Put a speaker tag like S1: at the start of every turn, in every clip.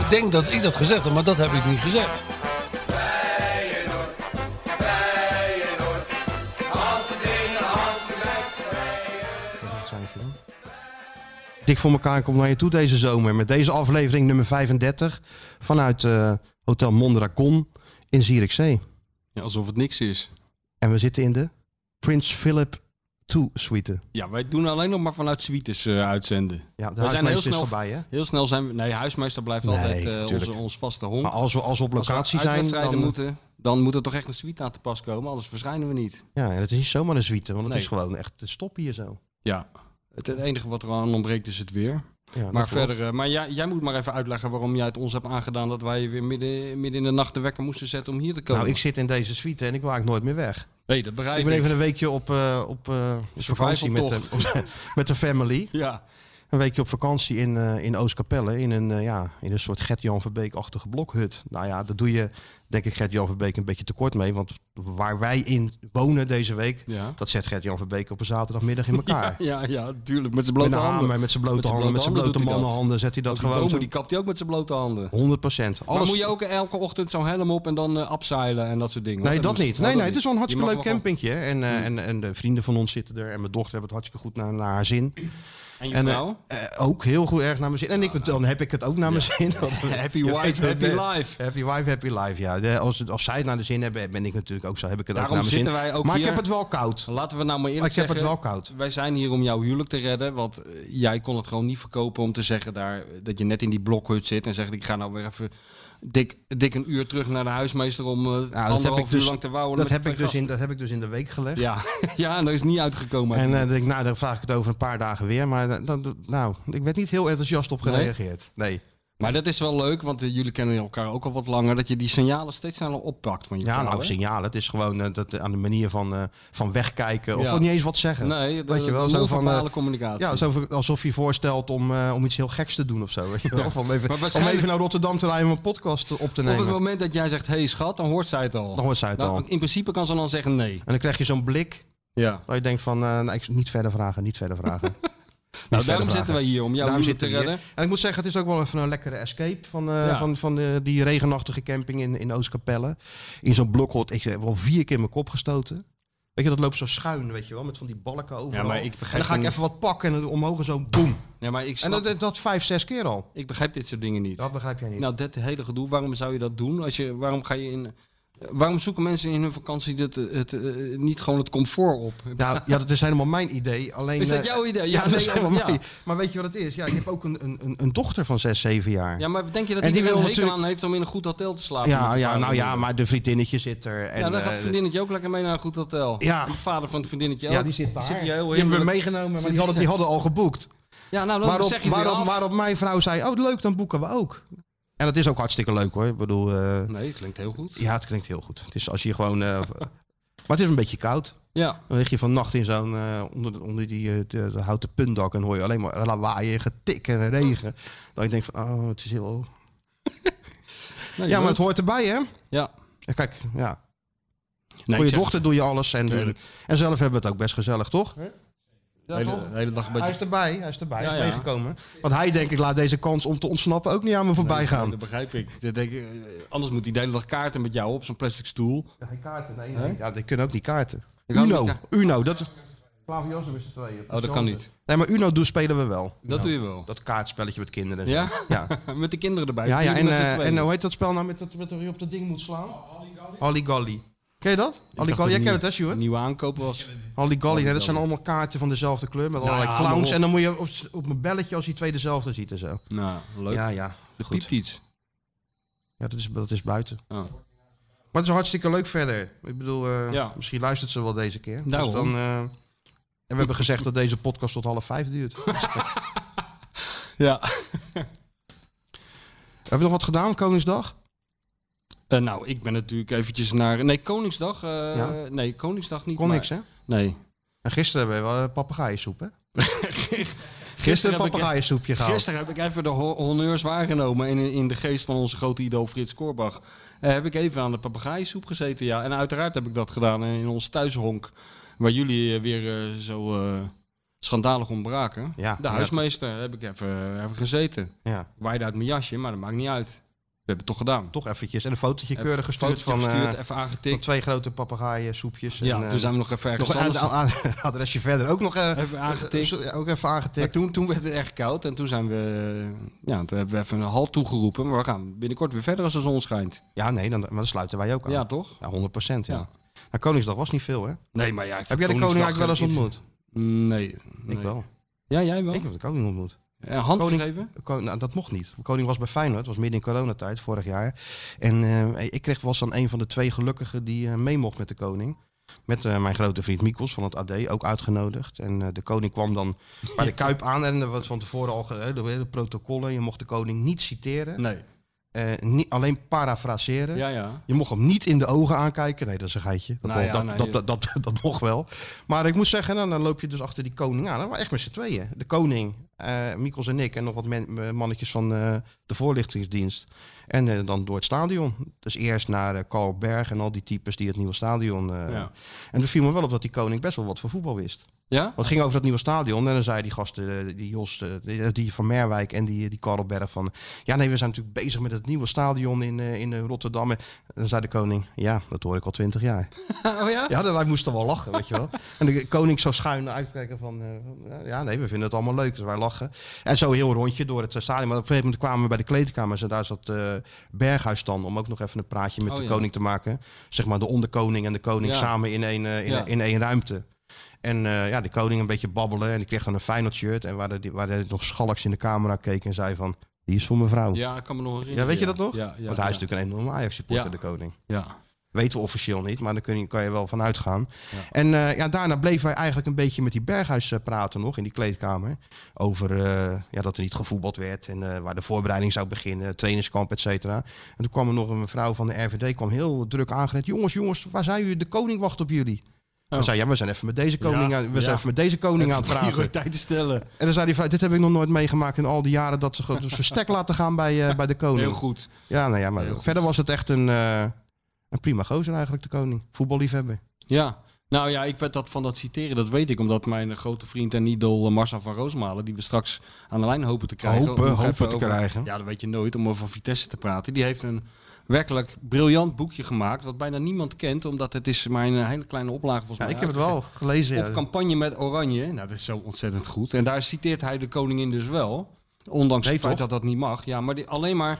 S1: Ik denk dat ik dat gezegd heb, maar dat heb ik niet gezegd.
S2: Wat zijn je dan? Dik voor elkaar komt naar je toe deze zomer met deze aflevering nummer 35 vanuit eh, Hotel Mondragon in Zierikzee.
S3: Ja, alsof het niks is.
S2: En we zitten in de Prins Philip 2 suite.
S3: Ja, wij doen alleen nog maar vanuit suites eh, uitzenden.
S2: Ja, de
S3: We zijn heel
S2: huismeester is
S3: snel
S2: voorbij hè.
S3: Heel snel zijn we... Nee, huismeester blijft
S2: Nee,
S3: altijd eh,
S2: tuurlijk.
S3: onze, ons vaste hond.
S2: Maar als we, als we op locatie zijn, dan,
S3: dan... moeten, dan moet er toch echt een suite aan te pas komen. Anders verschijnen we niet.
S2: ja, en het is niet zomaar een suite, want het
S3: Nee.
S2: is gewoon echt te stoppen hier zo.
S3: Ja. Het, het enige wat er aan ontbreekt is het weer.
S2: Ja, dat
S3: Maar
S2: klopt.
S3: verder... eh, maar jij, jij moet maar even uitleggen waarom jij het ons hebt aangedaan... dat wij je weer midden, midden in de nacht de wekker moesten zetten om hier te komen.
S2: Nou, ik zit in deze suite en ik wil eigenlijk nooit meer weg.
S3: Nee, dat begrijp
S2: Ik ben even een weekje op, eh, op eh, vakantie met de, met de family.
S3: Ja.
S2: Een weekje op vakantie in, eh, in Oostkapelle in een, eh, ja, in een soort Gert-Jan Verbeek-achtige blokhut. Nou ja, daar doe je denk ik Gert-Jan Verbeek een beetje tekort mee. Want waar wij in wonen deze week,
S3: Ja.
S2: dat zet Gert-Jan Verbeek op een zaterdagmiddag in elkaar.
S3: Ja, ja, tuurlijk. Met zijn
S2: met
S3: blote
S2: een hamer,
S3: handen.
S2: met zijn blote
S3: Met zijn
S2: handen, met zijn blote
S3: blote handen doet hij dat.
S2: mannenhanden zet hij dat
S3: Ook die
S2: gewoon
S3: bomen,
S2: zo.
S3: die kapt hij ook met zijn blote handen.
S2: 100 procent.
S3: Maar moet je ook elke ochtend zo'n helm op en dan eh abzeilen en dat soort dingen?
S2: Nee,
S3: hoor.
S2: dat
S3: moet-
S2: niet.
S3: oh,
S2: Nee,
S3: dat
S2: nee, het is wel een hartstikke
S3: Je
S2: leuk
S3: mag wel
S2: campingje. hè. En, eh, en, en de vrienden van ons zitten er. En mijn dochter hebben het hartstikke goed naar, naar haar zin.
S3: gewoon- En je
S2: En eh,
S3: vrouw?
S2: eh, ook heel goed erg naar mijn zin. En ik, dan heb ik het ook naar mijn zin. Want, eh,
S3: Happy
S2: je
S3: wife,
S2: weet hoe het is.
S3: happy life.
S2: Happy wife, happy life, ja. De- als, het- als zij het naar de zin hebben, ben ik natuurlijk ook zo. Heb ik het
S3: Daarom
S2: ook naar mijn zin.
S3: zitten wij ook
S2: maar
S3: hier.
S2: ik heb het wel koud.
S3: Laten we nou maar
S2: Maar
S3: eerlijk
S2: ik heb
S3: zeggen.
S2: het wel koud.
S3: Wij zijn hier om jouw huwelijk te redden, want eh, jij kon het gewoon niet verkopen om te zeggen daar, dat je net in die blokhut zit en zegt ik ga nou weer even dik, dik een uur terug naar de huismeester om eh anderhalf
S2: ik
S3: uur
S2: dus-
S3: lang te wouwen
S2: Dat
S3: met
S2: heb,
S3: twee
S2: ik dus in,
S3: gasten.
S2: dat heb ik dus in de week gelegd.
S3: Ja, ja, en dat is niet uitgekomen.
S2: En eh, dan denk ik, nou, dan vraag ik het over een paar dagen weer. Maar dan- dan, nou, ik werd niet heel enthousiast op
S3: Nee?
S2: gereageerd. nee.
S3: maar dat is wel leuk, want eh, jullie kennen elkaar ook al wat langer, dat je die signalen steeds sneller oppakt van je
S2: Ja,
S3: vrouw,
S2: nou,
S3: hè?
S2: signalen. Het is gewoon eh, dat, eh, aan de manier van, eh, van wegkijken. Of
S3: Ja.
S2: wel niet eens wat zeggen.
S3: Nee, dat
S2: Weet je wel, zo van... eh,
S3: non-verbale communicatie.
S2: ja, zo van- alsof je voorstelt om, eh, om iets heel geks te doen of zo. Weet je wel? Of om, even,
S3: Maar
S2: om
S3: waarschijnlijk-
S2: even naar Rotterdam te rijden om een podcast te- op te
S3: Op
S2: nemen.
S3: het moment dat jij zegt, hé hey, schat, dan hoort zij het al.
S2: Dan hoort zij het
S3: Nou,
S2: al. En
S3: In principe kan ze dan zeggen nee. Nou,
S2: dan krijg je zo'n blik
S3: Ja.
S2: waar je denkt van, eh, nee, ik, niet verder vragen, niet verder vragen. Niet
S3: Nou,
S2: verder
S3: daarom
S2: vragen.
S3: zitten wij hier, om jouw
S2: Daarom
S3: huwelijk te
S2: zitten we hier.
S3: redden.
S2: En ik moet zeggen, het is ook wel even een lekkere escape van, eh,
S3: Ja.
S2: van, van eh, die regenachtige camping in, in Oostkapelle. In zo'n blokhot. Ik heb al vier keer mijn kop gestoten. Weet je, dat loopt zo schuin, weet je wel, met van die balken overal.
S3: maar ik
S2: en
S3: begrijp
S2: dan ga ik
S3: niet-
S2: even wat pakken en dan omhoog en zo, boem.
S3: Ja, maar ik,
S2: En
S3: snap,
S2: dat, dat vijf, zes keer al.
S3: ik begrijp dit soort dingen niet.
S2: Dat begrijp jij niet.
S3: Nou, dat hele gedoe, waarom zou je dat doen? Als je, waarom, ga je in, waarom zoeken mensen in hun vakantie het, het, eh, niet gewoon het comfort op?
S2: Nou, ja, dat is helemaal mijn idee. Alleen,
S3: Is dat
S2: eh,
S3: jouw idee?
S2: Ja,
S3: Ja,
S2: dat
S3: nee,
S2: is helemaal
S3: ja.
S2: mijn. Maar weet je wat het is? Ja, ik heb ook een, een, een- een dochter van 6, 7 jaar.
S3: Ja, maar denk je dat
S2: En die
S3: iedereen een
S2: wil
S3: hekel
S2: natuurlijk-
S3: aan heeft om in een goed hotel te slapen? met
S2: ja,
S3: de
S2: ja,
S3: vader?
S2: nou ja, maar de vriendinnetje zit er. En,
S3: ja, dan gaat
S2: eh,
S3: het vriendinnetje ook lekker mee naar een goed hotel.
S2: Ja.
S3: De vader van het vriendinnetje
S2: ja,
S3: ook.
S2: die zit daar.
S3: Zit hier heel
S2: die hebben we
S3: heerlijk.
S2: meegenomen, maar die hadden, die hadden al geboekt.
S3: Ja, nou, dan
S2: Waarop,
S3: zeg je het weer
S2: waarop,
S3: af.
S2: waarop mijn vrouw zei, oh leuk, dan boeken we ook. En dat is ook hartstikke leuk hoor. Ik bedoel, eh,
S3: Nee, klinkt heel goed.
S2: ja, het klinkt heel goed. Het is als je gewoon... eh, maar het is een beetje koud.
S3: ja.
S2: Dan lig je vannacht in zo'n, eh, onder, onder die eh, de, de houten puntdak en hoor je alleen maar lawaai en getik en regen. Dan denk je van, oh, het is heel...
S3: Nee,
S2: Ja, maar
S3: leuk.
S2: het hoort erbij, hè?
S3: Ja.
S2: Ja, Kijk, ja.
S3: Nee,
S2: voor
S3: ik
S2: je
S3: zeg-
S2: dochter doe je alles. En, en, en zelf hebben we het ook best gezellig, toch?
S3: de hele, de hele dag een
S2: Hij
S3: beetje...
S2: is erbij, hij is erbij, hij is
S3: Ja, ja.
S2: meegekomen. Want hij denkt, ik laat deze kans om te ontsnappen ook niet aan me voorbij gaan.
S3: Dat begrijp ik. Dat denk ik, eh, Anders moet hij de hele dag kaarten met jou op zo'n plastic stoel.
S2: Ja, geen kaarten, nee. nee. Ja, die kunnen ook niet kaarten.
S3: Ik hou
S2: Uno,
S3: niet ka-
S2: Uno, dat is... Klaviassen met z'n tweeën.
S3: Oh, dat kan niet.
S2: Nee, maar Uno doen spelen we wel.
S3: Dat
S2: Uno.
S3: doe je wel.
S2: Dat kaartspelletje met kinderen. en
S3: Ja?
S2: zo. Ja,
S3: Met de kinderen erbij.
S2: ja, ja
S3: Jullie
S2: en,
S3: met z'n
S2: eh,
S3: tweeën.
S2: en hoe heet dat spel nou met dat, met dat je op dat ding moet slaan? Halligalli. Ken je dat?
S3: Ik dacht
S2: Halligalli, jij
S3: dat
S2: kent
S3: een
S2: het hè, Stuart?
S3: nieuwe aankoop was.
S2: Halligalli, hè, dat zijn allemaal kaarten van dezelfde kleur met
S3: Nou
S2: allerlei
S3: ja, maar
S2: clowns.
S3: op.
S2: En dan moet je op, op een belletje als die twee dezelfde ziet en zo.
S3: Nou, leuk.
S2: Ja, ja.
S3: er
S2: Goed.
S3: piept iets.
S2: Ja, dat is, dat is buiten.
S3: Oh.
S2: Maar het is hartstikke leuk verder. Ik bedoel, eh,
S3: Ja.
S2: misschien luistert ze wel deze keer. Dus
S3: Daarom.
S2: dan, eh, en we hebben gezegd dat deze podcast tot half vijf duurt.
S3: Ja.
S2: Hebben we nog wat gedaan, Koningsdag?
S3: Eh, nou, ik ben natuurlijk eventjes naar... Nee, Koningsdag. eh,
S2: Ja.
S3: Nee, Koningsdag niet.
S2: Kon
S3: maar-
S2: niks, hè?
S3: Nee.
S2: En gisteren hebben we wel eh, papegaaiensoep, hè? Gisteren een
S3: heb ik-
S2: papegaaiensoepje gehaald.
S3: Gisteren heb ik even de ho- honneurs waargenomen en in, in de geest van onze grote idool Frits Korbach eh, heb ik even aan de papegaaiensoep gezeten. Ja, en uiteraard heb ik dat gedaan in ons thuishonk, waar jullie eh, weer eh, zo eh, schandalig ontbraken.
S2: Ja,
S3: de huismeester heb ik even, eh, even gezeten.
S2: Ja,
S3: Ik waaide uit mijn jasje, maar dat maakt niet uit. We hebben het toch gedaan.
S2: toch eventjes. En een fotootje
S3: Heb
S2: keurig
S3: een
S2: gestuurd
S3: fotootje
S2: van, eh,
S3: gestuurd, even
S2: van
S3: aangetikt.
S2: twee grote papegaaiensoepjes.
S3: Ja,
S2: en, eh,
S3: toen zijn we nog even ergens
S2: nog een
S3: anders.
S2: aan- aan- adresje verder ook nog... eh,
S3: Even aangetikt.
S2: eh, Ook even
S3: Maar
S2: aangetikt.
S3: toen, toen werd het echt koud en toen zijn we, ja, toen hebben we even een halt toegeroepen. Maar we gaan binnenkort weer verder als de zon schijnt.
S2: Ja, nee, dan, maar dan sluiten wij ook aan.
S3: Ja,
S2: Ja,
S3: toch?
S2: 100 procent, ja.
S3: Ja.
S2: Nou, Koningsdag was niet veel, hè?
S3: Nee, maar ja. ik
S2: Heb
S3: vind
S2: jij de koning eigenlijk wel eens
S3: Koningsdag, eh,
S2: ontmoet?
S3: iets- Nee, nee.
S2: Ik wel.
S3: Ja, jij wel.
S2: Ik heb de koning ontmoet.
S3: Eh, hand
S2: Koning-
S3: gegeven?
S2: De koning- nou, dat mocht niet. De koning was bij Feyenoord. Het was midden in coronatijd, vorig jaar. En eh, ik kreeg, was dan een van de twee gelukkigen die eh, mee mocht met de koning. Met eh, mijn grote vriend Mikkels van het AD, ook uitgenodigd. En eh, de koning kwam dan bij de Kuip aan. En er was van tevoren al ge- eh, de hele protocollen. Je mocht de koning niet citeren.
S3: Nee.
S2: Eh, niet, alleen parafraseren.
S3: Ja, ja.
S2: Je mocht hem niet in de ogen aankijken. Nee, dat is een geitje. Dat,
S3: Nou
S2: mo-
S3: ja,
S2: dat,
S3: nee,
S2: dat,
S3: je-
S2: dat, dat, dat mocht wel. Maar ik moet zeggen, nou, dan loop je dus achter die koning aan. Dat waren echt met z'n tweeën. De koning, eh Mikkels en ik en nog wat men- eh, mannetjes van eh, de voorlichtingsdienst. En eh, dan door het stadion. Dus eerst naar eh, Carl Berg en al die types die het nieuwe stadion... eh,
S3: Ja.
S2: En toen viel me wel op dat die koning best wel wat van voetbal wist.
S3: Ja?
S2: Want het ging over dat nieuwe stadion. En dan zei die gasten, eh, die Jos, eh, die- die van Merwijk en die, die Karelberg van... Ja, nee, we zijn natuurlijk bezig met het nieuwe stadion in, eh, in eh, Rotterdam. En dan zei de koning, ja, dat hoor ik al twintig jaar.
S3: Oh ja?
S2: Ja, dan, wij moesten wel lachen, weet je wel. En de koning zou schuin uitkijken van... eh, ja, nee, we vinden het allemaal leuk, dus wij lachen. En zo heel een rondje door het eh, stadion. Maar op een gegeven moment kwamen we bij de kleedkamers en daar zat eh, Berghuis dan... om ook nog even een praatje met
S3: Oh,
S2: de
S3: ja.
S2: koning te maken. Zeg maar de onderkoning en de koning
S3: Ja.
S2: samen in één, eh, in,
S3: Ja.
S2: in één ruimte. En eh, ja, de koning een beetje babbelen en die kreeg dan een Feyenoord shirt. En waar, de, waar de nog schalks in de camera keek en zei van... Die is voor mevrouw.
S3: Ja, ik kan me nog herinneren.
S2: Ja, weet je dat nog?
S3: Ja, ja.
S2: Want hij is
S3: ja.
S2: natuurlijk een enorme Ajax-supporter,
S3: Ja.
S2: de koning.
S3: Ja.
S2: Weten we officieel niet, maar daar kun je, kan je wel van uitgaan.
S3: Ja.
S2: En eh, ja, daarna bleven wij eigenlijk een beetje met die Berghuis eh, praten nog in die kleedkamer. Over eh, ja, dat er niet gevoetbald werd en eh, waar de voorbereiding zou beginnen, trainingskamp, et cetera. En toen kwam er nog een mevrouw van de RVD, kwam heel druk aangerend. Jongens, jongens, waar zijn jullie? De koning wacht op jullie.
S3: Oh.
S2: We zei, ja, we zijn even met deze koning,
S3: Ja,
S2: aan, we zijn
S3: ja.
S2: even met deze koning aan het praten.
S3: Prioriteiten stellen.
S2: En dan zei die vrouw, dit heb ik nog nooit meegemaakt in al die jaren dat ze gewoon het verstek laten gaan bij, eh, bij de koning.
S3: Heel goed.
S2: Ja, nou ja, maar
S3: Heel goed.
S2: verder was het echt een, eh, een prima gozer eigenlijk, de koning. Voetballiefhebber.
S3: Ja. Nou ja, ik weet dat van dat citeren, dat weet ik. Omdat mijn grote vriend en idool eh, Marcel van Roosmalen, die we straks aan de lijn hopen te krijgen.
S2: Hopen,
S3: om nog
S2: hopen
S3: even
S2: te krijgen.
S3: Ja, dat weet je nooit, om over van Vitesse te praten. Die heeft een werkelijk briljant boekje gemaakt, wat bijna niemand kent. Omdat het is maar in een hele kleine oplage volgens
S2: Ja,
S3: mij
S2: Nou, ik heb het
S3: uitgegeven.
S2: wel gelezen.
S3: Op
S2: Ja.
S3: campagne met Oranje. Nou, dat is zo ontzettend goed. En daar citeert hij de koningin dus wel. Ondanks
S2: Nee,
S3: het feit
S2: toch?
S3: dat dat niet mag. Ja, maar die, alleen maar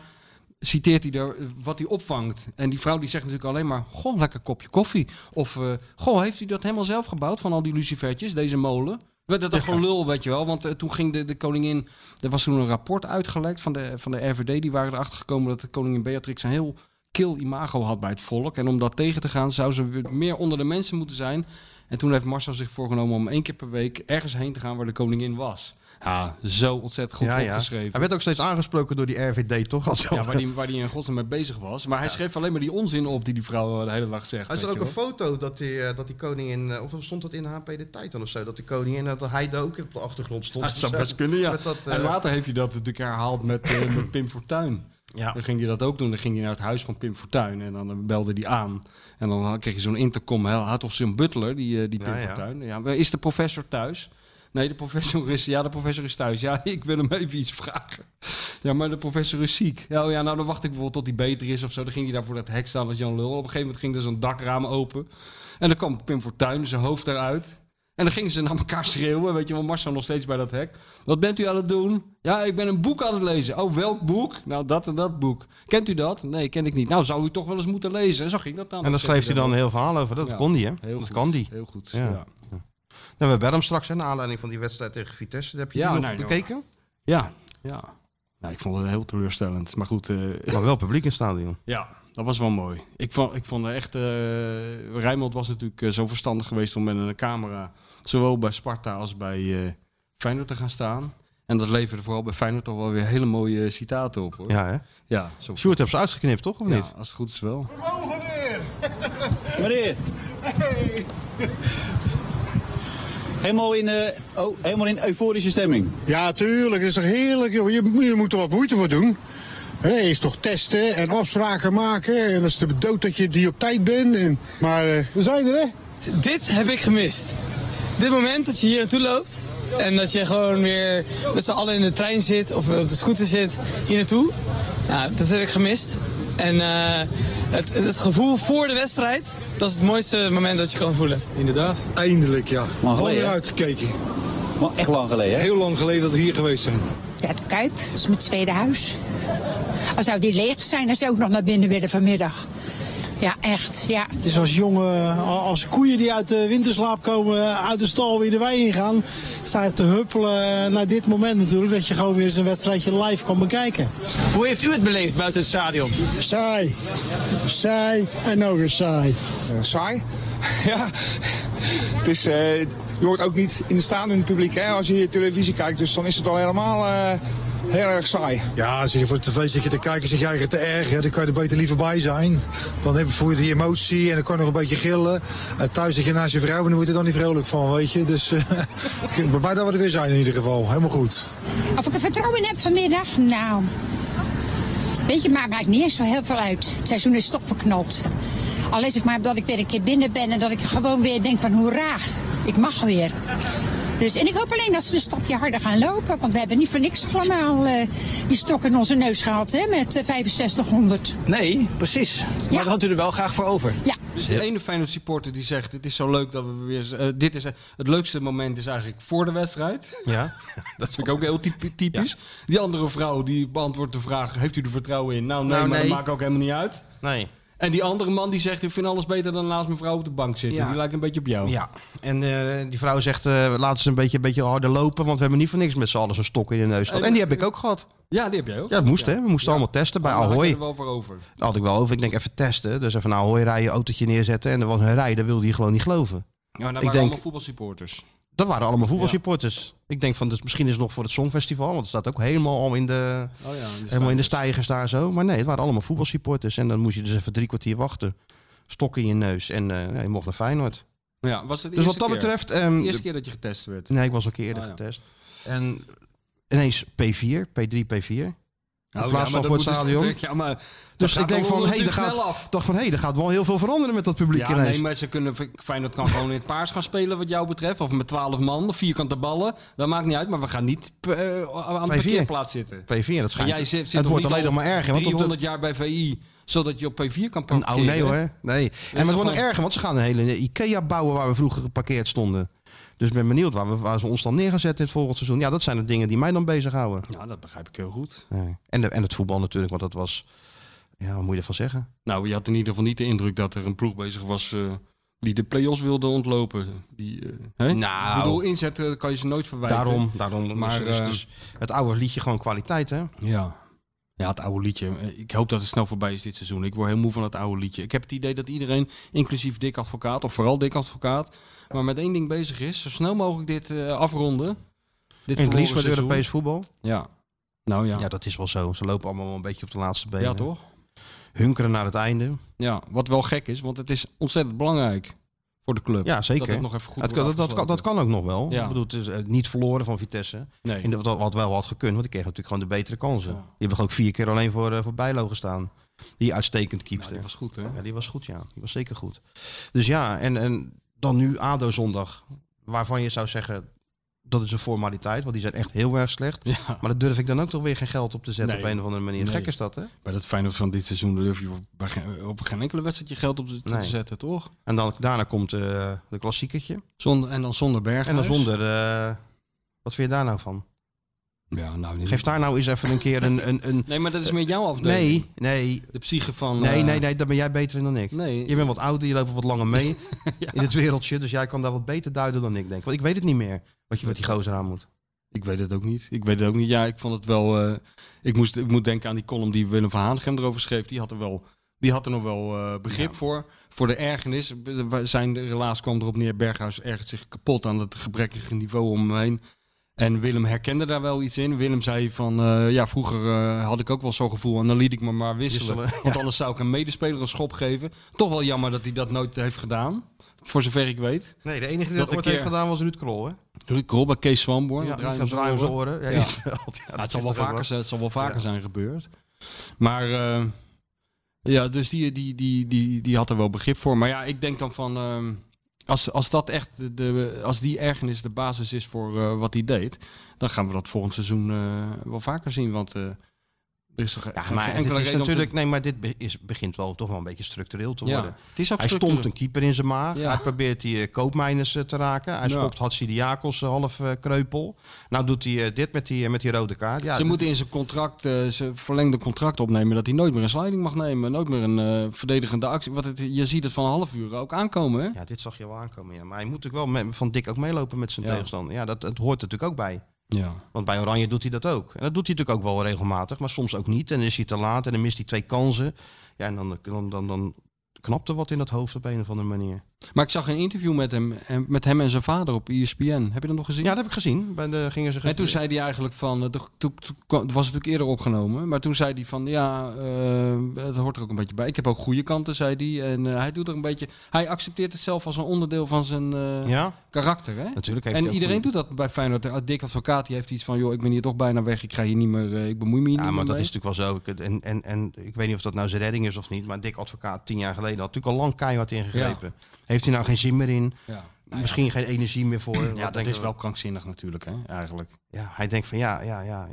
S3: citeert hij er eh, wat hij opvangt. En die vrouw die zegt natuurlijk alleen maar... Goh, lekker kopje koffie. Of, eh, goh, heeft u dat helemaal zelf gebouwd van al die lucifertjes, deze molen? Werd dat dan gewoon lul, weet je wel. Want eh, toen ging de, de koningin... Er was toen een rapport uitgelekt van de, van de RVD. Die waren erachter gekomen dat de koningin Beatrix een heel kil imago had bij het volk. En om dat tegen te gaan zou ze weer meer onder de mensen moeten zijn. En toen heeft Marcel zich voorgenomen om één keer per week ergens heen te gaan waar de koningin was. Ja, zo ontzettend goed
S2: Ja, ja. Hij
S3: opgeschreven.
S2: werd ook steeds aangesproken door die RVD, toch? Als
S3: Ja, waar die, waar die in godsnaam mee bezig was. Maar hij schreef alleen maar die onzin op die die vrouw eh, de hele dag zegt.
S2: Hij is er
S3: weet
S2: ook een
S3: je wel.
S2: foto dat die, eh, dat die koningin, eh, of stond dat in HP de tijd dan of zo, dat de koningin, dat hij daar ook op de achtergrond stond.
S3: Dat zou
S2: Zo.
S3: best kunnen, ja.
S2: Met dat, eh,
S3: En later heeft hij dat natuurlijk herhaald met, eh, met Pim Fortuyn.
S2: ja.
S3: Dan ging hij dat ook doen. Dan ging hij naar het huis van Pim Fortuyn. En dan eh, belde hij aan. En dan kreeg je zo'n intercom. Hij had toch zo'n butler, die, eh, die Pim
S2: Ja, ja.
S3: Fortuyn. Ja, maar is de professor thuis? Nee, de professor is... Ja, de professor is thuis. Ja, ik wil hem even iets vragen. Ja, maar de professor is ziek. Ja, oh ja, nou dan wacht ik bijvoorbeeld tot hij beter is of zo. Dan ging hij daar voor dat hek staan als Jan Lul. Op een gegeven moment ging er zo'n dakraam open. En dan kwam Pim Fortuyn, zijn hoofd eruit. En dan gingen ze naar elkaar schreeuwen. Weet je wel, Marcel nog steeds bij dat hek. Wat bent u aan het doen? Ja, ik ben een boek aan het lezen. Oh, welk boek? Nou, dat en dat boek. Kent u dat? Nee, ken ik niet. Nou, zou u toch wel eens moeten lezen? Zo ging dat dan.
S2: En daar schreef hij dan een heel verhaal over. Dat
S3: Ja.
S2: kon die, hè?
S3: Heel
S2: dat
S3: goed.
S2: kan die.
S3: Heel goed,
S2: Ja.
S3: ja. Ja,
S2: Nou, we hebben hem straks, hè, naar aanleiding van die wedstrijd tegen Vitesse. Heb je
S3: Ja,
S2: die nog
S3: nee, joh.
S2: bekeken?
S3: ja. Nou, ik vond het heel teleurstellend. Maar goed, eh,
S2: Maar wel publiek in het stadion.
S3: Ja, dat was wel mooi. Ik vond, ik vond echt... eh Rijnmond was natuurlijk eh, zo verstandig geweest om met een camera... zowel bij Sparta als bij eh Feyenoord te gaan staan. En dat leverde vooral bij Feyenoord toch wel weer hele mooie eh, citaten op. Hoor. Ja,
S2: Ja, hè?
S3: zo.
S2: Sjoerd heeft ze uitgeknipt, toch? Of
S3: Ja,
S2: niet?
S3: als het goed is wel.
S4: Meneer. Helemaal in, eh, oh, helemaal in euforische stemming.
S5: Ja, tuurlijk. Dat is toch heerlijk, joh. Je, moet- je moet er wat moeite voor doen. Hè, eerst toch testen en afspraken maken. En dat is de dood dat je die op tijd bent. En, maar eh, we zijn er, hè?
S6: Dit heb ik gemist. Dit moment dat je hier naartoe loopt en dat je gewoon weer met z'n allen in de trein zit of op de scooter zit hier naartoe. Nou, dat heb ik gemist. En eh, het, het gevoel voor de wedstrijd, dat is het mooiste moment dat je kan voelen.
S4: Inderdaad.
S5: Eindelijk, ja.
S4: Lang
S5: Gewoon
S4: geleden,
S5: weer
S4: hè?
S5: uitgekeken.
S4: Maar echt lang geleden, hè?
S5: Heel lang geleden dat we hier geweest zijn.
S7: Ja, het Kuip is mijn tweede huis. Al zou die leeg zijn, dan zou ik nog naar binnen willen vanmiddag. Ja, echt, ja.
S8: Het is als jonge, als koeien die uit de winterslaap komen, uit de stal weer de wei in gaan. Sta je te huppelen eh, naar dit moment natuurlijk, dat je gewoon weer eens een wedstrijdje live kan bekijken.
S4: Hoe heeft u het beleefd buiten het stadion?
S5: Saai. Saai en nog eens saai. Eh, saai? ja. Het is, eh, je hoort ook niet in de staande publiek hè, als je hier televisie kijkt. Dus dan is het al helemaal eh, heel erg saai.
S9: Ja, zit je voor de tv zit je te kijken, zeg jij het te erg, hè? dan kan je er beter liever bij zijn. Dan heb je voor je die emotie en dan kan je nog een beetje gillen. En thuis zit je naast je vrouw en dan word je er dan niet vrolijk van, weet je. Dus eh, ik ben blij dat we er weer zijn in ieder geval. Helemaal goed.
S7: Of ik er vertrouwen in heb vanmiddag? Nou, weet je, maakt maakt niet eens zo heel veel uit. Het seizoen is toch verknoopt. Al is het maar dat ik weer een keer binnen ben en dat ik gewoon weer denk van hoera, ik mag weer. Dus, en ik hoop alleen dat ze een stapje harder gaan lopen. Want we hebben niet voor niks allemaal eh, die stok in onze neus gehad hè, met eh, 6500.
S4: Nee, precies. Maar
S7: Ja.
S4: dat had u er wel graag voor over.
S7: Ja,
S3: Dus de ene Feyenoord supporter die zegt, het is zo leuk dat we weer... eh, dit is, eh, het leukste moment is eigenlijk voor de wedstrijd.
S2: Ja.
S3: Dat vind ik ook heel typ- typisch. Die andere vrouw die beantwoordt de vraag, heeft u er vertrouwen in? Nou nee,
S2: Nou,
S3: maar
S2: nee.
S3: dat maakt ook helemaal niet uit.
S2: Nee.
S3: En die andere man die zegt, ik vind alles beter dan naast mijn vrouw op de bank zitten.
S2: Ja.
S3: Die lijkt een beetje op jou.
S2: Ja. En eh, die vrouw zegt, eh laten ze een beetje, een beetje harder lopen, want we hebben niet voor niks met z'n allen zo'n stok in de neus gehad. En die heb ik ook gehad.
S3: Ja, die heb jij ook.
S2: Ja, dat moest, hè? We moesten allemaal testen bij
S3: Maar daar had je
S2: Ahoy.
S3: er wel voor over.
S2: Dat had ik wel over. Ik denk even testen. Dus even naar Ahoy rijden, autootje neerzetten. En er was een rij, daar wilde hij gewoon niet geloven.
S3: Ja, maar daar
S2: Ik
S3: waren
S2: denk-
S3: allemaal voetbalsupporters.
S2: Dat waren allemaal voetbalsupporters. Ik denk van, dus misschien is het nog voor het Songfestival. Want het staat ook helemaal al in de,
S3: Oh ja,
S2: helemaal in de stijgers daar zo. Maar nee, het waren allemaal voetbalsupporters. En dan moest je dus even drie kwartier wachten. Stok in je neus. En eh, ja, je mocht naar Feyenoord.
S3: Ja, was het de
S2: Dus wat
S3: eerste
S2: dat
S3: keer?
S2: betreft... ehm,
S3: De eerste keer dat je getest werd.
S2: Nee, ik was een keer eerder
S3: Ah, ja.
S2: getest. En ineens P4, P3, P4.
S3: Nou,
S2: plaats
S3: maar
S2: van
S3: dat
S2: voor het
S3: moet dus-
S2: stadion.
S3: Ja, maar dat
S2: Dus
S3: gaat
S2: ik denk
S3: de
S2: van,
S3: lol
S2: hey, daar
S3: natuurlijk
S2: gaat,
S3: snel af.
S2: dacht van, hé, daar gaat wel heel veel veranderen met dat publiek
S3: Ja,
S2: ineens.
S3: nee, maar ze kunnen, Feyenoord kan gewoon in het paars gaan spelen wat jou betreft. Of met 12 man, of vierkante ballen. Dat maakt niet uit, maar we gaan niet eh, aan
S2: 2-4.
S3: de parkeerplaats zitten.
S2: P4, dat
S3: En
S2: schijnt.
S3: jij zit, zit
S2: het
S3: toch
S2: wordt
S3: niet
S2: alleen nog
S3: al
S2: maar erger. Want op
S3: 300
S2: de,
S3: jaar bij VI, zodat je op P4 kan parkeren.
S2: oh nee hoor, nee. En
S3: toch
S2: het wordt nog
S3: gewoon-
S2: erger, want ze gaan een hele Ikea bouwen waar we vroeger geparkeerd stonden. Dus ik ben benieuwd waar, we, waar ze ons dan neer gaan zetten in het volgende seizoen. Ja, dat zijn de dingen die mij dan bezighouden.
S3: Ja, Nou, dat begrijp ik heel goed.
S2: Nee. En, de, en het voetbal natuurlijk, want dat was... Ja, wat moet je ervan zeggen?
S3: Nou, je had in ieder geval niet de indruk dat er een ploeg bezig was eh, die de play-offs wilde ontlopen. Die, eh, hè?
S2: Nou.
S3: Ik bedoel, inzet eh, kan je ze nooit verwijten.
S2: Daarom, daarom maar,
S3: Maar,
S2: is,
S3: eh,
S2: dus het oude liedje gewoon kwaliteit, hè?
S3: Ja. Ja, het oude liedje. Eh, Ik hoop dat het snel voorbij is dit seizoen. Ik word heel moe van het oude liedje. Ik heb het idee dat iedereen, inclusief Dick Advocaat, of vooral Dick Advocaat, maar met één ding bezig is. Zo snel mogelijk dit eh, afronden. Dit
S2: En het liefst
S3: verloren
S2: met
S3: seizoen.
S2: Europees voetbal.
S3: Ja. Nou ja.
S2: Ja,
S3: Ja,
S2: dat is wel zo. Ze lopen allemaal wel een beetje op de laatste benen.
S3: toch?
S2: Hunkeren naar het einde.
S3: Ja, wat wel gek is, want het is ontzettend belangrijk voor de club.
S2: Ja, zeker.
S3: Dat het nog even goed
S2: Dat, kan-
S3: wordt
S2: dat, dat, kan, dat
S3: afgesloten.
S2: kan ook nog wel.
S3: Ja.
S2: Ik bedoel, het is eh, niet verloren van Vitesse.
S3: Nee.
S2: In de, wat, wat wel had gekund, want die kreeg natuurlijk gewoon de betere kansen.
S3: Ja.
S2: Die hebben ook vier keer alleen voor, eh, voor Bijlo gestaan. Die uitstekend keepte.
S3: Dat was goed, hè?
S2: Ja, die was goed, ja. Die was zeker goed. Dus ja, en, en dan nu ADO zondag. Waarvan je zou zeggen, dat is een formaliteit. Want die zijn echt heel erg slecht.
S3: Ja.
S2: Maar daar durf ik dan ook toch weer geen geld op te zetten
S3: Nee.
S2: op een of andere manier.
S3: Nee.
S2: Gek is dat, hè?
S3: Bij dat Feyenoord van dit seizoen durf je op- bij geen- op geen enkele wedstrijd je geld op te, te
S2: Nee.
S3: zetten, toch?
S2: En dan, daarna komt eh, de klassiekertje.
S3: Zonder, en dan zonder Berghuis.
S2: En dan zonder... eh, wat vind je daar nou van?
S3: Ja, nou, niet-
S2: Geef daar nou eens even een keer een... een, een
S3: Nee, maar dat is meer jouw afdeling.
S2: Eh, nee, nee,
S3: De psyche van...
S2: nee,
S3: eh,
S2: nee, nee, daar ben jij beter in dan ik.
S3: Nee.
S2: Je bent wat ouder, je loopt wat langer mee in het wereldje. Dus jij kan daar wat beter duiden dan ik, denk ik. Want ik weet het niet meer, wat je met die gozer aan moet.
S3: Ik weet het ook niet. Ik weet het ook niet. Ja, ik vond het wel... eh, ik, moest, ik moet denken aan die column die Willem van Hanegem erover schreef. Die had er, wel, die had er nog wel eh, begrip voor. Voor de ergernis. eh, Zijn relaas kwam erop neer. Berghuis ergert zich kapot aan het gebrekkige niveau om hem heen. En Willem herkende daar wel iets in. Willem zei van, eh, ja, vroeger eh, had ik ook wel zo'n gevoel en dan liet ik me maar wisselen.
S2: Wisselen,
S3: want anders zou ik een medespeler een schop geven. Toch wel jammer dat hij dat nooit heeft gedaan, voor zover ik weet.
S2: Nee, de enige die
S3: Dat eh,
S2: dat,
S3: een
S2: ooit heeft
S3: keer-
S2: gedaan was Ruud Krol, hè?
S3: Ruud Krol bij Kees Swanborn.
S2: Ja,
S3: draai
S2: die
S3: om
S2: gaat draaien om zijn oren. Ja,
S3: Ja.
S2: iets wel. Ja,
S3: Ja,
S2: dat
S3: het, zal
S2: is
S3: wel
S2: toch ook
S3: vaker,
S2: wel-
S3: zijn- het zal wel vaker
S2: Ja.
S3: zijn gebeurd. Maar eh, ja, dus die, die, die, die, die had er wel begrip voor. Maar ja, ik denk dan van. ehm, als, als dat echt de, de- als die ergernis de basis is voor eh, wat hij deed, dan gaan we dat volgend seizoen eh, wel vaker zien. Want eh, er is toch
S2: Ja,
S3: geen
S2: maar
S3: enkele
S2: dit is
S3: reden om te-
S2: natuurlijk, nee, maar dit be- is, begint wel toch wel een beetje structureel te
S3: Ja,
S2: worden.
S3: het is ook
S2: hij
S3: structureel.
S2: stomt een keeper in zijn maag.
S3: Ja.
S2: Hij probeert die eh, koopmijners eh, te raken. Hij
S3: Ja.
S2: schopt Hatsidiakos eh, half eh, kreupel. Nou doet hij eh, dit met die, eh, met die rode kaart. Ja,
S3: ze
S2: dat-
S3: moeten in zijn contract, eh, ze verlengde contract opnemen dat hij nooit meer een sliding mag nemen. Nooit meer een eh, verdedigende actie. Want het, je ziet het van een half uur ook aankomen. Hè?
S2: ja, dit zag je wel aankomen. Ja. Maar hij moet natuurlijk wel met, van dik ook meelopen met zijn
S3: Ja.
S2: tegenstander. Ja, dat, dat hoort er natuurlijk ook bij.
S3: Ja.
S2: Want bij Oranje doet hij dat ook. En dat doet hij natuurlijk ook wel regelmatig, maar soms ook niet. En dan is hij te laat en dan mist hij twee kansen. Ja, en dan, dan, dan, dan knapt er wat in dat hoofd op een of andere manier.
S3: Maar ik zag een interview met hem, en- met hem en zijn vader op E ESPN. Heb je dat nog gezien?
S2: Ja, dat heb ik gezien. Bij de, gingen ze
S3: En toen zei hij eigenlijk van, eh, toen, toen- toen kwam- het was natuurlijk eerder opgenomen, maar toen zei hij van, ja, eh, het hoort er ook een beetje bij. Ik heb ook goede kanten, zei hij. En eh, hij doet er een beetje, hij accepteert het zelf als een onderdeel van zijn eh,
S2: Ja.
S3: karakter. Hè?
S2: Natuurlijk heeft
S3: En
S2: hij ook
S3: iedereen
S2: goede-
S3: doet dat bij Feyenoord. Eh, Dick Advocaat die heeft iets van, joh, ik ben hier toch bijna weg, ik ga hier niet meer, eh, ik bemoei me hier
S2: Ja,
S3: niet
S2: maar
S3: meer
S2: dat
S3: mee.
S2: is natuurlijk wel zo. Ik- En, en, en ik weet niet of dat nou zijn redding is of niet. Maar Dick Advocaat, tien jaar geleden, had natuurlijk al lang keihard ingegrepen. Heeft hij nou geen zin meer in?
S3: Ja.
S2: Misschien geen energie meer voor? Wat
S3: Ja, dat
S2: denken
S3: is
S2: we?
S3: wel krankzinnig natuurlijk, hè, eigenlijk.
S2: Ja, hij denkt van ja, ja, ja.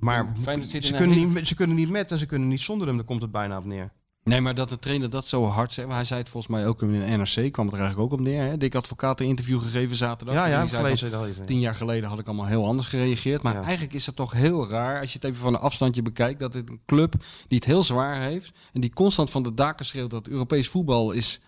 S2: Maar
S3: Feyenoord zit in
S2: ze
S3: een
S2: kunnen,
S3: hele-
S2: niet, met- ze kunnen niet met en ze kunnen niet zonder hem. Daar komt het bijna op neer.
S3: Nee, maar dat de trainer dat zo hard zei. Maar hij zei het volgens mij ook in een NRC. kwam het er eigenlijk ook op neer. Hè? Dick Advocaat een interview gegeven zaterdag.
S2: Ja, ja,
S3: En die
S2: heb ik
S3: zei
S2: gelezen,
S3: van,
S2: dat gelezen, ja.
S3: Tien jaar geleden had ik allemaal heel anders gereageerd. Maar
S2: Ja.
S3: eigenlijk is het toch heel raar. Als je het even van een afstandje bekijkt. Dat dit een club die het heel zwaar heeft. En die constant van de daken schreeuwt dat Europees voetbal is,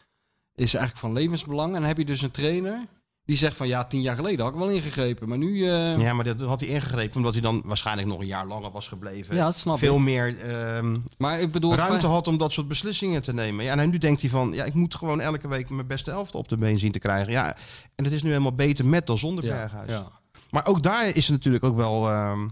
S3: is eigenlijk van levensbelang. En dan heb je dus een trainer die zegt van ja, tien jaar geleden had ik wel ingegrepen. Maar nu... eh,
S2: Ja, maar dat had hij ingegrepen omdat hij dan waarschijnlijk nog een jaar langer was gebleven.
S3: Ja, dat snap
S2: Veel
S3: ik.
S2: meer ehm,
S3: Maar ik bedoel...
S2: ruimte
S3: Fey-
S2: had om dat soort beslissingen te nemen. Ja, en hij- nu denkt hij van, ja, ik moet gewoon elke week mijn beste elfte op de been zien te krijgen. Ja, en het is nu helemaal beter met dan zonder
S3: Ja,
S2: Berghuis.
S3: ja.
S2: Maar ook daar is het natuurlijk ook wel. ehm,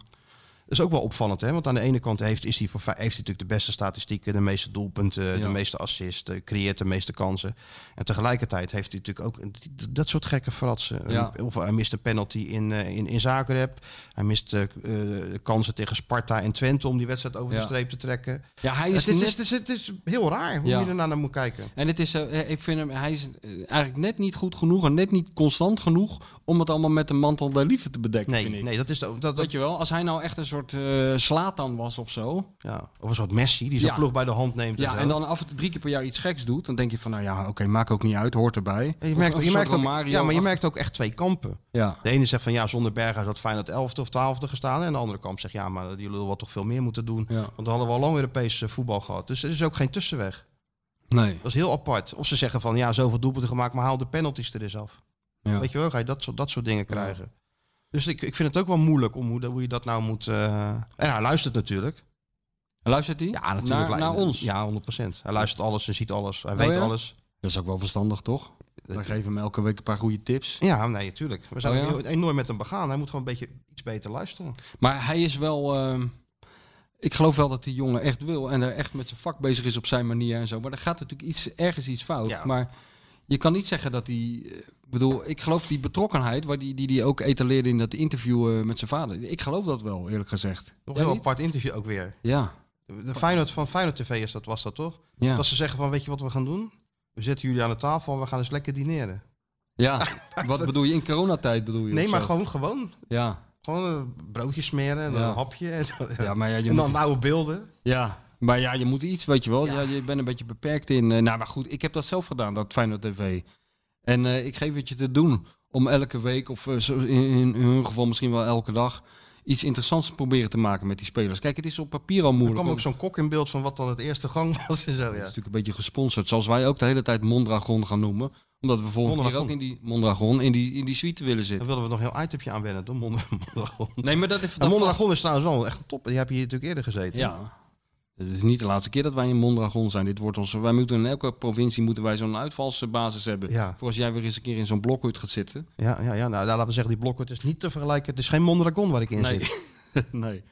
S2: dat is ook wel opvallend, hè? Want aan de ene kant heeft, is hij voor, heeft hij natuurlijk de beste statistieken, de meeste doelpunten,
S3: Ja.
S2: de meeste assists, eh, creëert de meeste kansen. En tegelijkertijd heeft hij natuurlijk ook d- dat soort gekke fratsen.
S3: Ja.
S2: Een- Of hij mist een penalty in, eh, in, in Zagreb. Hij mist eh, k- eh, kansen tegen Sparta en Twente om die wedstrijd over
S3: Ja.
S2: de streep te trekken.
S3: Ja, hij
S2: Het
S3: is
S2: is,
S3: net-
S2: het, is, het is heel raar hoe
S3: Ja.
S2: je ernaar naar moet kijken.
S3: En het is, eh, ik vind hem, hij is eh, eigenlijk net niet goed genoeg en net niet constant genoeg om het allemaal met een mantel der liefde te bedekken.
S2: Nee,
S3: vind ik.
S2: nee, dat is de- dat, dat,
S3: Weet je wel, als hij nou echt een soort eh slatan was of zo.
S2: ja. Of een soort Messi die zo'n
S3: Ja.
S2: ploeg bij de hand neemt.
S3: Ja,
S2: zo.
S3: en dan af en toe drie keer per jaar iets geks doet. Dan denk je van, nou ja, oké, maakt ook niet uit, hoort erbij.
S2: Ja, je
S3: Of
S2: merkt,
S3: een
S2: je
S3: soort
S2: merkt ook, ja,
S3: Romario
S2: maar je
S3: achter-
S2: merkt ook echt twee kampen.
S3: Ja.
S2: De ene zegt van ja, zonder Berghuis had Feyenoord 11e of 12e gestaan. En de andere kamp zegt ja, maar die lul had toch veel meer moeten doen.
S3: Ja.
S2: Want dan hadden we al lang Europees eh, voetbal gehad. Dus er is ook geen tussenweg.
S3: Nee.
S2: Dat is heel apart. Of ze zeggen van ja, zoveel doelpunten gemaakt, maar haal de penalties er eens af.
S3: Ja.
S2: Weet je wel, ga je dat, soort- dat soort dingen krijgen. Dus ik, ik vind het ook wel moeilijk om hoe, dat- hoe je dat nou moet... eh, En hij luistert natuurlijk.
S3: Luistert hij?
S2: Ja, natuurlijk.
S3: Naar,
S2: lu-
S3: naar ons.
S2: Ja, 100%. Hij luistert alles en ziet alles. Hij
S3: Oh
S2: weet
S3: ja?
S2: alles.
S3: Dat is ook wel verstandig, toch? We geven hem elke week een paar goede tips.
S2: Ja, nee, natuurlijk. We zijn
S3: Oh ja?
S2: heel- enorm met hem begaan. Hij moet gewoon een beetje iets beter luisteren.
S3: Maar hij is wel. ehm, ik geloof wel dat die jongen echt wil en er echt met zijn vak bezig is op zijn manier en zo. Maar er gaat natuurlijk iets, ergens iets fout.
S2: Ja.
S3: Maar je kan niet zeggen dat hij. eh, Ik bedoel, ik geloof die betrokkenheid, waar die, die, die ook etaleerde in dat interview eh, met zijn vader. Ik geloof dat wel, eerlijk gezegd.
S2: Nog
S3: Jij
S2: heel
S3: niet?
S2: apart interview ook weer.
S3: Ja.
S2: De Feyenoord van Feyenoord TV is dat, was dat toch?
S3: Ja.
S2: Dat ze zeggen van, weet je wat we gaan doen? We zetten jullie aan de tafel en we gaan eens lekker dineren.
S3: ja. Wat bedoel je in coronatijd bedoel je?
S2: Nee,
S3: of
S2: maar
S3: zo?
S2: gewoon, gewoon.
S3: Ja.
S2: Gewoon eh, broodjes smeren en
S3: Ja.
S2: een hapje. En, zo.
S3: Ja, maar ja, je
S2: en dan
S3: moet-
S2: oude beelden.
S3: Ja, maar ja, je moet iets, weet je wel.
S2: Ja.
S3: Ja. je bent een beetje beperkt in. eh, nou, maar goed, ik heb dat zelf gedaan, dat Feyenoord TV. En eh, ik geef het je te doen om elke week, of eh, zo, in, in hun geval misschien wel elke dag, iets interessants te proberen te maken met die spelers. Kijk, het is op papier al
S2: Er
S3: moeilijk.
S2: kwam ook
S3: want
S2: zo'n kok in beeld van wat dan het eerste gang was en zo,
S3: Het is
S2: ja.
S3: natuurlijk een beetje gesponsord, zoals wij ook de hele tijd Mondragon gaan noemen. Omdat we volgende keer ook
S2: Mondragon.
S3: in die Mondragon, in die, in die suite willen
S2: Dan
S3: zitten.
S2: wilden we nog een heel itemje aan wennen, toch? Mond- Mondragon. Nou,
S3: Nee, maar dat is...
S2: En Mondragon is trouwens wel echt top. Die heb je hier natuurlijk eerder gezeten.
S3: Ja. Het is niet de laatste keer dat wij in Mondragon zijn. Dit wordt ons, wij moeten in elke provincie moeten wij zo'n uitvalsbasis hebben.
S2: Ja.
S3: Voor als jij weer eens een keer in zo'n blokhut gaat zitten.
S2: Ja, ja, ja nou, laten we zeggen, die blokken, het is niet te vergelijken. Het is geen Mondragon waar ik in
S3: Nee.
S2: zit.
S3: nee.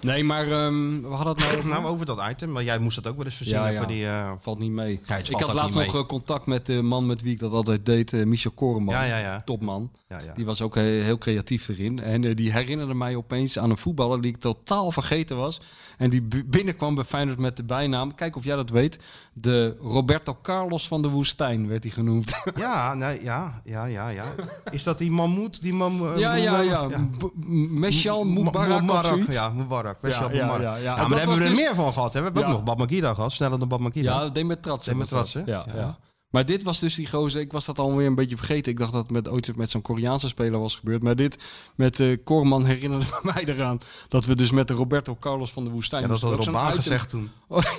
S3: Nee, maar ehm, we hadden het nou over...
S2: Nou, over dat item, maar jij moest dat ook wel eens verzinnen.
S3: Ja, ja.
S2: Voor die, eh,
S3: valt niet mee.
S2: het
S3: ik
S2: valt
S3: had
S2: ook
S3: laatst
S2: niet
S3: nog
S2: mee.
S3: eh, contact met de man met wie ik dat altijd deed, eh, Michel Koreman.
S2: Ja, ja, ja.
S3: Topman.
S2: Ja, ja.
S3: Die was ook eh, heel creatief erin. En eh, die herinnerde mij opeens aan een voetballer die ik totaal vergeten was. En die bu- binnenkwam bij Feyenoord met de bijnaam, kijk of jij dat weet, de Roberto Carlos van de Woestijn werd hij genoemd.
S2: ja, nee, ja, ja, ja, ja. Is dat die mammoet? Die mam, eh,
S3: ja, ja,
S2: mam-
S3: ja. B- M- Meshal
S2: M-
S3: Mubarak of zoiets.
S2: Ja, Mubarak. Best
S3: Ja,
S2: wel
S3: ja,
S2: Mubarak.
S3: ja,
S2: Ja,
S3: ja. En
S2: maar
S3: dat
S2: daar hebben we
S3: was
S2: er
S3: dus-
S2: meer van gehad. Hè? We hebben
S3: Ja.
S2: ook nog Bab Makida gehad. Sneller dan Bab Makida.
S3: Ja, Demetratse.
S2: Demet
S3: was dat.
S2: Ratse,
S3: Ja, ja.
S2: ja.
S3: Maar dit was dus die gozer. Ik was dat alweer een beetje vergeten. Ik dacht dat het met, ooit met zo'n Koreaanse speler was gebeurd. Maar dit met eh Korman herinnerde mij eraan. Dat we dus met de Roberto Carlos van de Woestijn.
S2: Ja, dat
S3: moesten
S2: had
S3: we ook
S2: Rob
S3: zo'n
S2: Baan
S3: item-
S2: gezegd toen.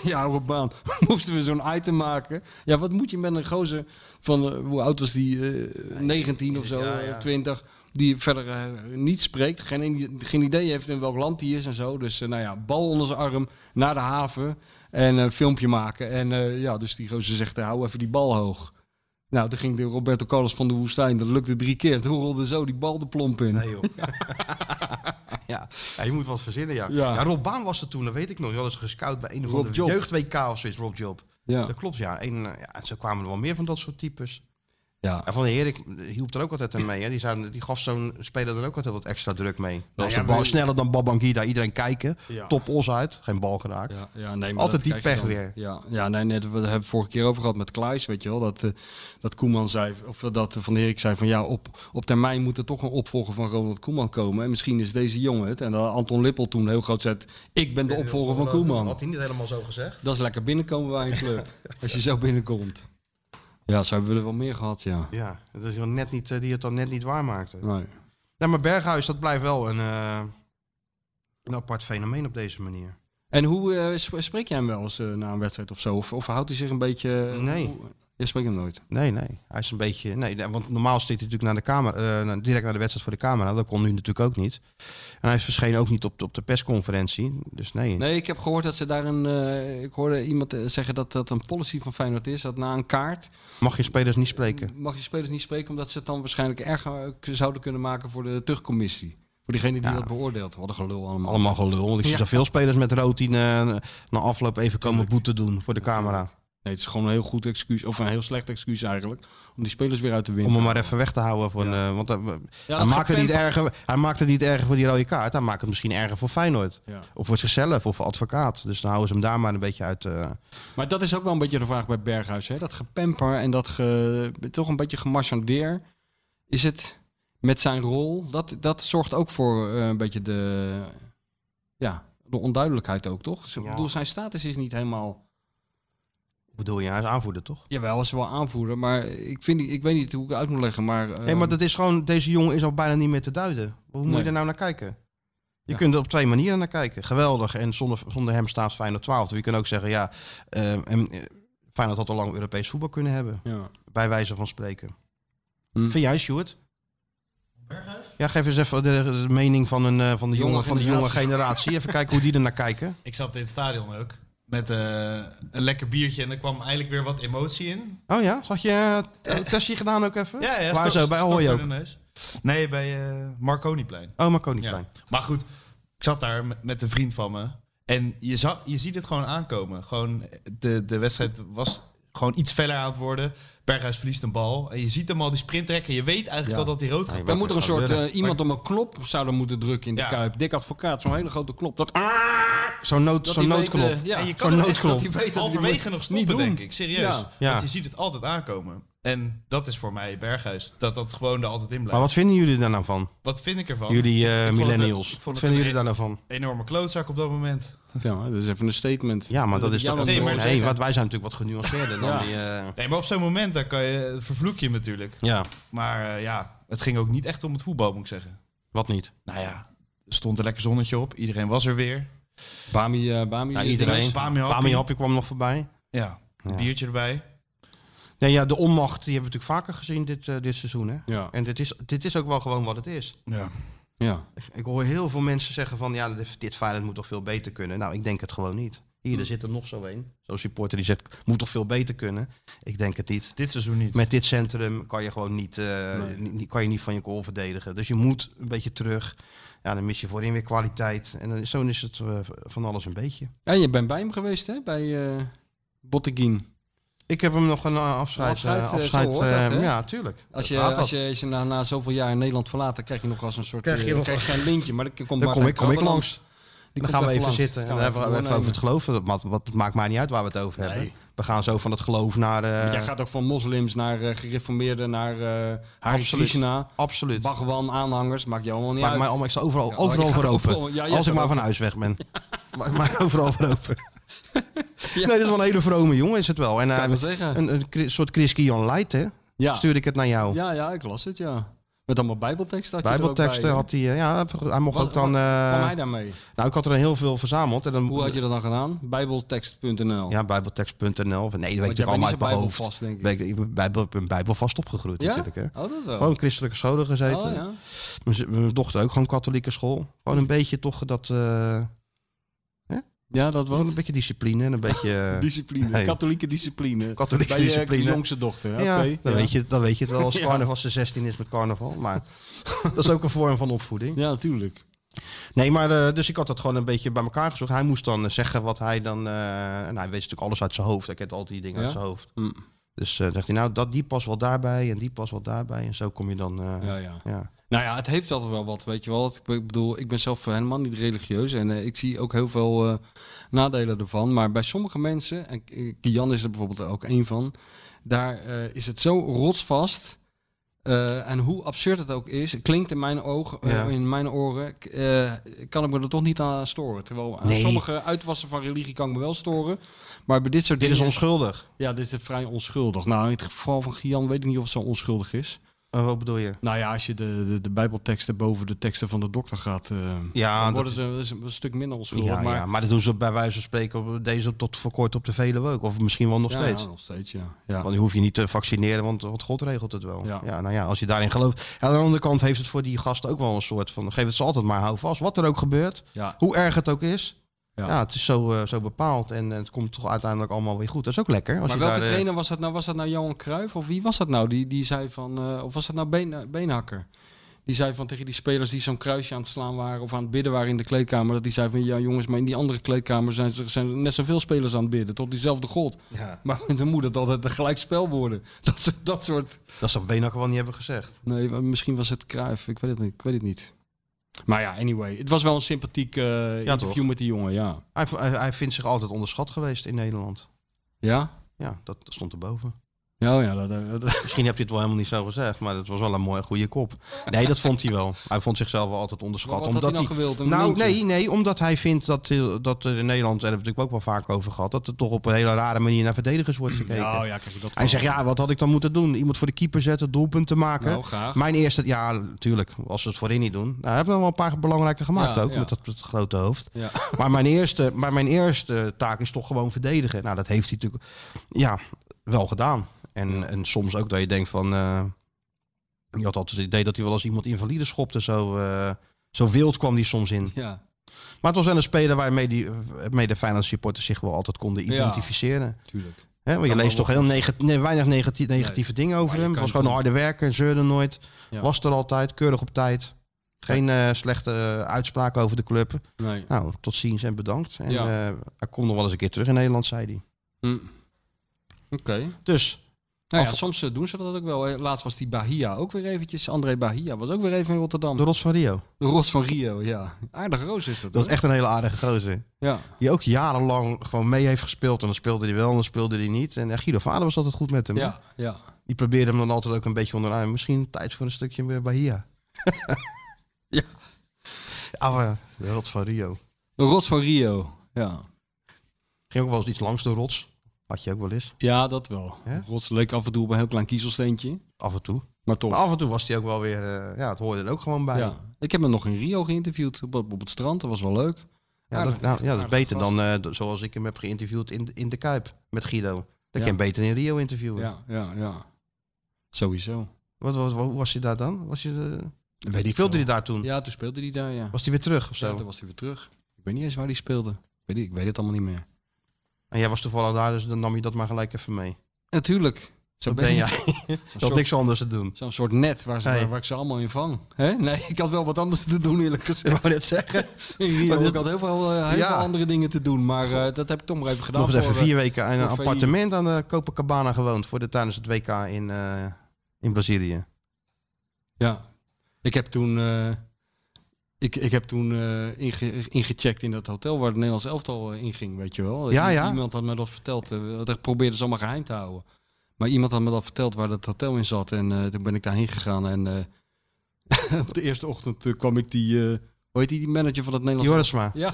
S3: Oh, ja, Robbaan. Moesten we zo'n item maken. Ja, wat moet je met een gozer van. eh, hoe oud was die? eh, 19 of zo,
S2: Ja,
S3: eh,
S2: ja.
S3: 20. Die verder eh, niet spreekt. Geen, geen idee heeft in welk land hij is en zo. Dus eh, nou ja, bal onder zijn arm. Naar de haven. En een filmpje maken. En eh, ja, dus die gozer zegt: eh, hou even die bal hoog. Nou, toen ging de Roberto Carlos van de Woestijn. Dat lukte drie keer. Toen rolde zo die bal de plomp in.
S2: Nee, joh. ja. Ja, je moet wat verzinnen, ja.
S3: Ja.
S2: ja. Rob Baan was er toen, dat weet ik nog. Die hadden ze gescout bij een of
S3: Rob
S2: andere
S3: Job.
S2: jeugd-WK of zoiets, Rob Job.
S3: Ja.
S2: Dat klopt, ja. En, eh, ja. en zo kwamen er wel meer van dat soort types.
S3: Ja.
S2: En van de Herik eh, hielp er ook altijd aan mee. Hè. Die, zou- die gaf zo'n speler er ook altijd wat extra druk mee. Dan was
S3: ja,
S2: de bal
S3: maar-
S2: sneller dan Babangida. Iedereen kijken.
S3: Ja.
S2: Top os uit. Geen bal geraakt.
S3: Ja, ja, nee, maar
S2: Altijd
S3: dat
S2: die
S3: krijg je
S2: pech
S3: dan.
S2: weer.
S3: Ja, ja nee, net, we hebben het vorige keer over gehad met Klaes, weet je wel. Dat, eh, dat Koeman zei, of dat Van der Erik zei van ja, op, op termijn moet er toch een opvolger van Ronald Koeman komen. En misschien is deze jongen het. En dan Anton Lippel toen heel groot zet, ik ben de opvolger van Koeman.
S2: Had hij niet helemaal zo gezegd.
S3: Dat is lekker binnenkomen bij een club, als je zo binnenkomt. Ja, zo hebben we er wel meer gehad, ja.
S2: Ja, dat is wel net niet, eh, die het dan net niet waar maakte.
S3: Nee.
S2: Ja, maar Berghuis, dat blijft wel een, eh, een apart fenomeen op deze manier.
S3: En hoe eh, sp- spreek jij hem wel eens eh, na een wedstrijd of zo? Of, of houdt hij zich een beetje... eh,
S2: Nee.
S3: Hoe- Je spreekt hem nooit.
S2: Nee, nee. Hij is een beetje. Nee, nee, want normaal steekt hij natuurlijk naar de camera, eh, naar- direct naar de wedstrijd voor de camera. Dat kon nu natuurlijk ook niet. En hij verscheen ook niet op de, op de persconferentie. Dus nee.
S3: Nee, ik heb gehoord dat ze daar een. eh, ik hoorde iemand eh, zeggen dat dat een policy van Feyenoord is. Dat na een kaart
S2: Mag je spelers niet spreken?
S3: mag je spelers niet spreken. Omdat ze het dan waarschijnlijk erger eh, k- zouden kunnen maken voor de terugcommissie. Voor diegene die
S2: Ja.
S3: dat beoordeelt. Wat een gelul allemaal.
S2: Allemaal gelul. Want ik zie
S3: Ja.
S2: zoveel spelers met rood die eh, na afloop even komen boete doen voor de camera.
S3: Nee, het is gewoon een heel goed excuus. Of een heel slecht excuus eigenlijk. Om die spelers weer uit te winnen.
S2: Om hem maar even weg te houden. Van, eh, want eh, we- hij,
S3: dat
S2: maakt het niet
S3: gepland-
S2: erger, hij maakt het niet erger voor die rode kaart. Hij maakt het misschien erger voor Feyenoord.
S3: Ja.
S2: Of voor zichzelf of voor advocaat. Dus dan houden ze hem daar maar een beetje uit. eh,
S3: Maar dat is ook wel een beetje de vraag bij Berghuis. Hè? Dat gepemper en dat ge- toch een beetje gemarchandeer. Is het met zijn rol? Dat, dat zorgt ook voor eh, een beetje de, ja, de onduidelijkheid ook, toch? Ik
S2: Ja.
S3: bedoel, zijn status is niet helemaal...
S2: Wat bedoel je? Hij is aanvoerder, toch?
S3: Jawel, hij is wel aanvoerder. Maar ik, vind, niet- ik weet niet hoe ik het uit moet leggen. Maar, eh,
S2: Nee, maar dat is gewoon, deze jongen is al bijna niet meer te duiden. Hoe moet
S3: Nee.
S2: je er nou naar kijken? Je
S3: Ja.
S2: kunt er op twee manieren naar kijken. Geweldig en zonder, zonder hem staat Feyenoord 12. Je kunt ook zeggen, ja, eh, en, eh, Feyenoord had al lang Europees voetbal kunnen hebben.
S3: ja.
S2: Bij wijze van spreken.
S3: Hm.
S2: Vind jij, Stuart? Ja, geef eens even de, de mening van, een, eh, van, de
S4: Jonge
S2: jonge, van de jonge
S4: generatie.
S2: generatie. Even kijken hoe die er naar kijken.
S10: Ik zat in het stadion ook. Met eh, een lekker biertje en er kwam eigenlijk weer wat emotie in.
S2: Oh ja, had je eh, een testje gedaan ook even?
S10: Ja, ja,
S2: Waar
S10: stok-
S2: zo, bij
S10: stok
S2: Ahoy
S10: door
S2: ook.
S10: de neus. Nee, bij eh Marconiplein.
S2: Oh, Marconiplein.
S10: Ja. Maar goed, ik zat daar met, met een vriend van me. En je, zag, je ziet het gewoon aankomen. Gewoon, de, de wedstrijd was gewoon iets feller aan het worden. Berghuis verliest een bal. En je ziet hem al die sprint trekken. Je weet eigenlijk
S3: Ja.
S10: al dat hij rood gaat.
S3: Dan moet er een soort eh,
S10: Maar-
S3: iemand om een knop zouden moeten drukken in de
S10: Ja.
S3: kuip. Dik advocaat, zo'n hele grote klop. Dat,
S2: Zo'n nood,
S3: dat
S2: zo'n
S3: hij weet,
S2: noodknop.
S3: eh, ja.
S10: en je
S2: zo'n
S10: kan ook echt dat
S2: noodknop.
S10: hij weet dat hij
S3: moet
S10: halverwege
S3: het
S10: nog
S3: niet
S10: stoppen,
S3: doen.
S10: denk ik. Serieus.
S3: Ja.
S2: Ja.
S10: Want je ziet het altijd aankomen. En dat is voor mij Berghuis. Dat dat gewoon er altijd in blijft.
S2: Maar wat vinden jullie daar nou van?
S10: Wat vind ik
S11: Oh.
S10: ervan?
S2: Jullie
S10: Ik
S2: eh,
S10: vond het een-
S2: millennials.
S10: ik vond
S2: Wat
S10: het
S2: vinden
S10: een
S2: jullie daar nou van?
S10: Enorme klootzak op dat moment.
S3: Ja, dat is even een statement.
S2: Ja, maar dat is
S3: Ja,
S2: toch
S3: maar-
S2: ook
S10: Nee,
S2: gewoon-
S10: maar
S2: hey,
S10: zeker.
S2: want wij zijn natuurlijk wat genuanceerder dan
S3: Ja.
S2: die... eh,
S10: Nee, maar op zo'n moment dan kan je, vervloek je hem natuurlijk.
S2: ja,
S10: Maar eh, ja, het ging ook niet echt om het voetbal, moet ik zeggen.
S2: wat niet.
S10: Nou ja, er stond een lekker zonnetje op. Iedereen was er weer.
S3: Bami, eh, Bami
S2: Ja,
S3: eh,
S2: iedereen.
S10: is Bami Happy.
S2: Bami Happy kwam nog voorbij.
S10: Ja, een
S2: Ja.
S10: biertje erbij.
S2: Nee, ja, de onmacht die hebben we natuurlijk vaker gezien dit, eh, dit seizoen. Hè?
S3: Ja.
S2: En dit is, dit is ook wel gewoon wat het is.
S10: Ja.
S3: Ja.
S2: Ik hoor heel veel mensen zeggen van... ja, dit, dit Feyenoord moet toch veel beter kunnen. Nou, ik denk het gewoon niet. Hier, er zit er nog zo een. Zo'n supporter die zegt, moet toch veel beter kunnen? Ik denk het niet.
S10: Dit seizoen niet.
S2: Met dit centrum kan je gewoon niet, eh, niet- niet- kan je niet van je goal verdedigen. Dus je moet een beetje terug. Ja, dan mis je voorin weer kwaliteit. En dan, zo is het eh, van alles een beetje.
S3: Ja, je bent bij hem geweest, hè? Bij eh, Botteguin.
S2: Ik heb hem nog een eh, afscheid.
S3: Afscheid,
S2: eh,
S3: eh,
S2: afscheid,
S3: zo hoort dat,
S2: eh,
S3: hè?
S2: ja, tuurlijk.
S3: Als je,
S2: Laat dat.
S3: als je, als je na, na zoveel jaar in Nederland verlaat, dan krijg je nog als een soort...
S2: Krijg
S3: Krijg
S2: je
S3: je
S2: nog-
S3: krijg geen lintje, maar dan komt
S2: Dan
S3: Martijn
S2: kom ik, kom ik
S3: Krabbe
S2: langs.
S3: Die
S2: dan
S3: komt
S2: gaan we even
S3: langs.
S2: zitten en
S3: Gaan
S2: dan hebben we
S3: even
S2: even, over het
S3: doornemen.
S2: geloof. Dat maakt, wat, het maakt mij niet uit waar we het over hebben. We gaan zo van het geloof naar... eh,
S3: Want jij gaat ook van moslims naar eh, gereformeerden, naar eh Hare
S2: Absoluut.
S3: Krishna.
S2: Absoluut.
S3: Bhagwan aanhangers, maakt je allemaal niet
S2: maakt
S3: uit.
S2: mij allemaal, ik sta overal,
S3: Ja, oh,
S2: overal
S3: je
S2: voor
S3: gaat
S2: open.
S3: overal- ja, jij
S2: Als ik
S3: staat
S2: maar van
S3: overal-
S2: huis weg ben. Maakt mij overal voor open.
S3: Ja.
S2: Nee, dit is wel een hele vrome jongen, is het wel. En,
S3: Kan
S2: eh,
S3: je wel zeggen.
S2: Een, een kri- soort Chris Kion Light, hè?
S3: Ja.
S2: Stuurde ik het naar jou.
S3: Ja, ja, ik las het, ja. Met allemaal bijbelteksten had je er ook
S2: Bijbelteksten
S3: bij.
S2: had hij... eh, Ja, hij mocht
S3: Wat-
S2: ook dan...
S3: wat-
S2: eh,
S3: kwam hij daarmee?
S2: Nou, ik had er heel veel verzameld. En dan,
S3: Hoe had je dat dan gedaan? Bijbeltekst.nl.
S2: Ja, bijbeltekst.nl. Of- Nee, dat weet
S3: Want
S2: je
S3: jij bent
S2: allemaal
S3: niet
S2: uit
S3: zo
S2: mijn hoofd.
S3: bijbelvast, denk ik.
S2: Ben ik ben bijbel, ik ben bijbelvast opgegroeid
S3: Ja?
S2: natuurlijk. Hè.
S3: Oh, dat wel.
S2: Gewoon christelijke scholen gezeten.
S3: Oh, ja.
S2: Mijn z- Mijn dochter ook gewoon katholieke school. Gewoon een beetje toch dat... eh, hè?
S3: Ja, dat was
S2: een beetje discipline en een beetje... eh,
S3: Discipline,
S2: nee.
S3: katholieke discipline.
S2: Katholieke
S3: Bij je
S2: discipline.
S3: jongste dochter,
S2: Ja,
S3: oké,
S2: dan,
S3: ja.
S2: Weet je, dan weet je het wel als
S3: Ja.
S2: carnaval als ze 16 is met carnaval. Maar dat is ook een vorm van opvoeding.
S3: Ja, natuurlijk.
S2: Nee, maar eh, dus ik had dat gewoon een beetje bij elkaar gezocht. Hij moest dan eh, zeggen wat hij dan... eh, en hij weet natuurlijk alles uit zijn hoofd. Hij kent al die dingen uit
S3: Ja?
S2: zijn hoofd.
S3: Mm.
S2: Dus eh dacht hij, nou, dat, die past wel daarbij en die past wel daarbij. En zo kom je dan... eh,
S3: Ja, ja.
S2: ja.
S3: Nou ja, het heeft altijd wel wat, weet je wel. Ik be- bedoel, ik ben zelf helemaal niet religieus en eh, ik zie ook heel veel eh, nadelen ervan. Maar bij sommige mensen, en eh, Kian is er bijvoorbeeld ook één van, daar eh, is het zo rotsvast. eh, en hoe absurd het ook is, het klinkt in mijn ogen, eh,
S2: Ja.
S3: in mijn oren, k- eh, kan ik me er toch niet aan storen. Terwijl aan
S2: Nee.
S3: sommige uitwassen van religie kan ik me wel storen. Maar bij dit soort
S2: Dit is
S3: dingen-
S2: onschuldig.
S3: Ja, dit is vrij onschuldig. Nou, in het geval van Gian weet ik niet of het zo onschuldig is.
S2: Eh, wat bedoel je?
S3: Nou ja, als je de, de, de bijbelteksten boven de teksten van de dokter gaat, eh,
S2: Ja,
S3: dan
S2: dat
S3: wordt het een, is een, een stuk minder onschuldig.
S2: ja,
S3: maar,
S2: maar... Ja, maar dat doen ze bij wijze van spreken op deze tot voor kort op de Veluwe ook. Of misschien wel nog
S3: Ja,
S2: steeds.
S3: ja, nog steeds, ja. Ja.
S2: Want je hoeft je niet te vaccineren, want, want God regelt het wel. Ja.
S3: Ja.
S2: nou ja, als je daarin gelooft. Ja, aan de andere kant heeft het voor die gasten ook wel een soort van... Geef het ze altijd maar, hou vast. Wat er ook gebeurt,
S3: Ja.
S2: hoe erg het ook is. Ja,
S3: Ja.
S2: het is zo, eh, zo bepaald en eh, het komt toch uiteindelijk allemaal weer goed. Dat is ook lekker. Als
S3: maar
S2: je
S3: welke
S2: daar, eh,
S3: trainer was dat nou? Was dat nou Johan Cruijff of wie was dat nou? Die, die zei van, eh, of was dat nou Been, Beenhakker? Die zei van tegen die spelers die zo'n kruisje aan het slaan waren of aan het bidden waren in de kleedkamer. Dat die zei van, ja jongens, maar in die andere kleedkamer zijn, ze- zijn net zoveel spelers aan het bidden. Tot diezelfde God.
S2: Ja.
S3: Maar dan moet het altijd een gelijk spel worden. Dat, soort- dat soort...
S2: Dat zou Benakker wel niet hebben gezegd.
S3: Nee, maar misschien was het Cruijff. Ik weet het niet. Ik weet het niet. Maar ja, anyway. Het was wel een sympathiek eh, interview
S2: toch?
S3: met die jongen, ja.
S2: Hij, hij, hij vindt zich altijd onderschat geweest in Nederland.
S3: Ja?
S2: Ja, dat stond erboven.
S3: Ja, oh ja. Dat, dat- dat-
S2: Misschien heb je het wel helemaal niet zo gezegd, maar dat was wel een mooie goede kop. Nee, dat vond hij wel. Hij vond zichzelf wel altijd onderschat.
S3: Wat had
S2: omdat
S3: hij nou gewild? Een
S2: nou,
S3: lintje?
S2: nee, nee, omdat hij vindt dat, eh, dat er in Nederland, daar hebben we het natuurlijk ook wel vaak over gehad, dat er toch op een hele rare manier naar verdedigers wordt gekeken.
S3: Ja, Oh ja, krijg je dat
S2: hij
S3: van.
S2: zegt, ja, wat had ik dan moeten doen? Iemand voor de keeper zetten, doelpunt te maken.
S3: Nou, graag.
S2: Mijn eerste, ja, natuurlijk, als ze het voorin niet doen. Nou, hebben we wel een paar belangrijke gemaakt
S3: Ja,
S2: ook,
S3: ja.
S2: met dat, dat grote hoofd.
S3: Ja.
S2: Maar mijn, eerste, maar mijn eerste taak is toch gewoon verdedigen. Nou, dat heeft hij natuurlijk ja, wel gedaan. En, en soms ook dat je denkt van... eh, je had altijd het idee dat hij wel eens iemand invalide schopte. Zo, eh, zo wild kwam hij soms in.
S3: ja.
S2: Maar het was wel een speler waarmee die, mee de Finance supporters zich wel altijd konden
S3: Ja.
S2: identificeren.
S3: Tuurlijk.
S2: Hè, want je
S3: Kan
S2: leest
S3: wel
S2: toch heel nega- nee, weinig negati- negatieve dingen over
S3: je
S2: hem.
S3: kan
S2: Was
S3: het
S2: gewoon een
S3: doen.
S2: harde werker, zeurde nooit.
S3: Ja.
S2: Was er altijd, keurig op tijd. Geen eh, slechte eh, uitspraken over de club.
S3: Nee.
S2: Nou, tot ziens en bedankt. En
S3: Ja.
S2: eh, hij komt nog wel eens een keer terug in Nederland, zei hij.
S3: Hm. Oké.
S2: Dus,
S3: Nou ja,
S2: Af-
S3: soms eh, doen ze dat ook wel. hè. Laatst was die Bahia ook weer eventjes. André Bahia was ook weer even in Rotterdam.
S2: de Rots van Rio.
S3: De Ros van Rio, ja. Aardig roos is dat.
S2: Dat is
S3: hoor.
S2: echt een hele aardige gozer.
S3: Ja.
S2: Die ook jarenlang gewoon mee heeft gespeeld. En dan speelde hij wel en dan speelde hij niet. En eh, Guido Vader was altijd goed met hem. hè?
S3: Ja, ja.
S2: Die probeerde hem dan altijd ook een beetje onderuit. Misschien tijd voor een stukje meer Bahia.
S3: Ja.
S2: Ah, maar de rots van Rio.
S3: De Ros van Rio, ja.
S2: Ging ook wel eens iets langs de rots. Had je ook wel eens.
S3: Ja, dat wel.
S2: Ja?
S3: Rots leek af en toe op een heel klein kiezelsteentje.
S2: Af en toe.
S3: Maar toch.
S2: Maar af en toe was hij ook wel weer... eh, ja, het hoorde er ook gewoon bij.
S3: Ja. Ik heb hem nog in Rio geïnterviewd op, op het strand. Dat was wel leuk.
S2: Ja, dat, nou, ja, dat is beter dan eh, d- zoals ik hem heb geïnterviewd in, de- in de Kuip met Guido. Dan kan je hem beter in Rio interviewen.
S3: Ja, ja, ja. Sowieso.
S2: Wat, wat- hoe was hij daar dan? Was je de...
S3: Weet ik
S2: Speelde
S3: veel.
S2: hij daar toen?
S3: Ja, toen speelde hij daar, ja.
S2: Was hij weer terug of zo?
S3: Ja, toen was hij weer terug. Ik weet niet eens waar hij speelde. Ik weet, ik weet het allemaal niet meer.
S2: En jij was toevallig daar, dus dan nam je dat maar gelijk even mee.
S3: Natuurlijk. Zo
S2: Dat ben jij. Je had niks anders te doen.
S3: Zo'n soort net waar, ze,
S2: Nee.
S3: waar, waar ik ze allemaal in vang. Hè? Nee, ik had wel wat anders te doen eerlijk gezegd.
S2: Ik wou net zeggen.
S3: Hier,
S2: Maar dit-
S3: ik had heel veel, eh, heel
S2: Ja.
S3: veel andere dingen te doen, maar eh, dat heb ik toch maar even gedaan.
S2: Nog eens even
S3: voor, eh,
S2: vier weken in een
S3: voor VI.
S2: appartement aan de Copacabana gewoond. Voor de tijdens het WK in, eh, in Brazilië.
S3: Ja, ik heb toen, eh, ik, ik heb toen eh, inge- ingecheckt in dat hotel waar het Nederlands elftal eh, inging, weet je wel.
S2: Ja,
S3: I-
S2: ja.
S3: Iemand had me dat verteld, eh, dat probeerde ze allemaal geheim te houden. Maar iemand had me dat verteld waar dat hotel in zat en eh, toen ben ik daarheen gegaan en eh, op de eerste ochtend eh, kwam ik die, eh, hoe heet die, die manager van het Nederlands
S2: Jorisma.
S3: Ja.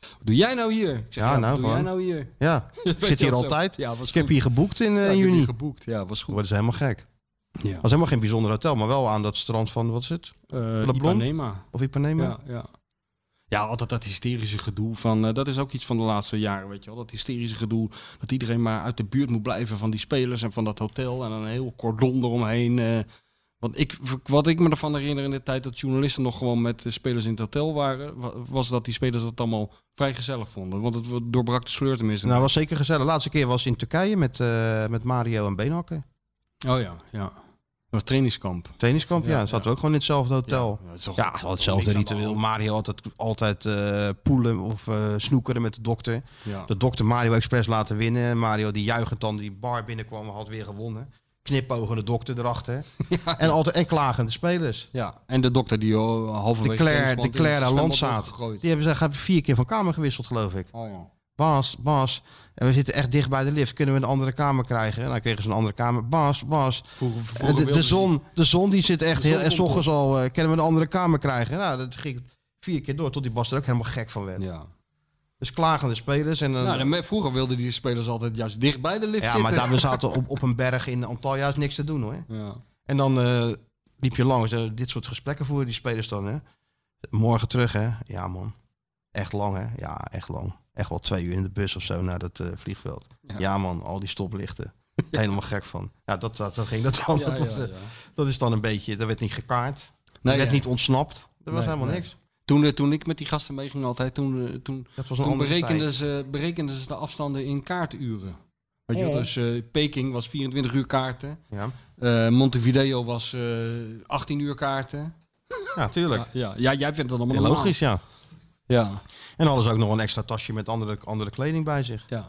S3: Wat doe jij nou hier? Ik zeg,
S2: Ja,
S3: ja,
S2: nou
S3: wat doe jij
S2: gewoon.
S3: nou hier?
S2: Ja,
S3: Weet
S2: ik zit
S3: je
S2: hier
S3: wel zo.
S2: altijd.
S3: Ja, was
S2: ik heb
S3: goed.
S2: hier geboekt in eh,
S3: Ja, ik heb hier
S2: juni. Oh,
S3: geboekt, ja, was goed.
S2: Dat is helemaal gek.
S3: Ja.
S2: was helemaal geen bijzonder hotel, maar wel aan dat strand van, wat is het?
S3: Eh,
S2: Leblon?
S3: Ipanema.
S2: Of Ipanema?
S3: Ja, ja. ja, altijd dat hysterische gedoe van... eh, dat is ook iets van de laatste jaren, weet je wel. Dat hysterische gedoe dat iedereen maar uit de buurt moet blijven van die spelers en van dat hotel. En dan een heel cordon eromheen. eh. want ik, wat ik me ervan herinner in de tijd dat journalisten nog gewoon met eh, spelers in het hotel waren... wa- was dat die spelers dat allemaal vrij gezellig vonden. Want het doorbrak de sleur tenminste.
S2: Nou, was zeker gezellig. De laatste keer was in Turkije met, eh, met Mario en Beenhakker.
S3: Oh ja, ja. Dat was trainingskamp.
S2: Trainingskamp, ja.
S3: Ja,
S2: Dan zaten we ook gewoon in hetzelfde hotel.
S3: Ja,
S2: Ja,
S3: het is toch-
S2: het wel hetzelfde
S3: niks aan de
S2: ritueel. Mario altijd, altijd eh, poelen of eh, snoekeren met de dokter.
S3: Ja.
S2: De dokter Mario Express laten winnen. Mario die juichend dan die bar binnenkwam, had weer gewonnen. Knipogen de dokter erachter. En, altijd, en klagende spelers.
S3: Ja, en de dokter die oh,
S2: De
S3: halverwege...
S2: Claire, de
S3: trainingskamp in het
S2: Claire
S3: zwembad
S2: Landzaat.
S3: gegooid.
S2: Die hebben ze gaan vier keer van kamer gewisseld, geloof ik.
S3: Oh ja.
S2: Bas, Bas. En we zitten echt dicht bij de lift. Kunnen we een andere kamer krijgen? En dan kregen ze een andere kamer. Bas, Bas.
S3: vroeger
S2: de, de
S3: wilden ze-
S2: zon, de zon die zit echt
S3: De zon
S2: heel... En s
S3: komt
S2: ochtends al eh, kunnen we een andere kamer krijgen. Nou, dat ging vier keer door. Tot die Bas er ook helemaal gek van werd.
S3: Ja.
S2: Dus klagende spelers. En, dan-
S3: Nou, de me- vroeger wilden die spelers altijd juist dicht bij de lift
S2: Eh, ja,
S3: zitten.
S2: maar daar we zaten op, op een berg in Antalya is niks te doen hoor.
S3: Ja.
S2: En dan eh, liep je langs. eh, dit soort gesprekken voeren die spelers dan hè. Morgen terug hè. Ja man. Echt lang hè. Ja, echt lang. Echt wel twee uur in de bus of zo naar dat eh, vliegveld. Ja. man, al die stoplichten. Helemaal gek van. Ja, dat, dat, dat ging dat dan.
S3: Ja,
S2: dat, was,
S3: ja,
S2: eh,
S3: ja.
S2: dat is dan een beetje, dat werd niet gekaart.
S3: Nee,
S2: dat werd
S3: ja.
S2: niet ontsnapt. Dat was
S3: Nee,
S2: helemaal
S3: nee.
S2: niks.
S3: Toen, eh, toen ik met die gasten meeging altijd, toen, eh, toen,
S2: Dat was een
S3: toen
S2: andere
S3: berekenden,
S2: tijd.
S3: ze, berekenden ze de afstanden in kaarturen. Weet je wel,
S2: Ja.
S3: dus eh, Peking was 24 uur kaarten.
S2: Ja.
S3: Eh, Montevideo was eh, 18 uur kaarten.
S2: Ja, tuurlijk.
S3: Ja, ja. Ja, jij vindt dat allemaal
S2: Ja,
S3: normaal.
S2: logisch, ja.
S3: Ja.
S2: En alles ook nog een extra tasje met andere, andere kleding bij zich.
S3: Ja,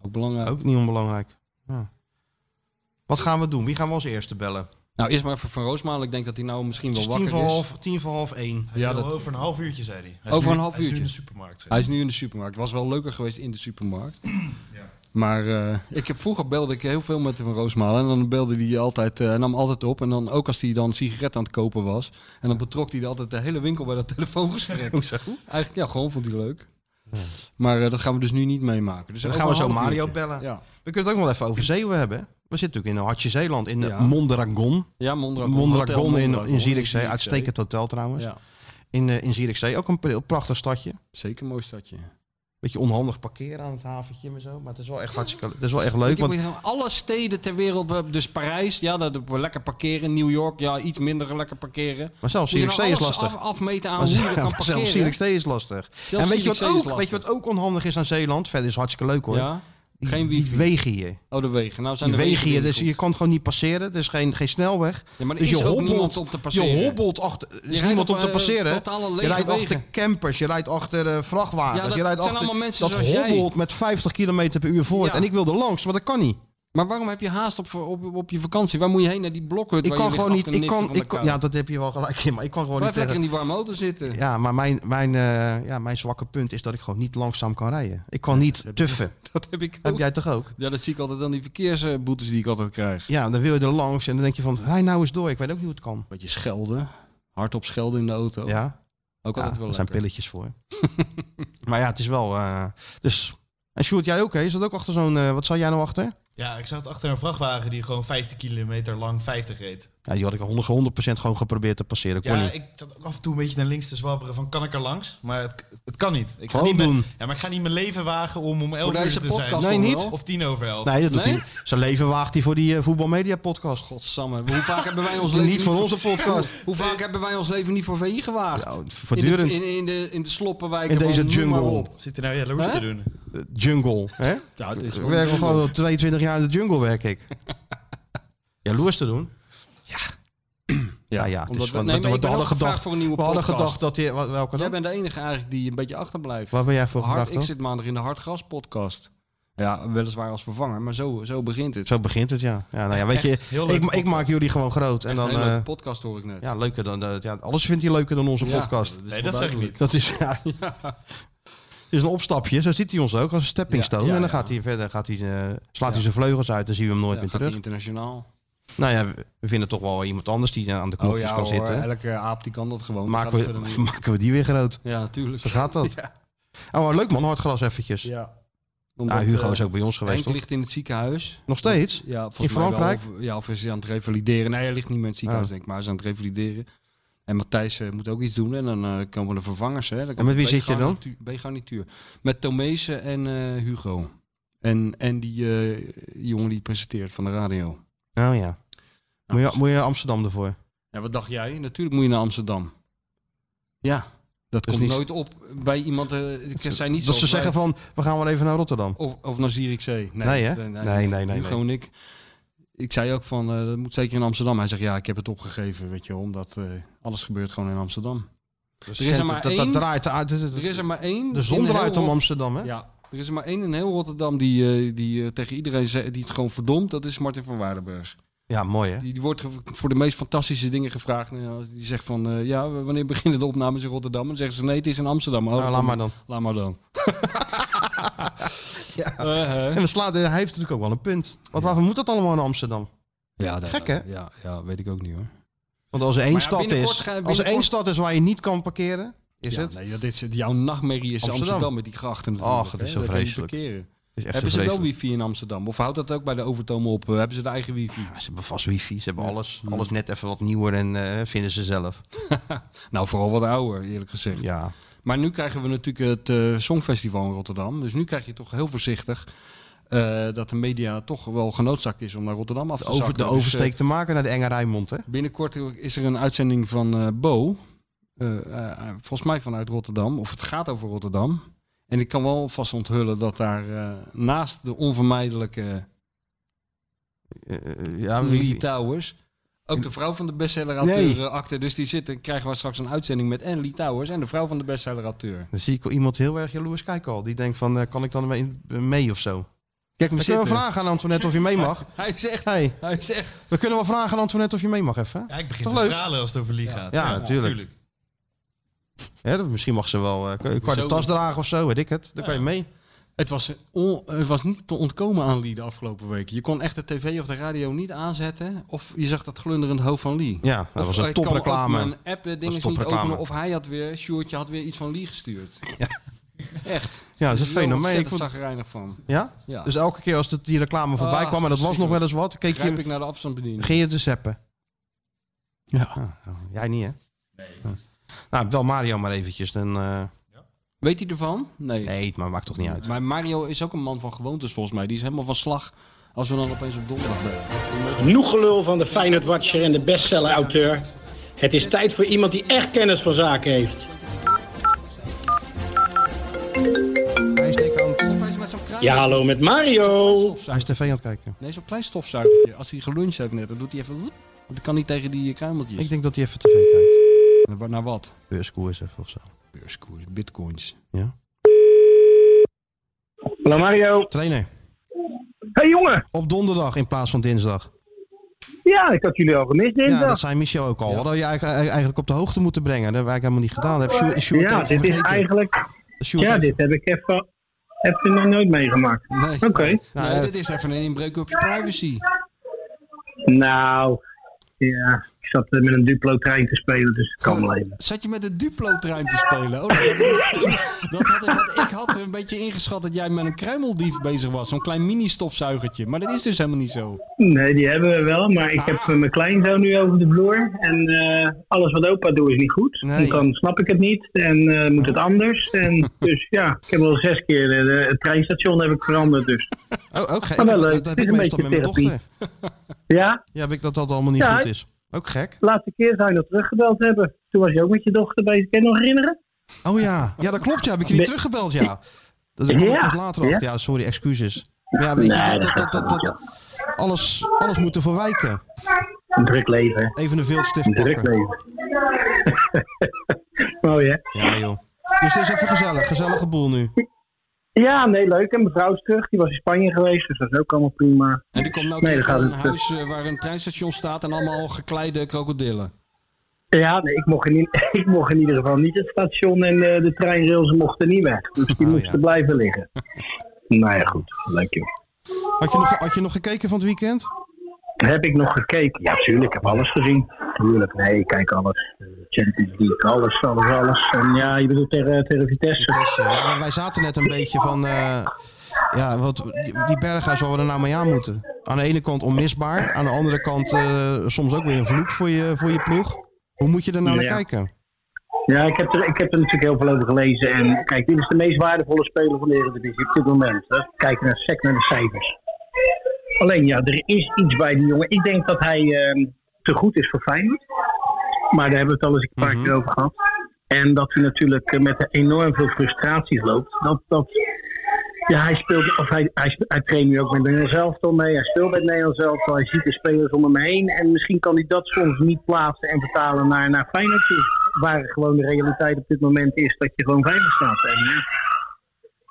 S3: ook belangrijk.
S2: Ook niet onbelangrijk. Ja. Wat gaan we doen? Wie gaan we als eerste bellen?
S3: Nou, eerst maar even Van Roosmalen. Ik denk dat hij nou misschien
S2: Het
S3: wel
S2: is tien
S3: wakker
S2: voor,
S3: is.
S2: half, tien voor half één.
S3: Ja,
S10: Ja,
S3: dat-
S10: Over een half uurtje, zei hij. hij. is
S3: Over
S10: nu-
S3: een half
S10: hij is nu
S3: uurtje.
S10: in de supermarkt.
S3: Hij is nu in de supermarkt. Was wel leuker geweest in de supermarkt. Maar eh, ik heb, vroeger belde ik heel veel met de Van Roosmalen. En dan belde hij altijd, eh, hij nam altijd op. En dan ook als hij dan een sigaret aan het kopen was. En dan betrok hij altijd de hele winkel bij dat telefoongesprek.
S2: Hoezo?
S3: Eigenlijk, ja, gewoon vond hij leuk. Maar eh, dat gaan we dus nu niet meemaken. Dus
S2: Dan
S3: over
S2: gaan we
S3: een
S2: zo
S3: half
S2: Mario
S3: uurtje.
S2: bellen.
S3: Ja,
S2: We kunnen het ook nog wel even over Zeeuwen hebben. We zitten natuurlijk in een hartje Zeeland, in
S3: Ja.
S2: eh, Mondragon.
S3: ja Mondragon. Hotel
S2: Mondragon in,
S3: Mondragon
S2: in Zierikzee. Uitstekend hotel trouwens.
S3: Ja,
S2: In, eh, in Zierikzee, ook een pre- prachtig stadje.
S3: zeker een mooi stadje.
S2: Beetje onhandig parkeren aan het haventje en zo. Maar het is wel echt, hartstikke, het is wel echt
S3: Weet
S2: leuk.
S3: je,
S2: Want
S3: want... Alle steden ter wereld, dus Parijs, ja, dat dat we lekker parkeren. New York, ja, iets minder lekker parkeren.
S2: Maar zelfs
S3: Moet je nou
S2: Zierikzee is
S3: alles
S2: lastig.
S3: Af, afmeten aan
S2: Maar
S3: hoe je dat kan
S2: zelfs-
S3: parkeren.
S2: zelfs Zierikzee is lastig. en weet je, wat
S3: Zierikzee is
S2: ook, weet je
S3: lastig.
S2: wat ook onhandig is aan Zeeland? Verder is het hartstikke leuk hoor.
S3: Ja, geen
S2: Die
S3: wifi.
S2: wegen hier.
S3: Oh, de wegen. Nou zijn
S2: Die
S3: de
S2: wegen hier,
S3: weer
S2: dus
S3: goed.
S2: je kan het gewoon niet passeren. Er is geen, geen snelweg.
S3: Ja, maar er
S2: dus
S3: is
S2: je
S3: ook
S2: hobbelt,
S3: niemand om te
S2: je
S3: passeren.
S2: hobbelt achter. Er is
S3: rijdt
S2: niemand
S3: op,
S2: om te
S3: eh,
S2: passeren.
S3: totale
S2: je
S3: lege
S2: rijdt achter
S3: wegen.
S2: campers, je rijdt achter eh, vrachtwagens.
S3: Ja, dat
S2: je rijdt
S3: zijn
S2: achter,
S3: allemaal mensen
S2: dat
S3: zoals jij.
S2: hobbelt met 50 km per uur voort.
S3: Ja.
S2: En ik wilde langs, maar dat kan niet.
S3: Maar waarom heb je haast op, op, op je vakantie? Waar moet je heen naar die blokhut?
S2: Ik
S3: waar
S2: kan
S3: je ligt
S2: gewoon
S3: af
S2: niet.
S3: te
S2: Ik
S3: niften
S2: kan,
S3: van de
S2: ik kan,
S3: kou?
S2: ja, dat heb je wel gelijk in. Maar ik kan gewoon
S3: Blijf
S2: niet
S3: lekker
S2: tegen.
S3: in die warme auto zitten.
S2: Ja, maar mijn, mijn, eh, ja, mijn zwakke punt is dat ik gewoon niet langzaam kan rijden. Ik kan niet tuffen.
S3: Dat heb ik
S2: Heb
S3: ook.
S2: jij toch ook?
S3: Ja, dat zie ik altijd aan die verkeersboetes die ik altijd krijg.
S2: Ja, dan wil je er langs en dan denk je van, rij nou eens door. Ik weet ook niet hoe het kan.
S3: Beetje schelden. Hardop schelden in de auto.
S2: Ja,
S3: Ook
S2: ja
S3: altijd wel
S2: daar zijn
S3: lekker.
S2: pilletjes voor. maar ja, het is wel... eh, dus, en Sjoerd, jij ook, hè? Je zat ook achter zo'n... eh, wat zal jij nou achter?
S10: Ja, ik zat achter een vrachtwagen die gewoon 50 kilometer lang 50 reed.
S2: Ja, die had ik 100, 100% gewoon geprobeerd te passeren. Kon
S10: Ja,
S2: niet.
S10: ik zat ook af en toe een beetje naar links te zwabberen van kan ik er langs? Maar het, het kan niet. Ik ga
S2: Gewoon
S10: niet mijn-
S2: doen.
S10: ja, maar ik ga niet mijn leven wagen om om 11 uur
S3: deze
S10: te zijn.
S3: podcast
S2: Nee, niet.
S10: Of tien over 11.
S3: Oh,
S2: Nee, dat doet hij. Zijn leven waagt hij voor die eh, voetbalmedia podcast.
S3: Godsamme. Hoe vaak hebben wij ons leven
S2: Niet voor onze podcast.
S3: Hoe, hoe vaak hebben wij ons leven niet voor VI gewaagd?
S2: voortdurend.
S3: In de, in, in de, in de sloppenwijken
S2: In deze
S3: van, noem maar
S2: jungle.
S3: op.
S10: Zit er nou jaloers
S3: Hè?
S10: te doen?
S2: Eh, Jungle. Hè?
S3: Ja, het is
S2: ik
S3: gewoon
S2: werk al
S3: jungle.
S2: gewoon al 22 jaar in de jungle werk ik. Jaloers te doen. Ja, ja. ja het
S3: Omdat
S2: is
S3: we-
S2: gewoon-
S3: nee,
S2: we,
S3: maar ik
S2: we hadden
S3: ben ook gevraagd
S2: gedacht,
S3: voor een nieuwe
S2: we hadden
S3: podcast.
S2: gedacht dat je... wa- Welke
S3: Jij
S2: dan?
S3: bent de enige eigenlijk die een beetje achterblijft.
S2: Waar ben jij voor
S3: Hard,
S2: gevraagd
S3: Ik
S2: dan?
S3: zit maandag in de Hardgas podcast. Ja, weliswaar als vervanger, maar zo, zo begint het.
S2: Zo begint het, ja. ja nou ja, weet
S3: Echt
S2: je,
S3: heel leuke
S2: ik, ik
S3: podcast.
S2: maak jullie gewoon groot. En
S3: Echt een
S2: dan,
S3: hele leuke
S2: eh,
S3: podcast hoor ik net.
S2: ja, leuker dan, eh, ja, alles vindt hij leuker dan onze
S3: Ja,
S2: podcast.
S3: dat is Nee, dat zeg ik niet.
S2: Dat is, ja, Het is een opstapje. Zo ziet hij ons ook als een stepping
S3: Ja,
S2: stone.
S3: ja,
S2: en dan
S3: ja.
S2: gaat hij verder, gaat hij, eh, slaat
S3: Ja.
S2: hij zijn vleugels uit en zien we hem nooit
S3: Ja,
S2: meer
S3: gaat
S2: terug.
S3: die internationaal.
S2: Nou ja, we- we vinden toch wel iemand anders die eh, aan de
S3: Oh
S2: knopjes
S3: ja
S2: kan
S3: hoor,
S2: zitten.
S3: elke aap die kan dat gewoon.
S2: Maken
S3: Gaat het verder
S2: we,
S3: niet.
S2: maken we die weer groot.
S3: Ja, natuurlijk.
S2: Zo gaat dat.
S3: Ja.
S2: Oh, maar leuk man, hardgras eventjes.
S3: Ja. eh,
S2: Nou, Hugo is ook bij ons geweest,
S3: Henk
S2: toch?
S3: ligt in het ziekenhuis.
S2: Nog steeds?
S3: Ja, volgens
S2: In
S3: mij wel.
S2: Frankrijk?
S3: Of- ja, of is hij aan het revalideren. Nee, hij ligt niet meer in het ziekenhuis,
S2: Oh.
S3: denk ik. Maar hij is aan het revalideren. En Matthijs eh, moet ook iets doen. En dan eh, komen de vervangers. Hè. Dan komt
S2: met wie
S3: B
S2: zit je dan?
S3: garnituur- B-garnituur. Met Tomezen en eh, Hugo. En, en die eh, jongen die presenteert van de radio. Nou, dus-
S2: Oh ja. Moet je, moet je naar Amsterdam ervoor?
S3: Ja, wat dacht jij? Natuurlijk moet je naar Amsterdam. Ja, dat
S2: Dus
S3: komt
S2: niet-
S3: nooit op bij iemand. eh, ik zei niet
S2: dat
S3: zoals
S2: ze zeggen
S3: wij.
S2: van, we gaan wel even naar Rotterdam.
S3: Of, of naar Zierikzee.
S2: Nee, hè? Nee, nee, nee,
S3: Hugo
S2: nee.
S3: en ik. Ik zei ook van, eh, dat moet zeker in Amsterdam. Hij zegt, ja, ik heb het opgegeven, weet je, omdat eh, alles gebeurt gewoon in Amsterdam. er is er
S2: Centen-
S3: maar
S2: dat,
S3: één.
S2: dat draait uit.
S3: er is er maar één.
S2: De zon
S3: in heel
S2: draait om
S3: Rot-
S2: Amsterdam, hè?
S3: Ja, er is er maar één in heel Rotterdam die, eh, die eh, tegen iedereen ze- die het gewoon verdomt. Dat is Martin van Waardenburg.
S2: Ja, mooi hè? Nou,
S3: Die, die wordt ge- voor de meest fantastische dingen gevraagd. Nou, ja, die zegt van, eh, ja, w- wanneer beginnen de opnames in Rotterdam? En dan zeggen ze, nee, het is in Amsterdam. Oh,
S2: Nou, laat maar dan.
S3: Laat maar dan.
S2: Ja.
S3: Eh,
S2: En
S3: eh.
S2: dan slaat, hij heeft natuurlijk ook wel een punt. Want waarom moet dat allemaal in Amsterdam?
S3: Ja, dat-
S2: Gek, hè?
S3: Ja, ja, weet ik ook niet hoor.
S2: Want als er één
S3: Maar ja,
S2: stad
S3: binnenkort
S2: is,
S3: ga-
S2: als er
S3: binnenkort-
S2: één stad is waar je niet kan parkeren, is
S3: ja,
S2: het.
S3: Nee, dat is het. Jouw nachtmerrie is
S2: Amsterdam.
S3: Amsterdam, met die grachten.
S2: Och, het is zo vreselijk.
S3: Hebben
S2: is echt zo
S3: ze wel
S2: vreselijk.
S3: wifi in Amsterdam? Of houdt dat ook bij de Overtomen op? Eh, Hebben ze de eigen wifi?
S2: Ja, ze hebben vast wifi, ze hebben alles,
S3: Mm.
S2: alles net even wat nieuwer en eh, vinden ze zelf.
S3: Nou, vooral wat ouder, eerlijk gezegd.
S2: Ja.
S3: Maar nu krijgen we natuurlijk het eh, Songfestival in Rotterdam. Dus nu krijg je toch heel voorzichtig eh, dat de media toch wel genoodzaakt is om naar Rotterdam af te
S2: De, over, de
S3: zakken. Dus, eh,
S2: oversteek te maken naar de Enge Rijnmond, hè?
S3: Binnenkort is er een uitzending van eh, Bo. Eh, eh, volgens mij vanuit Rotterdam. Of het gaat over Rotterdam. En ik kan wel vast onthullen dat daar eh, naast de onvermijdelijke
S2: Eh, eh, ja,
S3: Lily Towers... ook de vrouw van de bestsellerauteur
S2: Nee.
S3: eh, acte. Dus die zitten, krijgen we straks een uitzending met en Lee Towers... en de vrouw van de bestsellerauteur.
S2: dan zie ik al iemand heel erg jaloers kijken al. Die denkt van, eh, kan ik dan in- mee of zo?
S3: Kijk hem
S2: We kunnen
S3: zitten.
S2: we vragen aan Antoinette of je mee mag.
S3: Hij is echt...
S2: Hey,
S3: Hij is echt...
S2: we kunnen wel vragen aan Antoinette of je mee mag even.
S10: Ja, ik begin
S2: Toch
S10: te
S2: leuk?
S10: stralen als het over Lee gaat.
S2: Ja, natuurlijk. Hè, dat- misschien mag ze wel eh, een kwart de
S3: Zo.
S2: tas dragen of zo, weet ik het. Dan kan je mee.
S3: Het was, een on- het was niet te ontkomen aan Lee de afgelopen weken. Je kon echt de tv of de radio niet aanzetten... of je zag dat glunderend hoofd van Lee.
S2: Ja, dat
S3: Of
S2: was
S3: ik
S2: een
S3: kan ook
S2: topreclame.
S3: Mijn app eh,
S2: Dat
S3: ding
S2: is
S3: is niet
S2: topreclame.
S3: openen. Of hij had weer, Sjoertje had weer iets van Lee gestuurd. Echt.
S2: Ja, dat is een
S3: Ik ben
S2: fenomeen.
S3: er
S2: Ik
S3: ontzettend
S2: vond-
S3: zagrijnig van.
S2: Ja?
S3: Ja.
S2: Dus elke keer als het die reclame voorbij
S3: Ah,
S2: kwam, en dat was nog wel eens wat, keek
S3: Grijp
S2: je,
S3: ik naar de afstandsbediening.
S2: ging je te zeppen.
S3: Ja.
S2: Ah, nou, jij niet, hè? Nee. Nou, bel Mario maar eventjes. Dan, eh,
S3: Weet hij ervan? Nee.
S2: nee, maar maakt toch niet uit.
S3: Maar Mario is ook een man van gewoontes volgens mij. Die is helemaal van slag als we dan opeens op donderdag bellen.
S11: Genoeg gelul van de Feyenoord Watcher en de bestseller-auteur. Het is tijd voor iemand die echt kennis van zaken heeft.
S2: Hij is tegen aan het-
S3: Hij is met zo'n kraai-
S11: Ja, hallo met Mario.
S2: hij is tv aan het kijken.
S3: Nee, zo'n klein stofzuigertje. Als hij geluncht heeft net, dan doet hij even... zoep. Want dan kan hij tegen die eh, kruimeltjes.
S2: Ik denk dat hij even tv kijkt.
S3: Naar wa- Naar wat?
S2: Beurskoers even of zo.
S3: Beurskoers, bitcoins.
S2: Ja.
S11: Hallo Mario.
S2: Trainer,
S11: Hey jongen.
S2: op donderdag in plaats van dinsdag.
S11: Ja, ik had jullie al gemist
S2: Ja,
S11: dinsdag.
S2: dat zei Michel ook al. We hadden je eigenlijk, eigenlijk op de hoogte moeten brengen. Dat hebben we eigenlijk helemaal niet gedaan. Dat heeft Sjoerd- Sjoerd
S11: Oh, Ja,
S2: even
S11: dit is
S2: vergeten.
S11: eigenlijk...
S2: Sjoerd
S11: Ja,
S2: heeft-
S11: dit heb ik even, even nog nooit meegemaakt.
S3: Nee.
S11: Oké.
S3: Nee,
S2: Nou, eh,
S3: dit is even een inbreuk op je privacy.
S11: Nou, Ja, ik zat eh, met een Duplo-trein te spelen, dus het kan wel even.
S3: Zat je met de Duplo-trein te spelen? Oh, dat had ik, dat had ik, want ik had een beetje ingeschat dat jij met een kruimeldief bezig was. Zo'n klein mini-stofzuigertje. Maar dat is dus helemaal niet zo.
S11: Nee, die hebben we wel, maar ik heb eh, mijn kleinzoon nu over de vloer. En eh, alles wat opa doet is niet goed.
S2: Nee.
S11: En dan snap ik het niet en eh, moet het anders. En, dus ja, ik heb al zes keer eh, de- het treinstation heb ik veranderd. Dus.
S2: Oh, ook gek.
S11: Maar wel
S2: dat,
S11: leuk.
S2: dat
S11: Het
S2: heb
S11: is
S2: ik
S11: een
S2: meestal met
S11: beetje
S2: mijn
S11: therapie.
S2: dochter.
S11: Ja?
S2: Ja, weet ik dat dat allemaal niet
S11: Ja,
S2: goed
S11: hè?
S2: is. Ook gek.
S11: De laatste keer zou je dat teruggebeld hebben. Toen was je ook met je dochter bezig. Kan je nog herinneren?
S2: Oh ja, ja dat klopt. Ja, heb ik je niet
S11: Nee.
S2: teruggebeld? Ja. Dat kwam
S11: Ja.
S2: ik pas later achter.
S11: Ja.
S2: Ja, sorry, excuses. Maar ja, weet
S11: Nee,
S2: je,
S11: dat
S2: dat, dat,
S11: gaat
S2: dat, dat, alles, alles moet ervoor wijken.
S11: Een druk leven. hè?
S2: Even een
S11: Een
S2: viltstift
S11: druk
S2: pakken.
S11: leven. Mooi hè?
S2: Ja, joh. Dus het is even gezellig. Gezellige boel nu.
S11: Ja, nee, leuk. En mevrouw is terug. Die was in Spanje geweest, dus dat is ook allemaal prima.
S3: En die komt nou
S11: Nee,
S3: terug
S11: dan
S3: naar
S11: gaat
S3: een
S11: het,
S3: huis eh, waar een treinstation staat en allemaal gekleide krokodillen.
S11: Ja, nee, ik mocht, in, i- ik mocht in ieder geval niet het station en eh, de treinrails mochten niet weg. Dus die moesten blijven liggen. nou ja, goed. Leuk joh.
S2: Had je, nog, had je nog gekeken van het weekend?
S11: Heb ik nog gekeken? Ja, tuurlijk. Ik heb alles gezien. Tuurlijk. Nee, ik kijk alles. Eh, Champions League, alles, alles, alles. En ja, je bedoelt tegen, tegen Vitesse.
S2: Ja, eh, maar wij zaten net een beetje van. eh, ja, wat, die- die berghuis waar we er nou mee aan moeten. Aan de ene kant onmisbaar. Aan de andere kant eh, soms ook weer een vloek voor je, voor je ploeg. Hoe moet je er nou naar
S11: Ja. Dus
S2: kijken?
S11: Ja, ik heb, er, ik heb er natuurlijk heel veel over gelezen. En kijk, dit is de meest waardevolle speler van de Eredivisie op dit moment. Hè. Kijken naar sec naar de cijfers. Alleen ja, er is iets bij die jongen. Ik denk dat hij ehm, te goed is voor Feyenoord. Maar daar hebben we het al eens een paar keer over gehad. En dat hij natuurlijk eh, met enorm veel frustraties loopt. Dat, dat, ja, hij speelt, of hij, hij, spe- hij traint nu ook met Nederland Elftal mee. Hij speelt bij het Nederlands Elftal. Hij ziet de spelers om hem heen. En misschien kan hij dat soms niet plaatsen en vertalen naar, naar Feyenoord toe. Waar gewoon de realiteit op dit moment is dat je gewoon veilig staat. En,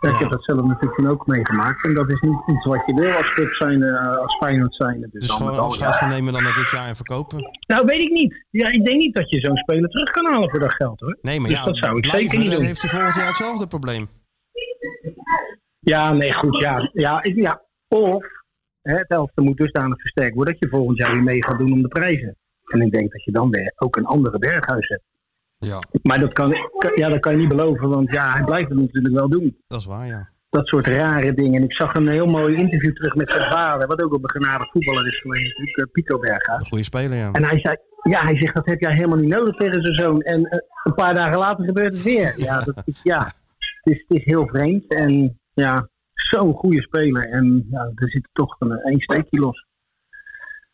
S11: ja, ik heb dat zelf natuurlijk toen ook meegemaakt. En dat is niet iets wat je wil als club zijn, eh, als Feyenoord zijn. Dus,
S2: Dus
S11: dan
S2: gewoon
S11: met al,
S2: afscheid
S11: ja.
S2: van nemen dan naar dit jaar en verkopen?
S11: Nou, weet ik niet. Ja, ik denk niet dat je zo'n speler terug kan halen voor dat geld hoor.
S2: Nee, maar
S11: dus
S2: ja,
S11: dat zou ik
S2: blijven,
S11: zeker niet
S2: dan
S11: doen.
S2: heeft hij volgend jaar hetzelfde probleem.
S11: Ja, nee, goed, ja. Ja, ik, ja. Of hè, het elfte moet dusdanig versterkt worden dat je volgend jaar weer mee gaat doen om de prijzen. En ik denk dat je dan weer ook een andere berghuis hebt.
S3: Ja.
S11: Maar dat kan, kan- ja, dat kan je niet beloven, want ja, hij blijft het natuurlijk wel doen.
S2: Dat is waar, ja.
S11: Dat soort rare dingen. En ik zag een heel mooi interview terug met zijn vader, wat ook op een genade voetballer is geweest, natuurlijk, eh, Pico Berghuis.
S2: Een goede speler, ja.
S11: En hij zei, ja, hij zegt, dat heb jij helemaal niet nodig tegen zijn zoon. En eh, een paar dagen later gebeurt het weer. Ja, dat is, ja. Het, is, het is heel vreemd. En ja, zo'n goede speler. En ja, er zit toch een, een steekje los.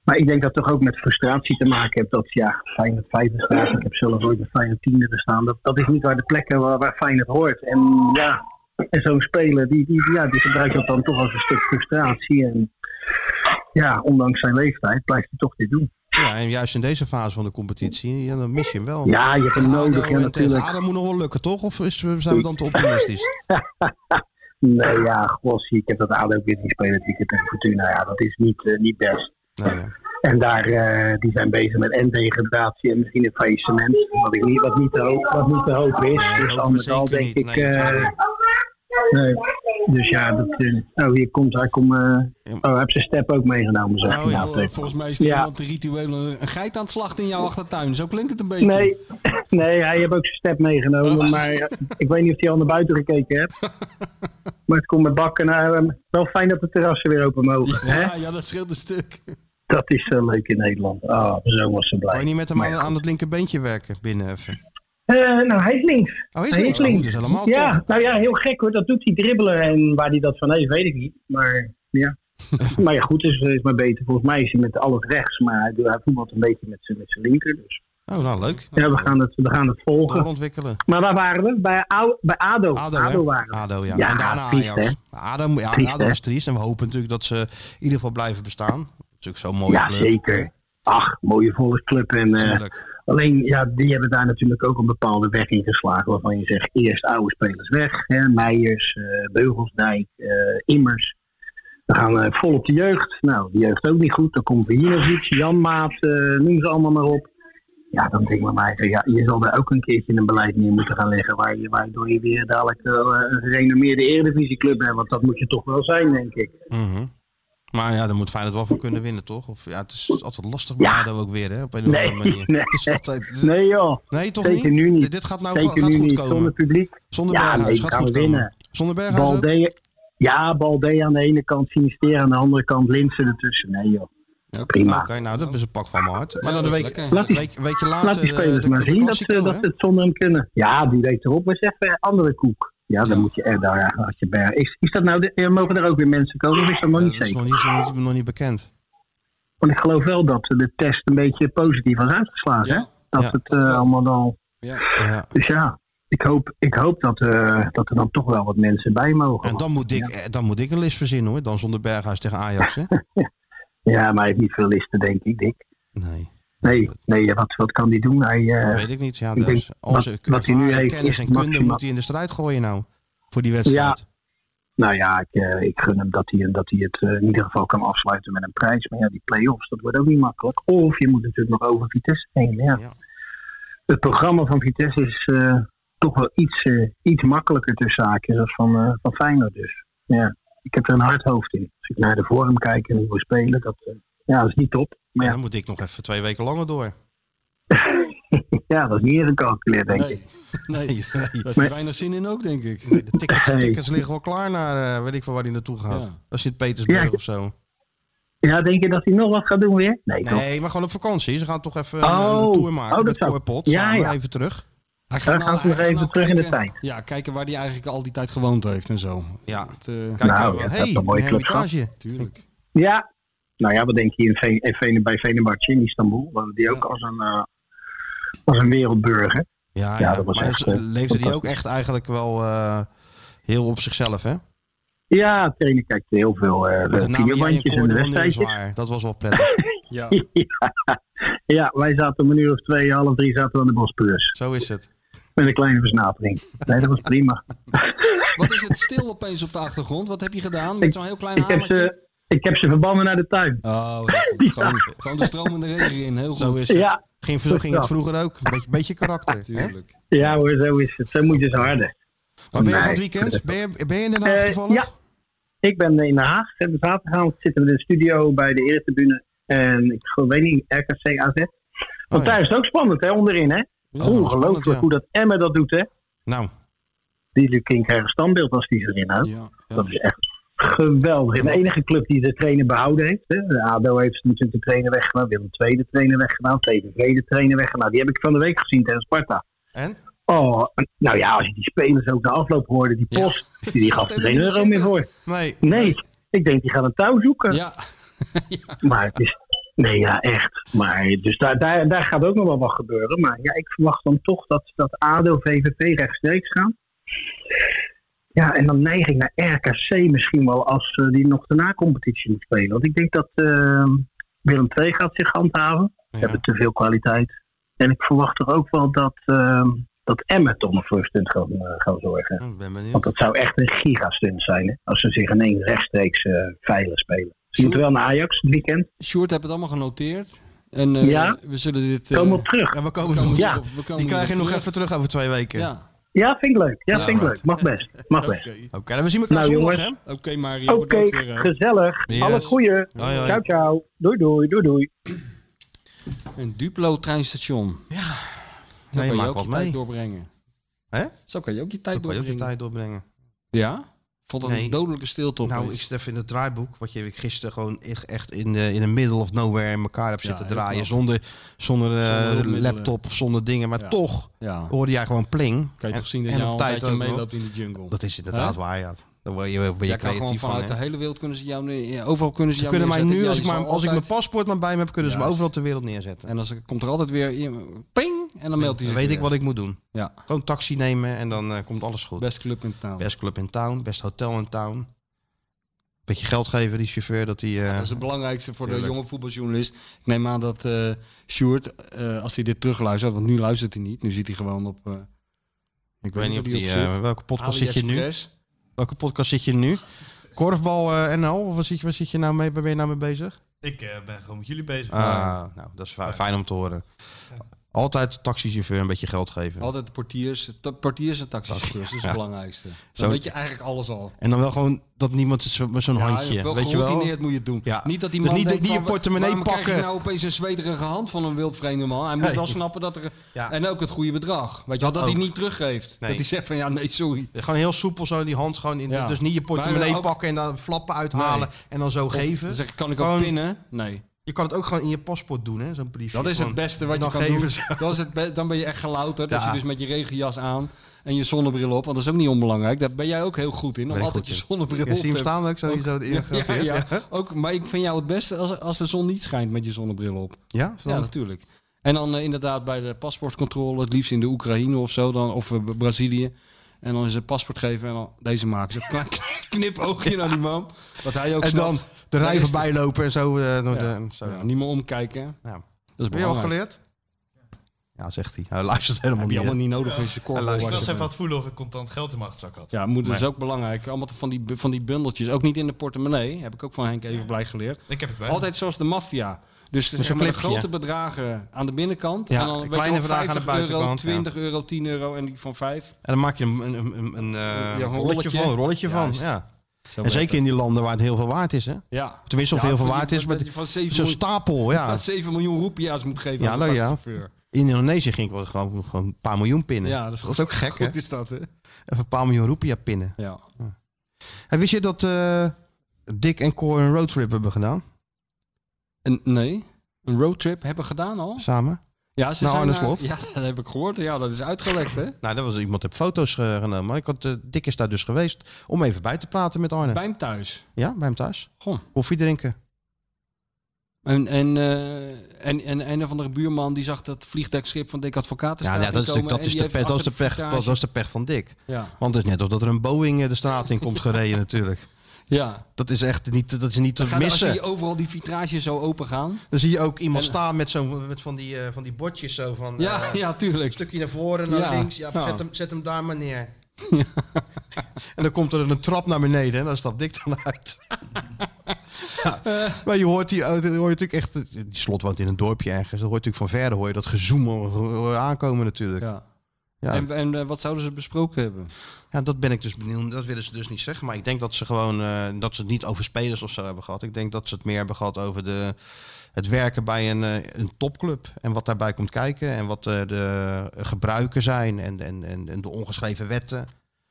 S11: Maar ik denk dat het toch ook met frustratie te maken heeft. Dat ja, Feyenoord vijfde staat. Ik heb zelf ooit een Feyenoord tiende gestaan. Dat, dat is niet waar de plekken waar, waar Feyenoord hoort. En ja, en zo'n speler, die, die, ja, die gebruikt dat dan toch als een stuk frustratie. En ja, ondanks zijn leeftijd blijft hij toch dit doen.
S2: Ja, en juist in deze fase van de competitie, ja, dan mis je hem wel.
S11: Ja, je hebt hem
S2: Tegen
S11: nodig,
S2: ADO
S11: ja,
S2: en tegen
S11: natuurlijk.
S2: ADO moet nog wel lukken, toch? Of is, zijn we dan te optimistisch?
S11: Nee, ja, Grossi, ik heb dat ADO weer niet spelen dit weekend tegen Fortuna. Ja, dat is niet, eh, niet best. En daar, eh, die zijn bezig met en degradatie en misschien een faillissement. Wat, ik niet, wat, niet, te hoop, wat niet te hoop is. dus al met al denk ik... eh, nee. Dus ja, dat, eh, oh, hier komt, hij komt... eh oh, heb zijn step ook meegenomen, zeg
S3: Nou,
S11: je
S3: joh,
S11: nou, tegen.
S3: volgens mij is er
S11: Ja.
S3: iemand ritueel een een geit aan het slachten in jouw achtertuin. Zo klinkt het een beetje.
S11: Nee, nee, hij heeft ook zijn step meegenomen.
S3: Oh.
S11: maar eh, ik weet niet of hij al naar buiten gekeken heeft. maar het komt met bakken. Nou, eh, wel fijn dat de terrassen weer open mogen. Hè?
S3: Ja, ja, dat scheelt een stuk.
S11: Dat is zo leuk in Nederland. Ah, zo was ze blij.
S2: Kan je niet met hem
S11: Maar
S2: aan,
S11: ja,
S2: aan het linkerbeentje werken binnen even?
S11: Eh, nou, hij is links.
S2: Oh, hij is
S11: hij
S2: links.
S11: Is links.
S2: Oh, dat is helemaal
S11: ja,
S2: top.
S11: nou ja, heel gek hoor. Dat doet hij dribbelen. En waar hij dat van heeft, weet ik niet. Maar ja. maar ja, goed, is, is maar beter. Volgens mij is hij met alles rechts. Maar hij, doet- hij voetbalt een beetje met zijn met zijn linker. Dus.
S2: Oh, nou leuk.
S11: Ja, we gaan het, we gaan het volgen.
S2: Doorontwikkelen.
S11: Maar waar waren we? Bij, Au- bij ADO.
S2: ADO,
S11: ADO
S2: hè?
S11: waren we.
S2: ADO, ja.
S11: Ja,
S2: En daarna
S11: triest,
S2: Ajax.
S11: hè?
S2: Maar ADO, moet- ja,
S11: Triest,
S2: ADO
S11: hè?
S2: is triest en we hopen natuurlijk dat ze in ieder geval blijven bestaan. Dat is natuurlijk zo'n mooie
S11: Ja,
S2: club.
S11: zeker. Ach, mooie volksclub. En, eh,
S2: Tuurlijk.
S11: alleen, ja, die hebben daar natuurlijk ook een bepaalde weg in geslagen. Waarvan je zegt, eerst oude spelers weg. Hè, Meijers, eh, Beugelsdijk, eh, Immers. We gaan eh, vol op de jeugd. Nou, de jeugd ook niet goed. Dan komt Vijinovic, Janmaat, eh noem ze allemaal maar op. Ja, dan denk ik bij mij, ja, je zal daar ook een keertje een beleid neer moeten gaan leggen. Waar je, waardoor je weer dadelijk eh, een gerenommeerde eredivisieclub hebt. Want dat moet je toch wel zijn, denk ik.
S2: Mhm. Maar ja, daar moet Feyenoord wel voor kunnen winnen, toch? Of, ja, het is altijd lastig bij ADO ook weer, hè? Op een of andere manier.
S11: Nee,
S2: Het is altijd-
S11: nee joh.
S2: Nee, toch
S11: Zeker
S2: niet?
S11: nu niet.
S2: Dit- dit gaat nou-
S11: Zeker
S2: Oh, gaat
S11: nu
S2: goed
S11: niet.
S2: komen.
S11: Zonder publiek.
S2: Zonder
S11: ja,
S2: Berghuis,
S11: nee,
S2: gaat
S11: gaan
S2: goed
S11: we
S2: komen.
S11: winnen.
S2: Zonder Berghuis ook?
S11: Balde- Ja, Balde aan de ene kant, Sinistera aan de andere kant, Linsen ertussen. Nee joh. Prima.
S2: Oké, nou, dat is een pak van mijn hart. Maar dan een
S11: dat is
S2: week,
S11: lekker. Laat
S2: een
S11: die-
S2: week, weekje later...
S11: Laat die
S2: eh,
S11: spelers
S2: de-
S11: maar
S2: de
S11: zien dat
S2: Classico,
S11: ze, dat
S2: hè?
S11: ze het zonder hem kunnen. Ja, die weet erop. Maar zeg, eh, andere koek. Ja, dan moet je er daar eigenlijk als je bij. Is, is dat nou de, eh, mogen er ook weer mensen komen? Of is dat nog niet
S2: Eh, Dat is
S11: zeker?
S2: nog niet, nog niet- nog niet bekend.
S11: Want ik geloof wel dat de test een beetje positief was uitgeslagen. hè? Dat
S2: Ja.
S11: het eh, allemaal al.
S3: Ja.
S11: Dus ja, ik hoop, ik hoop dat, eh, dat er dan toch wel wat mensen bij mogen.
S2: En dan moet ik, eh, dan moet ik een list verzinnen, hoor. Dan zonder Berghuis tegen Ajax, hè?
S11: Ja, maar hij heeft niet veel listen, denk ik, Dick.
S2: Nee.
S11: Nee, nee wat, wat kan hij doen? Hij, eh,
S2: Weet ik niet. Ja,
S11: ik
S2: dat
S11: denk
S2: is- al zijn
S11: wat, wat hij nu
S2: ervaring,
S11: heeft,
S2: kennis en
S11: is
S2: kunde
S11: maximaal-
S2: moet hij in de strijd gooien nou. Voor die wedstrijd.
S11: Nou ja, ik, eh, ik gun hem dat hij, dat hij het eh, in ieder geval kan afsluiten met een prijs. Maar ja, die play-offs, dat wordt ook niet makkelijk. Of je moet natuurlijk nog over Vitesse heen. Ja. Het programma van Vitesse is eh, toch wel iets, eh, iets makkelijker ter zake dan van, eh, van Feyenoord dus. Ja. Ik heb er een hard hoofd in. Als ik naar de vorm kijk en hoe we spelen, dat, eh, ja, dat is niet top. Maar
S2: Dan moet ik nog even twee weken langer door.
S11: ja, dat is niet ingecalculeerd, denk ik.
S3: Nee, daar heb je
S11: Maar-
S3: weinig zin in ook, denk ik.
S2: de tickets,
S11: Nee.
S2: tickets liggen wel klaar naar, eh, weet ik van waar hij naartoe gaat.
S3: Ja.
S2: Als Sint-Petersburg
S11: Ja, ik-
S2: of zo.
S11: Ja, denk je dat hij nog wat gaat doen weer? Nee, toch?
S2: Nee, maar gewoon op vakantie. Ze gaan toch even
S11: Oh.
S2: een, een tour maken
S11: Oh, dat
S2: met
S11: zou-
S2: Corpot.
S11: Ja,
S2: samen
S11: ja.
S2: even terug.
S3: Hij nou
S11: Dan gaan ze nog even terug in de
S3: kijken- Ja, kijken waar hij eigenlijk al die tijd gewoond heeft en zo.
S2: Ja.
S3: Het, eh,
S2: Kijk,
S11: Nou,
S2: nou,
S11: ja, dat
S2: hey,
S11: is een mooie
S2: een
S11: club,
S2: hermitage.
S3: Tuurlijk.
S11: Ja. Nou ja, wat denk je in Ve- in Vene- bij Venerbahce in Istanbul? Woonde die ook als een, eh, als een wereldburger.
S2: Ja,
S11: Ja,
S2: ja,
S11: dat was
S2: maar
S11: echt,
S2: dat-
S11: eh,
S2: leefde die ook
S11: fantastisch.
S2: echt eigenlijk wel eh, heel op zichzelf, hè?
S11: Ja, de trainer kijkt heel veel eh
S2: Met de naam jij en
S11: videobandjes en de
S2: Cordon is
S11: wedstrijdjes.
S2: waar. Dat was wel prettig.
S3: Ja.
S11: ja, wij zaten om een uur of twee, half drie zaten we aan de bospeurs.
S2: Zo is het.
S11: Met een kleine versnapering. Nee, dat was prima.
S3: Wat is het stil opeens op de achtergrond? Wat heb je gedaan met zo'n heel klein
S11: Ik heb,
S3: hamertje?
S11: ze, ik heb ze verbannen naar de tuin.
S2: eh,
S3: Oh, heel goed. Gewoon, gewoon de stromende regen in. Heel goed.
S2: Zo is het.
S11: Ja.
S2: Ging,
S11: Zo
S2: ging het
S11: is dat.
S2: vroeger ook. Beetje, beetje karakter. Hè?
S3: Tuurlijk.
S11: Ja hoor, zo is het. Zo moet je ze harden.
S2: Maar ben je van
S11: Nee.
S2: het weekend? Ben je, ben je in Den Haag
S11: Eh,
S2: toevallig?
S11: ja. Ik ben in Den Haag. We hebben zaterdagavond zitten we in de studio bij de Eretribune. En ik geloof- weet niet, RKC AZ. Want
S2: Oh, ja. Oh,
S11: daar is het ook spannend, hè, onderin, hè? Ongelooflijk
S2: spannend, ja.
S11: hoe dat Emmen dat doet, hè?
S2: Nou,
S11: Die Lukin krijgt een standbeeld als die erin houdt.
S3: Ja,
S11: Dat is echt geweldig. De enige club die de trainer behouden heeft. Hè? De ADO heeft natuurlijk de trainer weggedaan. Willem II de trainer weggedaan. VVV de trainer weggedaan. Die heb ik van de week gezien tegen Sparta.
S2: en?
S11: Oh, nou ja, als je die spelers ook de afloop hoorde, die post, die gaf er geen euro meer voor.
S2: Nee.
S11: Nee, ik denk die gaan een touw zoeken.
S3: Ja.
S11: Maar het is. Nee, ja, echt. Maar, dus daar, daar, daar gaat ook nog wel wat gebeuren. Maar ja, ik verwacht dan toch dat, dat ADO, VVV rechtstreeks gaan. Ja, en dan neig ik naar RKC misschien wel als eh, die nog de na-competitie moet spelen. Want ik denk dat eh, Willem II gaat zich handhaven. Ze hebben te veel kwaliteit. En ik verwacht er ook wel dat, eh, dat Emmet om een voorstunt gaan, eh, gaan zorgen.
S2: Ik ben
S11: Want
S2: benieuwd.
S11: dat zou echt een gigastunt zijn hè, als ze zich in één rechtstreeks eh veilig spelen. Ze moeten wel naar Ajax het weekend.
S3: Sjoerd heeft het allemaal genoteerd. En eh,
S11: Ja.
S3: we zullen dit... eh,
S11: Kom op terug.
S2: Ja, we
S3: we
S2: komen
S3: komen
S2: zo.
S3: erop. We komen
S2: Die krijg je
S3: erop
S2: nog
S3: terug.
S2: even terug over twee weken.
S3: Ja.
S11: Ja, vind ik leuk. Ja,
S2: Ja,
S11: vind ik
S2: hoor.
S11: leuk. Mag best. Mag best.
S3: Oké,
S2: Oké, dan we zien elkaar
S11: Nou,
S2: zondag, hè?
S11: jongens.
S3: Oké, Mario.
S11: Oké,
S3: bedankt weer. eh. hè.
S11: gezellig.
S2: eh, Yes.
S11: Alles goeie.
S2: Hoi, hoi.
S11: Ciao, ciao. Doei, doei, doei, doei.
S3: Een Duplo treinstation. Ja. Zo
S2: Nee,
S3: kan je
S2: maak
S3: ook
S2: wat
S3: je tijd
S2: mee.
S3: doorbrengen.
S2: Hè?
S3: Zo kan je ook je tijd
S2: Dan kan je ook je
S3: doorbrengen.
S2: tijd doorbrengen.
S3: Ja? Vond dat een
S2: Nee.
S3: dodelijke stilte op.
S2: Nou, ik zit even in het draaiboek. Wat je gisteren gewoon echt- echt in de, in de middle of nowhere in elkaar hebt
S3: Ja,
S2: zitten
S3: heel
S2: draaien.
S3: knap.
S2: Zonder, zonder, eh,
S3: hulpmiddelen.
S2: laptop of zonder dingen. Maar
S3: Ja.
S2: toch
S3: Ja.
S2: hoorde jij gewoon pling.
S3: Kan je
S2: Oh. En-
S3: toch zien dat
S2: en
S3: je
S2: op
S3: al een
S2: tijd
S3: tijdje
S2: ook nog.
S3: meeloopt in de jungle.
S2: Dat is inderdaad
S3: Hè?
S2: waar, ja. Dan word je, word je
S3: Jij kan gewoon
S2: creatief van,
S3: vanuit
S2: hè.
S3: de hele wereld kunnen ze jou nu- overal kunnen ze
S2: Ze
S3: jou
S2: kunnen mij nu,
S3: neerzetten. Ja,
S2: als,
S3: je
S2: ik, maar,
S3: zal
S2: als ik mijn
S3: altijd-
S2: paspoort maar bij me heb, kunnen ze me
S3: Juist.
S2: overal ter wereld neerzetten.
S3: En dan komt er altijd weer iemand- ping en dan meldt
S2: Dan
S3: hij zich
S2: weet ik
S3: weer.
S2: wat ik moet doen.
S3: Ja.
S2: Gewoon taxi nemen en dan eh, komt alles goed.
S3: Best club in town.
S2: Best club in town, best hotel in town. Beetje geld geven, die eh, chauffeur, dat hij...
S3: Dat is het belangrijkste voor de
S2: Tuurlijk.
S3: jonge voetbaljournalist. Ik neem aan dat eh Sjoerd, eh, als hij dit terugluistert, want nu luistert hij niet. Nu zit hij gewoon op... eh,
S2: ik weet niet of
S3: waar
S2: die...
S3: op
S2: eh,
S3: zit.
S2: welke podcast zit je nu?
S3: AliExpress.
S2: Welke podcast zit je nu? Korfbal eh, NL? Of waar zit, je- waar zit je nou mee, waar ben je nou mee bezig?
S10: Ik eh, ben gewoon met jullie bezig.
S2: Ah, nou, dat is fi- fijn om te horen. Altijd taxichauffeur een beetje geld geven.
S3: Altijd de portiers, ta- portiers en taxichauffeurs, dat is
S2: Ja.
S3: het belangrijkste. Dan
S2: Zo-
S3: weet je eigenlijk alles al.
S2: En dan wel gewoon dat niemand zo- met zo'n
S3: Ja,
S2: handje.
S3: wel
S2: weet je wel?
S3: geroutineerd moet je het doen.
S2: Ja.
S3: Niet dat die
S2: Dus
S3: man
S2: niet,
S3: denkt
S2: niet je
S3: van,
S2: portemonnee
S3: waarom
S2: pakken.
S3: krijg je nou opeens een zwederige hand van een wildvreemde man? Hij moet
S2: Nee.
S3: wel snappen dat er... En ook het goede bedrag. Weet je wel, dat
S2: Ook.
S3: hij niet teruggeeft.
S2: Nee.
S3: Dat hij zegt van, ja, nee, sorry.
S2: Gewoon heel soepel zo die hand gewoon in.
S3: Ja.
S2: Dus niet je portemonnee
S3: Maar ook-
S2: pakken en dan flappen uithalen
S3: Nee.
S2: en dan zo
S3: Of
S2: geven.
S3: zeg, kan ik ook
S2: Gewoon-
S3: pinnen? Nee.
S2: Je kan het ook gewoon in je paspoort doen, hè? Zo'n briefje.
S3: Dat is het
S2: Gewoon,
S3: beste wat je
S2: dan
S3: kan
S2: geven
S3: doen.
S2: ze-
S3: Dat is het be- dan ben je echt gelouterd.
S2: Ja.
S3: Als je dus met je regenjas aan en je zonnebril op. Want dat is ook niet onbelangrijk. Daar ben jij ook heel goed in. Om
S2: Ben ik
S3: altijd je
S2: goed in.
S3: zonnebril
S2: Ja,
S3: op te
S2: zie je hem
S3: hebben.
S2: staan ook zo, hier zo in-
S3: ja, ja, ja.
S2: Ja.
S3: Ook, maar ik vind jou het beste als, als de zon niet schijnt met je zonnebril op.
S2: Ja? Zo.
S3: Ja, natuurlijk. En dan eh, inderdaad bij de paspoortcontrole. Het liefst in de Oekraïne of zo. Dan, of eh, Brazilië. En dan is het paspoort geven en dan deze maken. Zo'n klein knipoogje naar die man. Wat hij ook
S2: En dan
S3: snapt.
S2: de
S3: Daar
S2: rij
S3: is het.
S2: voorbij lopen en zo. eh, door
S3: Ja.
S2: de, zo.
S3: Ja, niet meer omkijken.
S2: Ja.
S3: Dat is
S2: Heb je al
S3: belangrijk.
S2: geleerd? Ja, zegt hij. Hij luistert helemaal
S3: Heb
S2: niet.
S3: je
S2: hè?
S3: allemaal niet nodig voor je score.
S2: Hij
S10: Ik
S2: luistert
S10: was even
S2: helemaal
S10: aan het voelen of ik contant geld in mijn achterzak had.
S3: Ja, moet, dat is
S10: Maar
S3: ook belangrijk. Allemaal van die, bu- van die bundeltjes. Ook niet in de portemonnee. Heb ik ook van Henk even blij geleerd.
S10: Ik heb het bij. me.
S3: Altijd zoals de maffia. Dus
S2: Met
S3: zeg
S2: zo'n
S3: maar, de
S2: clipje.
S3: grote bedragen aan de binnenkant.
S2: Ja,
S3: en dan
S2: de
S3: weet
S2: kleine
S3: je wel,
S2: bedragen aan de
S3: 50 euro,
S2: buitenkant, ja.
S3: 20 euro, 10 euro en die van 5.
S2: En dan maak je een, een, een, een, eh,
S3: een
S2: rolletje,
S3: rolletje.
S2: van. Een rolletje van.
S3: Juist.
S2: Ja.
S3: Zo
S2: En
S3: werkt
S2: zeker
S3: het.
S2: in die landen waar het heel veel waard is, hè?
S3: Ja.
S2: Tenminste, of
S3: Ja,
S2: heel veel
S3: van
S2: waard
S3: die-
S2: is. Maar
S3: dat je van zeven
S2: zo'n
S3: miljoen-
S2: stapel, ja.
S3: Van 7 miljoen roepia's moet geven
S2: Ja,
S3: aan de
S2: leuk, ja.
S3: taxichauffeur.
S2: In Indonesië ging ik wel gewoon, gewoon een paar miljoen pinnen.
S3: Ja, dat is, goed.
S2: ook gek,
S3: Goed
S2: hè?
S3: is dat, hè?
S2: Even een paar miljoen roepia pinnen.
S3: Ja.
S2: En wist je dat eh, Dick en Cor een roadtrip hebben gedaan?
S3: En, nee, een roadtrip hebben we gedaan al.
S2: Samen?
S3: Ja, ze
S2: Nou, Arne
S3: zijn naar-
S2: Slot.
S3: Ja, dat heb ik gehoord. Ja, dat is uitgelekt, hè?
S2: Nou, dat was, iemand heeft foto's eh, genomen. Maar ik had, eh, Dick is daar dus geweest om even bij te praten met Arne.
S3: Bij hem thuis.
S2: Ja, bij hem thuis.
S3: Goh.
S2: Koffie drinken.
S3: En, en, eh, en, en een of andere buurman die zag dat vliegdekschip van Dick Advocaat te
S2: Ja,
S3: staan
S2: ja, dat is,
S3: komen
S2: natuurlijk- dat,
S3: en
S2: is
S3: die
S2: de
S3: heeft
S2: pech, dat, is
S3: achter
S2: de pech, dat,
S3: vertraging-
S2: dat is de pech van Dick.
S3: Ja.
S2: Want het is net alsof er een Boeing eh, de straat in komt gereden natuurlijk.
S3: Ja.
S2: Dat is echt niet, dat is niet
S3: Dan
S2: te
S3: gaan- dan
S2: missen.
S3: zie je overal die vitrages zo open gaan.
S2: Dan zie je ook iemand
S3: En-
S2: staan met, zo'n met van, die, eh, van die bordjes zo van...
S3: Ja,
S2: eh,
S3: ja,
S2: Een
S3: tuurlijk.
S2: stukje naar voren, naar
S3: Ja,
S2: links. Ja,
S3: ja.
S2: Zet, hem, zet hem daar maar neer. en dan komt er een trap naar beneden en dan stapt Dick dan uit. Ja,
S3: Eh.
S2: Maar je hoort, die, auto- hoor je natuurlijk echt... Die slot woont in een dorpje ergens. Dan hoor je natuurlijk van verder hoor je dat gezoem hoor je aankomen natuurlijk.
S3: Ja.
S2: Ja.
S3: En, en eh, wat zouden ze besproken hebben?
S2: Ja, dat ben ik dus benieuwd. Dat willen ze dus niet zeggen. Maar ik denk dat ze gewoon eh, dat ze het niet over spelers of zo hebben gehad. Ik denk dat ze het meer hebben gehad over de, het werken bij een, eh, een topclub. En wat daarbij komt kijken. En wat eh, de gebruiken zijn. En, en, en, en de ongeschreven wetten.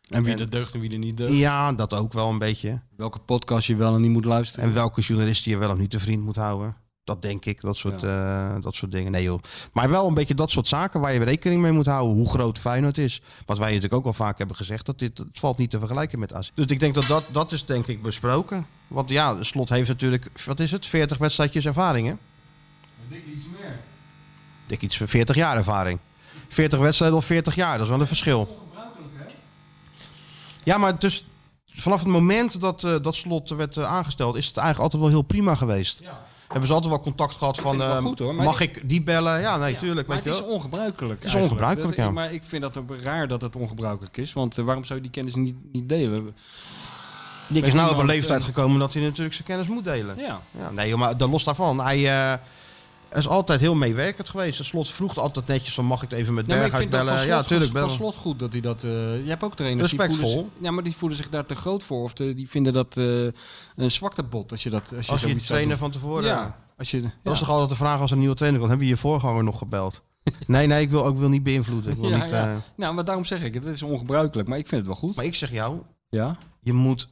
S3: En wie
S2: En-
S3: er deugt en wie er niet deugt.
S2: Ja, dat ook wel een beetje.
S3: Welke podcast je wel en niet moet luisteren.
S2: En welke journalisten je wel of niet te vriend moet houden. Dat denk ik, dat soort, eh, dat soort dingen. Nee joh. Maar wel een beetje dat soort zaken waar je rekening mee moet houden. Hoe groot Feyenoord is. Wat wij natuurlijk ook al vaak hebben gezegd. Dat dit, het valt niet te vergelijken met AZ. Dus ik denk dat, dat dat is denk ik besproken. Want ja, Slot heeft natuurlijk, wat is het? 40 wedstrijdjes ervaring hè?
S3: Dick iets meer.
S2: Ik denk iets van 40 jaar ervaring. 40 wedstrijden of 40 jaar, dat is wel een verschil. Ja, maar dus vanaf het moment dat eh, dat slot werd eh, aangesteld, is het eigenlijk altijd wel heel prima geweest. Hebben ze altijd wel contact gehad van,
S3: vind het wel
S2: eh,
S3: goed, hoor, maar
S2: mag
S3: dit-
S2: ik die bellen? Ja, nee,
S3: Ja,
S2: tuurlijk.
S3: Maar
S2: weet
S3: het
S2: je
S3: is
S2: wel.
S3: ongebruikelijk.
S2: Het is
S3: eigenlijk.
S2: ongebruikelijk,
S3: Dat-
S2: ja.
S3: Maar ik vind dat ook raar dat het ongebruikelijk is. Want eh, waarom zou je die kennis niet, niet delen?
S2: Nick
S3: Met
S2: is nou op een
S3: iemand,
S2: leeftijd
S3: eh,
S2: gekomen dat hij natuurlijk zijn kennis moet delen.
S3: Ja.
S2: Ja, nee, joh, maar dan los daarvan. Hij eh, is altijd heel meewerkend geweest. Het slot vroeg altijd netjes van, mag ik het even met
S3: Ja, maar ik
S2: Berghuis
S3: vind dat
S2: bellen?
S3: van
S2: Ja,
S3: Slot-
S2: tuurlijk
S3: van
S2: bellen.
S3: slot goed dat hij dat. eh, je hebt ook trainers die
S2: Respectvol.
S3: voelen, zich- ja, maar die voelen zich daar te groot voor of te- die vinden dat eh, een zwaktebot als je dat als je,
S2: Als je
S3: zoiets zou
S2: trainer
S3: doen.
S2: van tevoren-
S3: Ja, als je.
S2: Dat is
S3: ja.
S2: toch altijd de vraag als er een nieuwe trainer komt. Hebben we je voorganger nog gebeld? Nee, nee, ik wil ook wil niet beïnvloeden. Ik wil
S3: Ja,
S2: niet,
S3: ja.
S2: eh,
S3: Nou, maar daarom zeg ik, het is ongebruikelijk, maar ik vind het wel goed.
S2: Maar ik zeg jou,
S3: Ja,
S2: je moet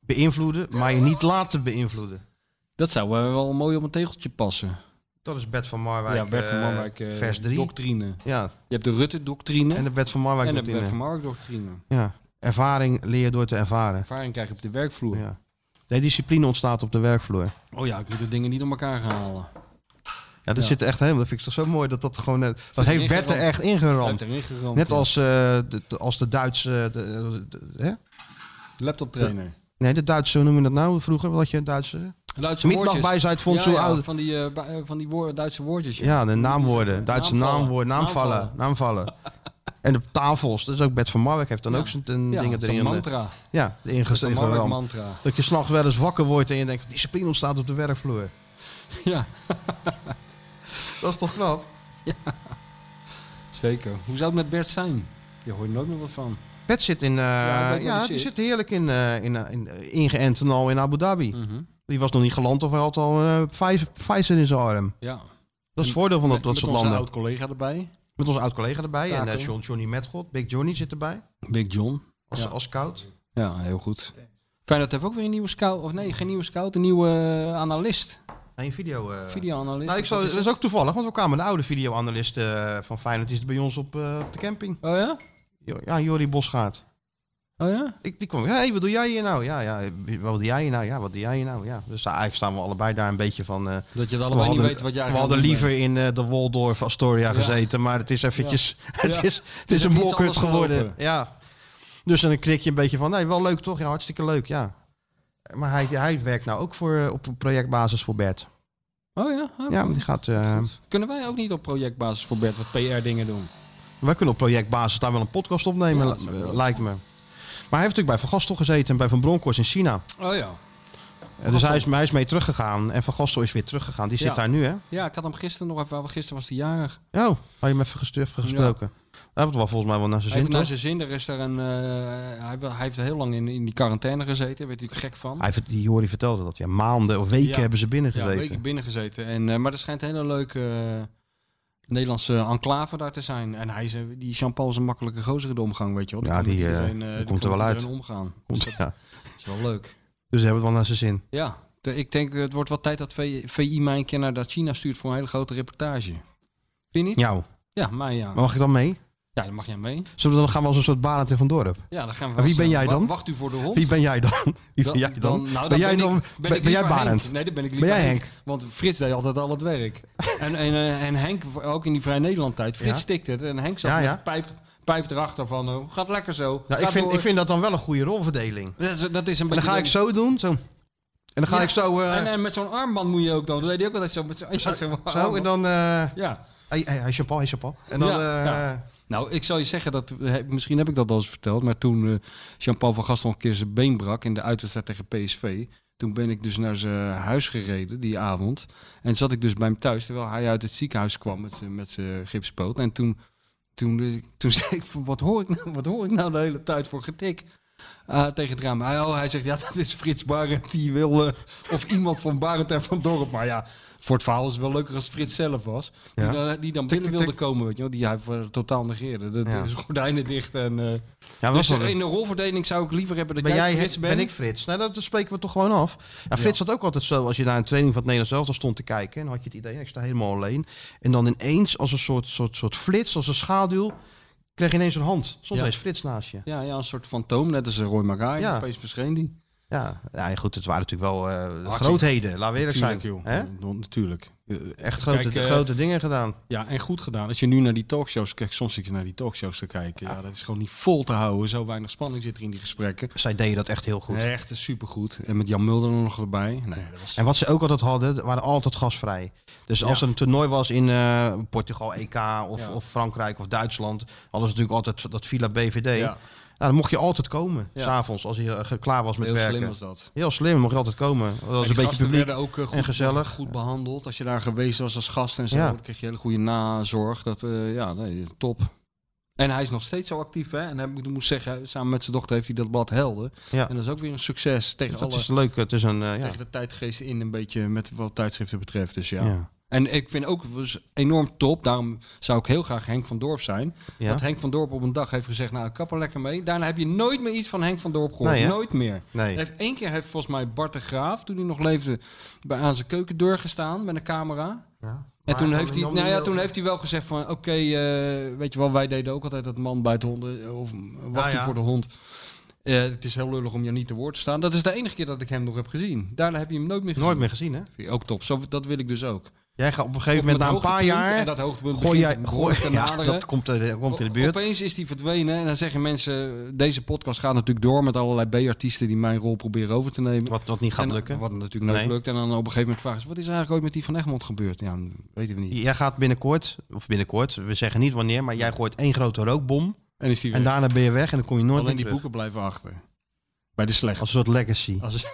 S2: beïnvloeden, maar je niet laten beïnvloeden.
S3: dat zou eh, wel mooi op een tegeltje passen.
S2: Dat is Bert van Marwijk,
S3: ja, Bert van
S2: eh,
S3: Marwijk, eh,
S2: vers 3.
S3: doctrine.
S2: Ja,
S3: Je hebt de Rutte-doctrine
S2: en de Bert van Marwijk
S3: en de
S2: doctrine.
S3: Bert van Marwijk-doctrine.
S2: Ja, ervaring leer je door te ervaren.
S3: Ervaring krijg je op de werkvloer.
S2: Ja. De discipline ontstaat op de werkvloer.
S3: Oh ja, ik moet de dingen niet om elkaar gaan halen.
S2: Ja, dat
S3: Ja.
S2: zit echt helemaal. Dat vind ik toch zo mooi dat dat gewoon net. Dat
S3: er
S2: heeft Bert er
S3: ingeramd.
S2: echt ingeramd.
S3: Heeft er ingeramd,
S2: Net
S3: ja.
S2: als, eh, de, de- als de Duitse. eh, de- de- de- hè?
S3: Laptoptrainer.
S2: Nee, de Duitse, hoe noem je dat nou? Vroeger wat je een Duitse.
S3: Duitse
S2: Mietlag
S3: woordjes.
S2: bij zijn vond
S3: Ja,
S2: zo
S3: ja,
S2: oud.
S3: Van die, eh, ba- eh, van die woor- Duitse woordjes.
S2: Ja, de naamwoorden. Duitse
S3: Naamvallen.
S2: naamwoorden. Naamvallen. Naamvallen. En de tafels. Dat is ook Bert van Marwijk heeft dan ook zijn ten-
S3: Ja,
S2: dingen
S3: zo'n
S2: erin. eh,
S3: mantra.
S2: Ja, de ingestegen
S3: Marwijk
S2: ramp.
S3: mantra.
S2: Dat je s'nachts wel eens wakker wordt en je denkt, discipline ontstaat op de werkvloer.
S3: Ja.
S2: Dat is toch knap?
S3: Zeker. Hoe zou het met Bert zijn? Je hoort nooit meer wat van.
S2: Pet zit in, eh,
S3: Ja,
S2: ja,
S3: dat wel die
S2: die
S3: shit.
S2: zit heerlijk in, eh, in, eh, in, eh, ingeënt en al in Abu Dhabi.
S3: Mhm.
S2: Die was nog niet geland of hij had al eh, Pfizer Pfizer in zijn arm.
S3: Ja.
S2: Dat is het voordeel van dat,
S3: Met-
S2: dat
S3: met
S2: soort
S3: onze
S2: landen.
S3: oud-collega erbij.
S2: Met onze oud-collega erbij. En
S3: Taco.
S2: eh, John, Johnny Metgold, Big Johnny zit erbij.
S3: Big John.
S2: Als,
S3: Ja.
S2: als scout.
S3: Ja, heel goed. Feyenoord heeft ook weer een nieuwe scout. Of nee, geen nieuwe scout. Een nieuwe eh, analist.
S2: Een video. eh,
S3: Videoanalist.
S2: Nou, ik zal,
S3: Wat
S2: dat is
S3: het?
S2: ook toevallig, want we kwamen een oude videoanalist eh, van Feyenoord. Die zit bij ons op, eh, op de camping.
S3: Oh ja?
S2: Ja, Jordi Bosgaard.
S3: Oh ja?
S2: Ik, die kwam, hé, hey, wat doe jij hier nou? Ja, ja, wat doe jij hier nou? Ja, wat doe jij hier nou? Ja, dus eigenlijk staan we allebei daar een beetje van... eh,
S3: Dat je het
S2: we
S3: allebei niet
S2: hadden-
S3: weet wat jij
S2: We
S3: eigenlijk
S2: hadden
S3: aan het doen
S2: liever in eh, de Waldorf Astoria
S3: Ja.
S2: gezeten, maar het is eventjes...
S3: Ja.
S2: Het,
S3: Ja. Dus
S2: Is,
S3: Het
S2: het
S3: is
S2: is een
S3: even iets
S2: blokhut
S3: anders
S2: geworden.
S3: gelopen.
S2: Ja. Dus dan knik je een beetje van, nee, wel leuk toch? Ja, hartstikke leuk, ja. Maar hij, hij werkt nou ook voor, eh, op een projectbasis voor Bert.
S3: Oh ja? Ah,
S2: Ja,
S3: oké.
S2: maar die gaat... eh,
S3: Kunnen wij ook niet op projectbasis voor Bert wat PR dingen doen?
S2: Wij kunnen op projectbasis daar wel een podcast opnemen,
S3: Ja, dat zou
S2: eh,
S3: ik wel.
S2: lijkt me. Maar hij heeft natuurlijk bij Van Gastel gezeten en bij Van Bronckhorst in China.
S3: Oh ja.
S2: Eh, Dus hij is, hij is mee teruggegaan en Van Gastel is weer teruggegaan. Die zit
S3: Ja.
S2: daar nu, hè?
S3: Ja, ik had hem gisteren nog even... Gisteren was hij jarig.
S2: Oh, had je hem even gestu- even gesproken? Hij heeft wel volgens mij wel naar zijn
S3: Hij
S2: zin,
S3: heeft naar
S2: toch?
S3: zijn zin. Er is daar een, eh, hij, wil- hij heeft heel lang in, in die quarantaine gezeten. Daar werd hij ook gek van.
S2: Hij, vert- die Jori vertelde dat. Ja, maanden of weken
S3: Ja.
S2: hebben ze binnen
S3: Ja,
S2: gezeten.
S3: weken binnen gezeten. En, eh, maar er schijnt een hele leuke eh, Nederlandse enclave daar te zijn. En hij is, eh, die Jean-Paul is een makkelijke gozer in de omgang, weet je wel.
S2: Ja,
S3: kan
S2: die,
S3: met
S2: eh,
S3: iedereen, eh,
S2: die
S3: die
S2: komt
S3: kan
S2: er wel
S3: met
S2: uit.
S3: iedereen omgaan. Dus
S2: Komt, ja.
S3: Dat is wel leuk.
S2: Dus ze hebben het wel naar zijn zin.
S3: Ja, te- ik denk eh, het wordt wel tijd dat V- VI mij een keer naar dat China stuurt voor een hele grote reportage. Vind je niet?
S2: Jou.
S3: Ja, mij ja.
S2: Maar mag ik dan mee?
S3: Ja, dan mag jij mee.
S2: Zullen we dan gaan we als een soort Barend in Van Dorp?
S3: Ja, dan gaan we
S2: Maar wie ben
S3: wel eens,
S2: jij
S3: eh,
S2: dan?
S3: wa- Wacht u voor de hond.
S2: Wie ben jij dan? Wie ben
S3: Dan-
S2: jij dan?
S3: nou, dan
S2: ben jij
S3: ik-
S2: dan?
S3: ben,
S2: ben-
S3: ik
S2: ben jij
S3: liever
S2: Barend?
S3: Henk. Nee, dan ben ik
S2: Ben
S3: liever
S2: jij
S3: Henk. Want Frits deed altijd al het werk. En, en, eh, en Henk, ook in die Vrij Nederland tijd, Frits
S2: Ja.
S3: stikte het. En Henk zat
S2: Ja,
S3: met
S2: ja.
S3: de pijp, pijp erachter van, oh, gaat lekker zo.
S2: Nou, ik,
S3: Gaat
S2: vind,
S3: door.
S2: ik vind dat dan wel een goede rolverdeling.
S3: Dat is, dat is
S2: En dan
S3: een beetje...
S2: ga ik zo doen. Zo. En dan ga
S3: Ja.
S2: ik zo... eh,
S3: En, en met zo'n armband moet je ook dan. Dat deed hij ook altijd zo. Met zo, ja, zo'n
S2: Zo, en
S3: armband.
S2: dan... eh
S3: Ja.
S2: Hey, hey, hey, Jean-Paul, hey, Jean-Paul. En dan...
S3: Ja,
S2: eh,
S3: ja. Nou, ik zal je zeggen dat, eh, misschien heb ik dat al eens verteld, maar toen eh, Jean-Paul van Gastel een keer zijn been brak in de uitwedstrijd tegen PSV, toen ben ik dus naar zijn huis gereden die avond. En zat ik dus bij hem thuis, terwijl hij uit het ziekenhuis kwam met zijn- met zijn gipspoot. En toen, toen, eh, toen zei ik, van, wat hoor ik, nou, wat hoor ik nou de hele tijd voor getik? eh, tegen het raam. Hij, oh, hij zegt, ja, dat is Frits Barend. Die wil, eh, of iemand van Barend en van Dorp. Maar ja, voor het verhaal is het wel leuker als Frits zelf was. Die,
S2: Ja.
S3: dan- die dan
S2: Tik, tik,
S3: binnen
S2: tik.
S3: wilde komen, weet je wel. Die hij eh, totaal negeerde. De,
S2: Ja.
S3: de gordijnen dicht. En, eh,
S2: Ja, was
S3: dus
S2: wel een-
S3: in de rolverdeling zou ik liever hebben dat
S2: ben
S3: jij
S2: jij
S3: Frits bent.
S2: Ben ik Frits? Nou, dat spreken we toch gewoon af. Ja, Frits had ook altijd zo, als je naar een training van het Nederlands elftal stond te kijken... en had je het idee, ik sta helemaal alleen. En dan ineens, als een soort, soort, soort flits, als een schaduw... kreeg je ineens een hand. Soms
S3: Ja.
S2: ineens Frits naast je.
S3: Ja, ja, een soort fantoom, net als eh, Roy Magai.
S2: Ja.
S3: Opeens verscheen die.
S2: Ja, ja en goed, het waren natuurlijk wel eh,
S3: Hartstikke-
S2: grootheden. Laten we eerlijk zijn.
S3: Tuurlijk, joh.
S2: Hè?
S3: Ja, Natuurlijk.
S2: Echt grote,
S3: Kijk, eh,
S2: grote dingen gedaan.
S3: Ja, en goed gedaan. Als je nu naar die talkshows kijkt, soms zit je naar die talkshows te kijken. Ja, dat is gewoon niet vol te houden. Zo weinig spanning zit er in die gesprekken.
S2: Zij deden dat echt heel goed.
S3: Nee, Echt supergoed. En met Jan Mulder er nog erbij. Nee, dat was...
S2: En wat ze ook altijd hadden, waren altijd gasvrij. Dus als
S3: Ja.
S2: er een toernooi was in eh, Portugal, EK of,
S3: Ja.
S2: of Frankrijk of Duitsland, hadden ze natuurlijk altijd dat Villa BVD.
S3: Ja.
S2: Nou, dan mocht je altijd komen,
S3: Ja.
S2: s'avonds, als je eh, ge- klaar was met
S3: Heel slim
S2: werken.
S3: was dat.
S2: Heel slim, mocht je altijd komen. Dat was
S3: En
S2: een
S3: die
S2: beetje
S3: gasten
S2: publiek
S3: werden ook eh, goed,
S2: en gezellig.
S3: goed behandeld. Als je daar geweest was als gast en zo,
S2: Ja.
S3: dan kreeg je hele goede nazorg. Dat, eh, ja, nee, top. En hij is nog steeds zo actief, hè? En hij moet- moet zeggen, samen met zijn dochter heeft hij dat blad Helden.
S2: Ja.
S3: En dat is ook weer een succes tegen
S2: Dus dat
S3: alle...
S2: is leuk. Het is een, eh, ja.
S3: tegen de tijdgeest in een beetje met wat tijdschriften betreft. Dus ja.
S2: Ja.
S3: En ik vind ook het was enorm top. Daarom zou ik heel graag Henk van Dorp zijn.
S2: Ja.
S3: Want Henk van Dorp op een dag heeft gezegd: Nou, ik kap er lekker mee. Daarna heb je nooit meer iets van Henk van Dorp gehoord.
S2: Nee, hè?
S3: nooit meer.
S2: Nou Nee.
S3: Hij Heeft, één keer heeft volgens mij Bart de Graaf, toen hij nog leefde, bij, aan zijn keukendeur gestaan met een camera. En
S2: Maar
S3: toen
S2: dan
S3: heeft, hij,
S2: nam
S3: nou
S2: hij
S3: ja,
S2: wel-
S3: toen heeft hij wel gezegd van, oké, eh, weet je wel, wij deden ook altijd dat man bij het honden, of wacht
S2: Ja,
S3: u
S2: ja.
S3: voor de hond. Eh, het is heel lullig om je niet te woord te staan. Dat is de enige keer dat ik hem nog heb gezien. Daarna heb je hem nooit meer gezien.
S2: Nooit meer gezien, hè?
S3: Vind ik Ook top, Zo, dat wil ik dus ook.
S2: Jij gaat op een gegeven
S3: Op
S2: moment na een
S3: het
S2: paar
S3: hoogtepunt,
S2: jaar.
S3: en dat hoogtepunt
S2: gooi jij,
S3: begint
S2: gooi,
S3: behoorlijk te
S2: ja,
S3: naderen.
S2: dat komt, eh, komt in de
S3: O-
S2: buurt.
S3: Opeens is die verdwenen en dan zeggen mensen, deze podcast gaat natuurlijk door met allerlei B-artiesten die mijn rol proberen over te nemen.
S2: Wat, wat niet gaat
S3: En-
S2: lukken.
S3: Wat natuurlijk nooit
S2: Nee.
S3: lukt. En dan op een gegeven moment vragen ze, wat is er eigenlijk ooit met die Van Egmond gebeurd? Ja, dat weten we niet.
S2: Jij gaat binnenkort, of binnenkort, we zeggen niet wanneer, maar jij gooit één grote rookbom.
S3: En is die
S2: En
S3: weg.
S2: daarna ben je weg en dan kom je nooit
S3: Alleen
S2: meer
S3: die
S2: terug.
S3: boeken blijven achter. Bij de slechte.
S2: Als een soort legacy.
S3: Als,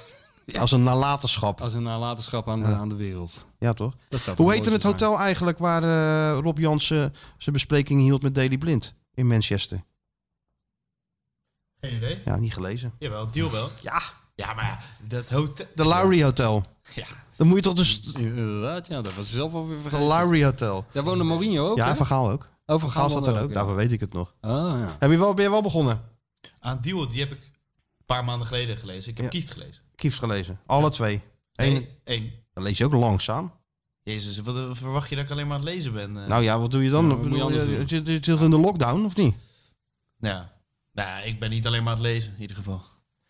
S2: Als een nalatenschap.
S3: Als een nalatenschap aan, de, aan de wereld.
S2: Ja, toch?
S3: Oh. Dat zou toch
S2: Hoe
S3: mooi
S2: heette het
S3: zijn.
S2: hotel eigenlijk waar eh, Rob Jansen zijn bespreking hield met Daily Blind in Manchester?
S12: Geen idee.
S2: Ja, niet gelezen.
S12: Jawel, het deal wel.
S2: Ja.
S12: Ja, maar ja, dat hotel...
S2: De Lowry Hotel.
S12: Ja.
S2: Dan moet je toch dus...
S3: Inderdaad, ja, dat was ik zelf alweer
S2: De
S3: vergeten.
S2: Lowry Hotel.
S3: Daar woonde Mourinho ook,
S2: Ja,
S3: hè?
S2: Van Gaal ook.
S3: Gaal
S2: Van Gaal zat
S3: woonde
S2: daar ook.
S3: ook, ja.
S2: Daarvoor weet ik het nog.
S3: Ah, ja.
S2: Heb je wel, ben je wel begonnen?
S12: Aan Deal, die heb ik een paar maanden geleden gelezen. Ik heb
S2: Ja.
S12: Kieft gelezen.
S2: Kiefs gelezen. Alle twee. Eén.
S12: Nee, één.
S2: Dan lees je ook langzaam.
S12: Jezus, wat eh, verwacht je dat ik alleen maar aan het lezen ben? eh?
S2: Nou ja, wat doe je dan?
S12: Ja, wat moet je anders doen?
S2: Zit je toch in de lockdown, of niet?
S12: Ja. Nou, ik ben niet alleen maar aan het lezen, in ieder geval.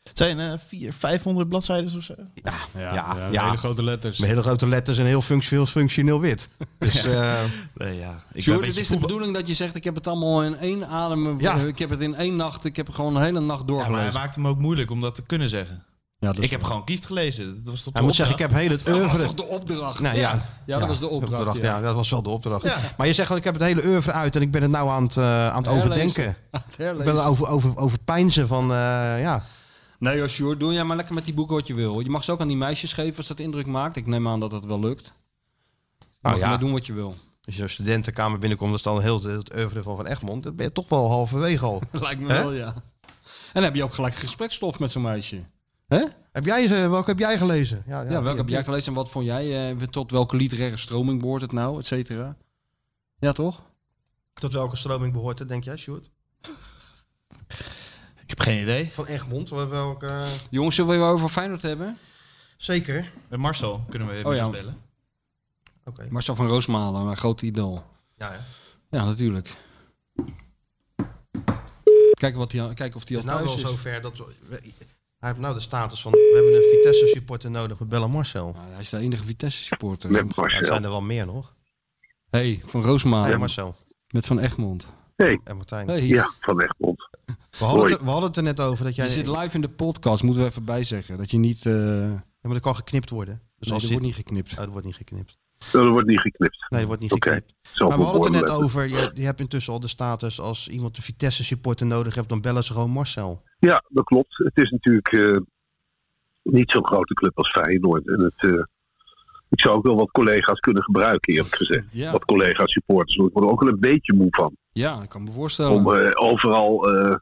S12: Het zijn eh 400, 500 bladzijden of zo.
S2: Ja,
S3: Ja, ja, met hele grote letters.
S2: Met hele grote letters en heel functioneel, functioneel wit. Dus, eh,
S12: Nee, ja. Ik ben een beetje
S3: Sjoerd, het is de
S12: voetbal-
S3: bedoeling dat je zegt, ik heb het allemaal in één adem, eh,
S12: Ja.
S3: ik heb het in één nacht, ik heb er gewoon een hele nacht
S12: Ja, maar hij
S3: doorgelezen.
S12: maakt hem ook moeilijk om dat te kunnen zeggen.
S3: Ja, dat is
S12: ik heb
S3: waar.
S12: gewoon Kieft gelezen. Dat was toch
S2: Hij
S12: de
S2: moet zeggen, ik heb
S12: opdracht?
S2: heel het
S3: Ja, maar
S2: oeuvre...
S3: dat was toch de opdracht?
S2: Nou, ja.
S3: Ja. Ja, dat was de opdracht,
S2: ja.
S3: ja.
S2: dat was wel de opdracht.
S3: Ja.
S2: Maar je zegt, wel, ik heb het hele oeuvre uit en ik ben het nou aan het, eh, aan het
S3: Herlezen.
S2: overdenken.
S3: Aan het
S2: Ik
S3: herlezen.
S2: ben er over, over, over pijnzen van, eh, ja...
S3: Nee, joh, Sjoerd, doe jij maar lekker met die boeken wat je wil. Je mag ze ook aan die meisjes geven als dat indruk maakt. Ik neem aan dat dat wel lukt. Je
S2: Nou
S3: mag
S2: ja.
S3: ermee doen wat je wil.
S2: Als je een studentenkamer binnenkomt, dat is dan heel heel het oeuvre van Van Egmond. Dan ben je toch wel halverwege al.
S3: Lijkt me
S2: Hè?
S3: wel, ja. En dan heb je ook gelijk gespreksstof met zo'n meisje.
S2: Heb jij, ze- welke heb jij gelezen? Ja,
S3: Ja, welke heb jij gelezen en wat vond jij? eh, tot welke literaire stroming behoort het nou, et cetera? Ja, toch?
S2: Tot welke stroming behoort het, denk jij, Sjoerd?
S12: Ik heb geen idee.
S2: Van Egmond, wel- welke...
S3: Jongens, zullen we het weer over Feyenoord hebben?
S2: Zeker.
S12: Met Marcel kunnen we weer
S3: Oh, ja.
S12: spelen.
S2: Oké.
S3: Marcel van Roosmalen, mijn grote idool.
S2: Ja, ja.
S3: Ja, natuurlijk. Kijken, wat die, al- kijken of die
S2: Het
S3: al
S2: is nou
S3: thuis
S2: wel
S3: is.
S2: zover dat... we- we- hij heeft nou de status van... We hebben een Vitesse-supporter nodig, we bellen Marcel.
S3: Nou, Hij is de enige Vitesse-supporter.
S2: Met Marcel. Er zijn er wel meer nog.
S3: hey, van Roosmalen.
S2: Ja, Marcel.
S3: Met Van Egmond.
S11: Hey.
S2: En Martijn.
S3: Hey.
S11: Ja, van Egmond.
S2: We hadden, het, we hadden het er net over dat jij...
S3: Je zit live in de podcast, moeten we even bijzeggen. Dat je niet...
S11: Dus
S3: eh
S2: Ja, maar dat kan geknipt worden. Dus
S3: nee,
S2: als
S3: er
S2: je-
S3: wordt niet geknipt.
S2: Oh, er wordt niet geknipt.
S11: Dat wordt niet geknipt.
S2: Nee, er wordt niet
S11: Oké.
S2: geknipt.
S11: Zo
S2: maar we hadden het er net
S11: verborgen.
S2: over. Je, je hebt intussen al de status als iemand de Vitesse-supporter nodig hebt, dan bellen ze gewoon Marcel.
S11: Ja, dat klopt. Het is natuurlijk eh, niet zo'n grote club als Feyenoord. En het, eh, ik zou ook wel wat collega's kunnen gebruiken, eerlijk gezegd.
S3: Ja.
S11: Wat collega's, supporters. Want ik word er ook wel een beetje moe van.
S3: Ja, ik kan me voorstellen.
S11: Om eh, overal eh,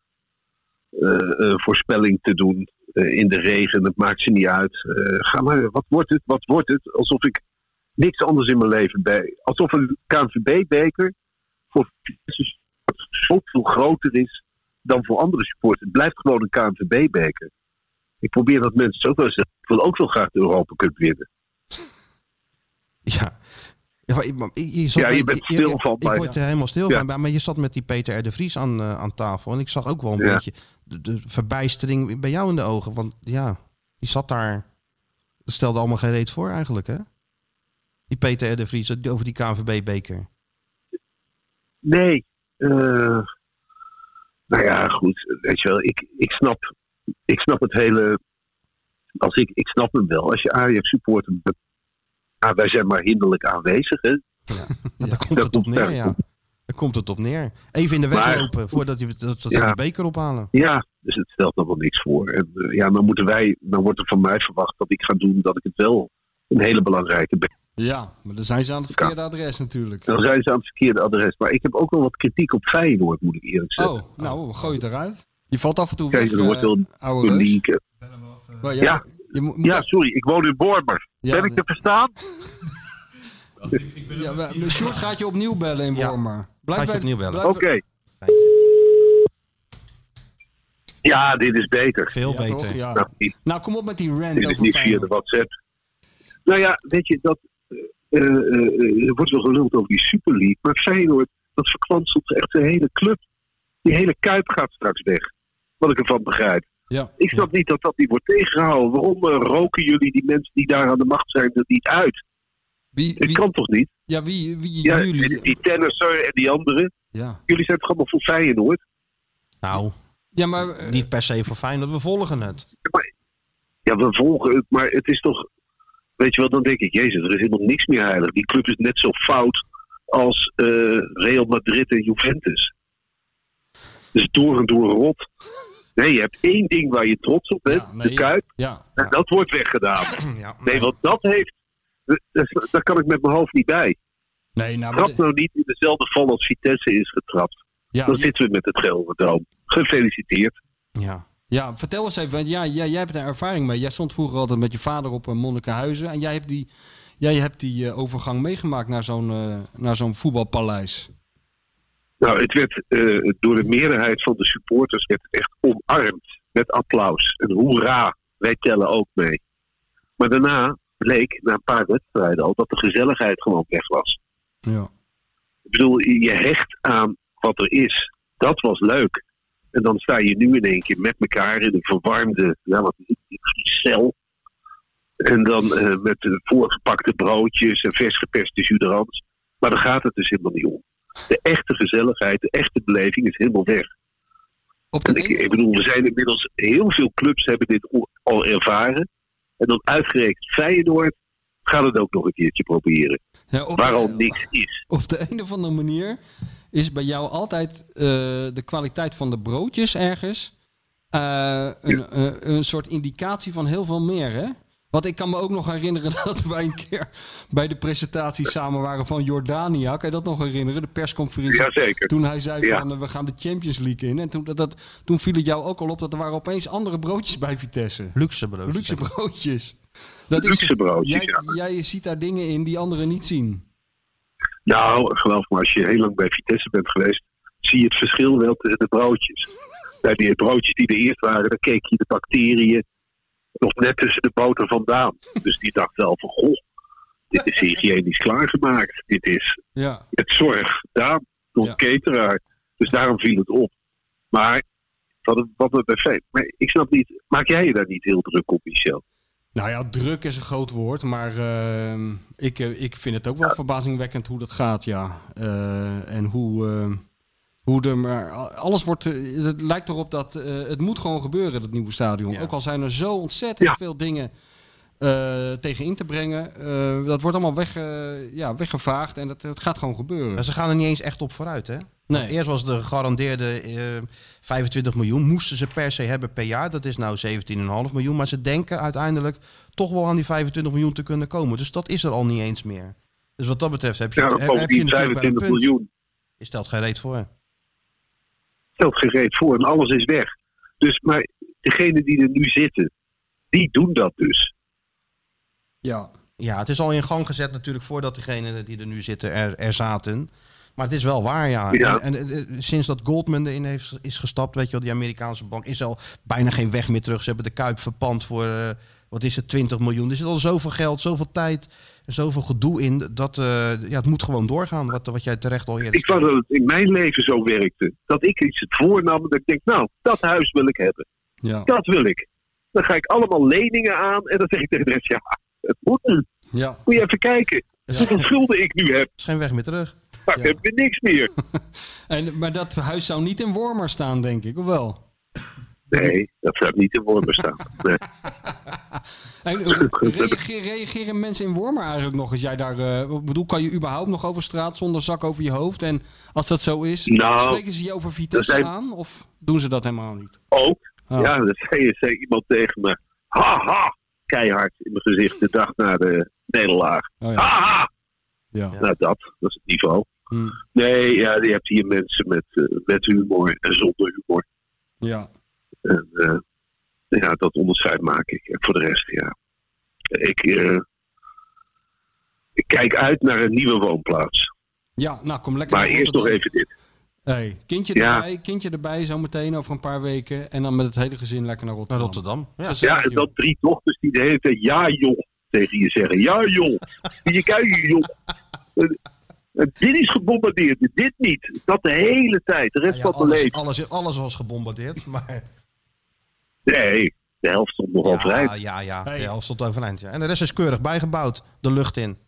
S11: eh, eh, voorspelling te doen eh, in de regen. Dat maakt ze niet uit. Eh, ga maar, wat wordt het? Wat wordt het? Alsof ik niks anders in mijn leven bij. Alsof een KNVB-beker voor Vitesse zoveel groter is dan voor andere supporters. Het blijft gewoon een KNVB-beker. Ik probeer dat mensen ook wel zeggen. Ik wil ook wel graag de Europa Cup winnen.
S2: Ja. Ja, maar ik- maar ik- je, zat
S11: Ja, je
S2: met-
S11: bent stil van,
S2: Ik
S11: maar-
S2: word er helemaal stil
S11: Ja.
S2: van. Maar- Maar je zat met die Peter R. de Vries aan, eh, aan tafel. En ik zag ook wel een
S11: Ja.
S2: beetje de, de verbijstering bij jou in de ogen. Want ja, die zat daar. Dat stelde allemaal geen reet voor eigenlijk, hè? Die Peter R. de Vries die- over die KNVB-beker.
S11: Nee. eh, nou ja, goed. Weet je wel, ik, ik, snap, ik snap het hele. Als ik, ik snap hem wel. Als je Ajax supporter bent. Ah, wij zijn maar hinderlijk aanwezig. Hè?
S2: Maar daar komt het op neer,
S11: daar
S2: ja.
S11: komt-
S2: Daar komt het op neer. Even in de weg
S11: Maar-
S2: lopen voordat je dat, dat
S11: Ja.
S2: ze die beker ophalen.
S11: Ja, dus het stelt nog wel niks voor. En eh, ja, dan moeten wij, dan wordt er van mij verwacht dat ik ga doen dat ik het wel een hele belangrijke ben.
S3: Ja, maar dan zijn ze aan het verkeerde adres natuurlijk.
S11: Dan zijn ze aan het verkeerde adres. Maar ik heb ook wel wat kritiek op Feyenoord, moet ik eerlijk zeggen.
S3: Oh, nou, gooi het eruit. Je valt af en toe
S11: Kijk,
S3: weg,
S11: er wordt
S3: eh,
S11: wel
S3: oude reus.
S11: publiek, eh,
S3: Maar ja,
S11: Ja,
S3: Je moet,
S11: ja sorry, ik woon in Bormer.
S3: Ja,
S11: ben ik te
S3: dat-
S11: verstaan?
S3: ja, maar Sjoerd gaat je opnieuw bellen in Wormer. Blijf
S2: gaat je
S3: bij-
S2: opnieuw bellen.
S3: blijf-
S11: Oké. Ja, dit is beter.
S2: Veel
S3: Ja, toch?
S2: beter.
S3: Ja.
S11: Nou, dit-
S3: Nou, kom op met die rant
S11: dit is
S3: over
S11: niet via de
S3: Feyenoord.
S11: WhatsApp. Nou ja, weet je, dat, eh, eh, eh, er wordt wel geluld over die Super League. Maar Feyenoord, dat verkwanselt echt de hele club. Die hele Kuip gaat straks weg. Wat ik ervan begrijp.
S3: Ja.
S11: Ik snap niet dat dat niet wordt tegengehouden. Waarom eh, roken jullie die mensen die daar aan de macht zijn dat niet uit?
S3: Wie,
S11: Het kan toch niet?
S3: Ja, wie, wie
S11: Ja,
S3: jullie?
S11: die- Die tennisser en die anderen.
S3: Ja.
S11: Jullie zijn toch allemaal voor Feyenoord?
S2: Nou,
S3: Ja, maar... eh,
S2: niet per se voor Feyenoord. We volgen het.
S11: Ja, we volgen het, maar het is toch... Weet je wel, dan denk ik, jezus, er is helemaal niks meer heilig. Die club is net zo fout als eh, Real Madrid en Juventus. Dus door en door rot. Nee, je hebt één ding waar je trots op bent,
S3: nee,
S11: de Kuip.
S3: Ja.
S11: En dat wordt weggedaan.
S2: Ja,
S11: nee, want dat heeft... dat- Daar kan ik met mijn hoofd niet bij.
S3: Nee, nou, maar
S11: Trap nou niet in dezelfde val als Vitesse is getrapt.
S3: Ja,
S11: Dan
S3: je-
S11: zitten we met het Gelredroom. Gefeliciteerd.
S3: Ja, vertel eens even, want ja, jij, jij hebt daar ervaring mee. Jij stond vroeger altijd met je vader op eh, Monnikenhuizen. En jij hebt die, jij hebt die eh, overgang meegemaakt naar zo'n, eh, naar zo'n voetbalpaleis.
S11: Nou, het werd eh, door de meerderheid van de supporters werd het echt omarmd. Met applaus. En hoera, wij tellen ook mee. Maar daarna bleek, na een paar wedstrijden al, dat de gezelligheid gewoon weg was.
S3: Ja.
S11: Ik bedoel, je hecht aan wat er is. Dat was leuk. En dan sta je nu in één keer met elkaar in een verwarmde ja, wat, is het, cel. En dan eh, met eh, voorgepakte broodjes en vers geperste juderans. Maar daar gaat het dus helemaal niet om. De echte gezelligheid, de echte beleving is helemaal weg.
S3: en
S11: ik, ik bedoel, we zijn inmiddels heel veel clubs hebben dit o- al ervaren. En dan uitgerekend Feyenoord gaat het ook nog een keertje proberen.
S3: Ja, op de-
S11: waar al niks is.
S3: Op de een of andere manier is bij jou altijd eh, de kwaliteit van de broodjes ergens eh, een, eh, een soort indicatie van heel veel meer, hè? Want ik kan me ook nog herinneren dat wij een keer bij de presentatie samen waren van Jordania. Kan je dat nog herinneren? De persconferentie.
S11: Jazeker.
S3: Toen hij zei
S11: Ja.
S3: van eh, we gaan de Champions League in. En toen, dat, dat, toen viel het jou ook al op dat er waren opeens andere broodjes bij Vitesse.
S2: Luxe broodjes.
S3: Luxe
S2: denk ik.
S3: broodjes. Dat is-
S11: Luxe broodjes,
S3: jij, jij ziet daar dingen in die anderen niet zien.
S11: Nou, geloof me, als je heel lang bij Vitesse bent geweest, zie je het verschil wel tussen de broodjes. Bij die broodjes die er eerst waren, dan keek je de bacteriën nog net tussen de boter vandaan. Dus die dacht wel van, goh, dit is hygiënisch klaargemaakt. Dit is
S3: Ja.
S11: het zorg gedaan door een cateraar. Dus daarom viel het op. Maar, wat, wat me bij Fey- maar ik snap niet, maak jij je daar niet heel druk op, Michel?
S3: Nou ja, druk is een groot woord, maar ehm, ik, eh, ik vind het ook wel verbazingwekkend hoe dat gaat, ja. Eh, en hoe, ehm, hoe er maar... a- Alles wordt... eh, het lijkt erop dat eh, het moet gewoon gebeuren, dat nieuwe stadion. Ook al zijn er zo ontzettend veel dingen eh, tegen in te brengen. eh, dat wordt allemaal weg, eh, ja, weggevaagd en dat, het gaat gewoon gebeuren.
S2: Maar ze gaan er niet eens echt op vooruit, hè?
S3: Nee.
S2: Want Eerst was de gegarandeerde eh, 25 miljoen. Moesten ze per se hebben per jaar. Dat is nou 17,5 miljoen. Maar ze denken uiteindelijk toch wel aan die 25 miljoen te kunnen komen. Dus dat is er al niet eens meer. Dus wat dat betreft heb je,
S11: Ja,
S2: heb,
S11: dan
S2: heb je
S11: komen die
S2: natuurlijk wel een
S11: 25
S2: punt.
S11: miljoen.
S2: Je stelt geen reet voor.
S11: stelt geen reet voor en alles is weg. Dus, maar degenen die er nu zitten, die doen dat dus.
S3: Ja.
S2: Ja, het is al in gang gezet natuurlijk voordat degenen die er nu zitten er, er zaten. Maar het is wel waar, ja.
S11: Ja.
S2: En, en, eh, sinds dat Goldman erin heeft, is gestapt, weet je wel, die Amerikaanse bank, is er al bijna geen weg meer terug. Ze hebben de Kuip verpand voor, eh, wat is het, 20 miljoen. Er zit al zoveel geld, zoveel tijd, en zoveel gedoe in. Dat, eh, ja, het moet gewoon doorgaan, wat, wat jij terecht al eerder
S11: Ik wou dat het in mijn leven zo werkte. Dat ik iets het voornam dat ik denk, nou, dat huis wil ik hebben.
S3: Ja.
S11: Dat wil ik. Dan ga ik allemaal leningen aan en dan zeg ik tegen de rest, ja, het moet nu.
S3: Ja.
S11: Moet je even kijken hoeveel schulden ik nu heb.
S2: is geen weg meer terug.
S11: Daar heb je niks meer.
S3: En, maar dat huis zou niet in Wormer staan, denk ik, of wel?
S11: Nee, dat gaat niet in Wormer staan. Nee.
S3: En, eh, reageer- reageren mensen in Wormer eigenlijk nog als jij daar... eh, ik bedoel, kan je überhaupt nog over straat zonder zak over je hoofd? En als dat zo is,
S11: Nou,
S3: spreken ze je over Vitesse
S11: dat zijn-
S3: aan? Of doen ze dat helemaal niet?
S11: Ook?
S3: Oh.
S11: Ja, dat zei, zei iemand tegen me. Haha! Keihard in mijn gezicht de dag na de nederlaag.
S3: Oh
S11: ja. Haha!
S3: Ja. Hm.
S11: Nou, dat, dat is het niveau. Nee, ja, je hebt hier mensen met, eh, met humor en zonder humor.
S3: Ja.
S11: En, eh, ja, dat onderscheid maak ik. En voor de rest, ja. Ik, eh, ik kijk uit naar een nieuwe woonplaats.
S3: Ja, nou kom lekker
S11: Maar
S3: naar
S11: eerst nog
S3: Rotterdam.
S11: even dit.
S3: Hey, kindje
S11: Ja.
S3: erbij, kindje erbij zometeen over een paar weken. En dan met het hele gezin lekker naar Rotterdam.
S2: Rotterdam,
S11: Ja, en dan drie dochters die de hele tijd ja joh tegen je zeggen. Ja joh, moet je kijken joh. En- en dit is gebombardeerd, en dit niet. Dat de hele tijd, de rest
S2: Ja,
S11: van mijn
S2: alles,
S11: leven.
S2: alles, alles was gebombardeerd, maar...
S11: Nee, de helft stond nog overeind.
S2: Ja, ja, ja. De helft stond overeind. Ja. En de rest is keurig bijgebouwd, de lucht in.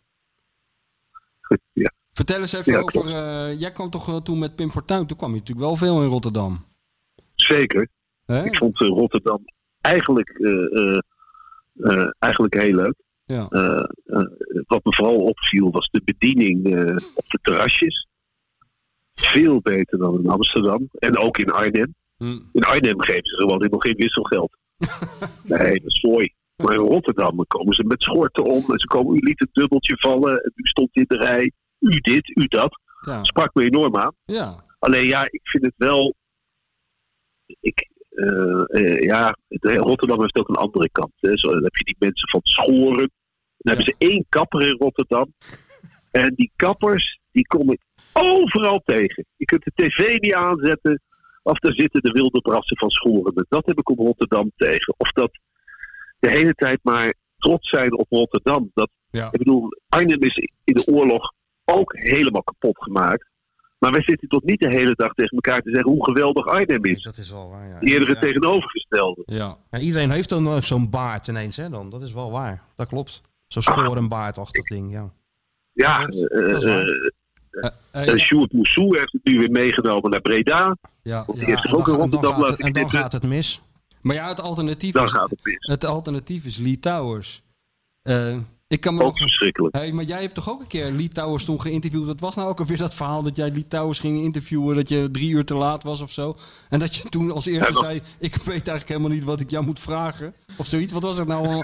S11: Ja.
S3: Vertel eens even
S2: Ja,
S3: over... eh, jij kwam toch eh, toen met Pim Fortuyn? Toen kwam je natuurlijk wel veel in Rotterdam.
S11: Zeker.
S3: Hè?
S11: Ik vond eh, Rotterdam eigenlijk, eh, eh, eh, eigenlijk heel leuk.
S3: Ja.
S11: Eh, eh, wat me vooral opviel was de bediening eh, op de terrasjes. Veel beter dan in Amsterdam en ook in Arnhem.
S3: Hm.
S11: In Arnhem geven ze gewoon nog geen wisselgeld. nee, dat is mooi. Maar in Rotterdam komen ze met schorten om. En ze komen, u liet het dubbeltje vallen. En u stond in de rij. U dit, u dat.
S3: Ja.
S11: Sprak me enorm aan.
S3: Ja.
S11: Alleen ja, ik vind het wel. Ik, eh, eh, ja, de- Rotterdam heeft ook een andere kant. Hè. Zo, dan heb je die mensen van Schoren. Dan hebben ze één kapper in Rotterdam. En die kappers, die kom ik overal tegen. Je kunt de tv niet aanzetten. Of daar zitten de wilde brassen van Schoren. Dat heb ik op Rotterdam tegen. Of dat de hele tijd maar trots zijn op Rotterdam. Dat, Ik bedoel, Arnhem is in de oorlog ook helemaal kapot gemaakt. Maar wij zitten tot niet de hele dag tegen elkaar te zeggen hoe geweldig Arnhem is.
S2: Dat is wel waar, ja.
S11: Eerder het
S2: Ja.
S11: tegenovergestelde.
S3: Ja.
S2: iedereen heeft dan ook zo'n baard ineens, hè? Dan. Dat is wel waar. Dat klopt. Zo'n schorenbaardachtig ding, ja.
S11: Ja, eh,
S2: dat is waar.
S11: eh, en Sjoerd Moussou heeft het nu weer meegenomen naar Breda.
S3: Ja,
S11: Want die
S3: ja.
S11: heeft zich ook in
S3: En dan
S11: Rotterdam
S3: gaat het-
S11: laten
S3: en dan
S11: zitten.
S3: gaat
S2: het mis.
S3: Maar ja, het alternatief,
S11: Dan
S3: is,
S11: gaat het
S3: het alternatief is Lee Towers. Eh, ik kan me
S11: Ook
S3: nog...
S11: verschrikkelijk.
S3: Hey, maar jij hebt toch ook een keer Lee Towers toen geïnterviewd? Wat was nou ook alweer dat verhaal dat jij Lee Towers ging interviewen... dat je drie uur te laat was of zo? En dat je toen als eerste
S11: Ja, maar-
S3: zei... ik weet eigenlijk helemaal niet wat ik jou moet vragen. Of zoiets. Wat was het nou allemaal?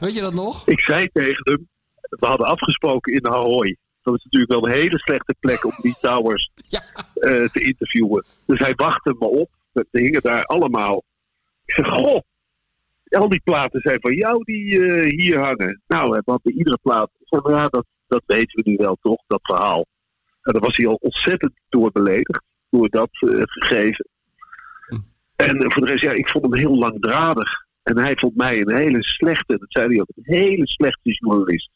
S3: weet je dat nog?
S11: Ik zei tegen hem, we hadden afgesproken in Hanoi. Dat is natuurlijk wel een hele slechte plek om die towers eh, te interviewen. Dus hij wachtte me op. Ze hingen daar allemaal. Ik zeg, goh, al die platen zijn van jou die eh, hier hangen. Nou, hè, want bij iedere plaat, ik zeg, ja, dat, dat weten we nu wel toch, dat verhaal. En daar was hij al ontzettend door beledigd, door dat eh, gegeven. En eh, voor de rest, ja, ik vond hem heel langdradig. En hij vond mij een hele slechte, dat zei hij ook, een hele slechte journalist.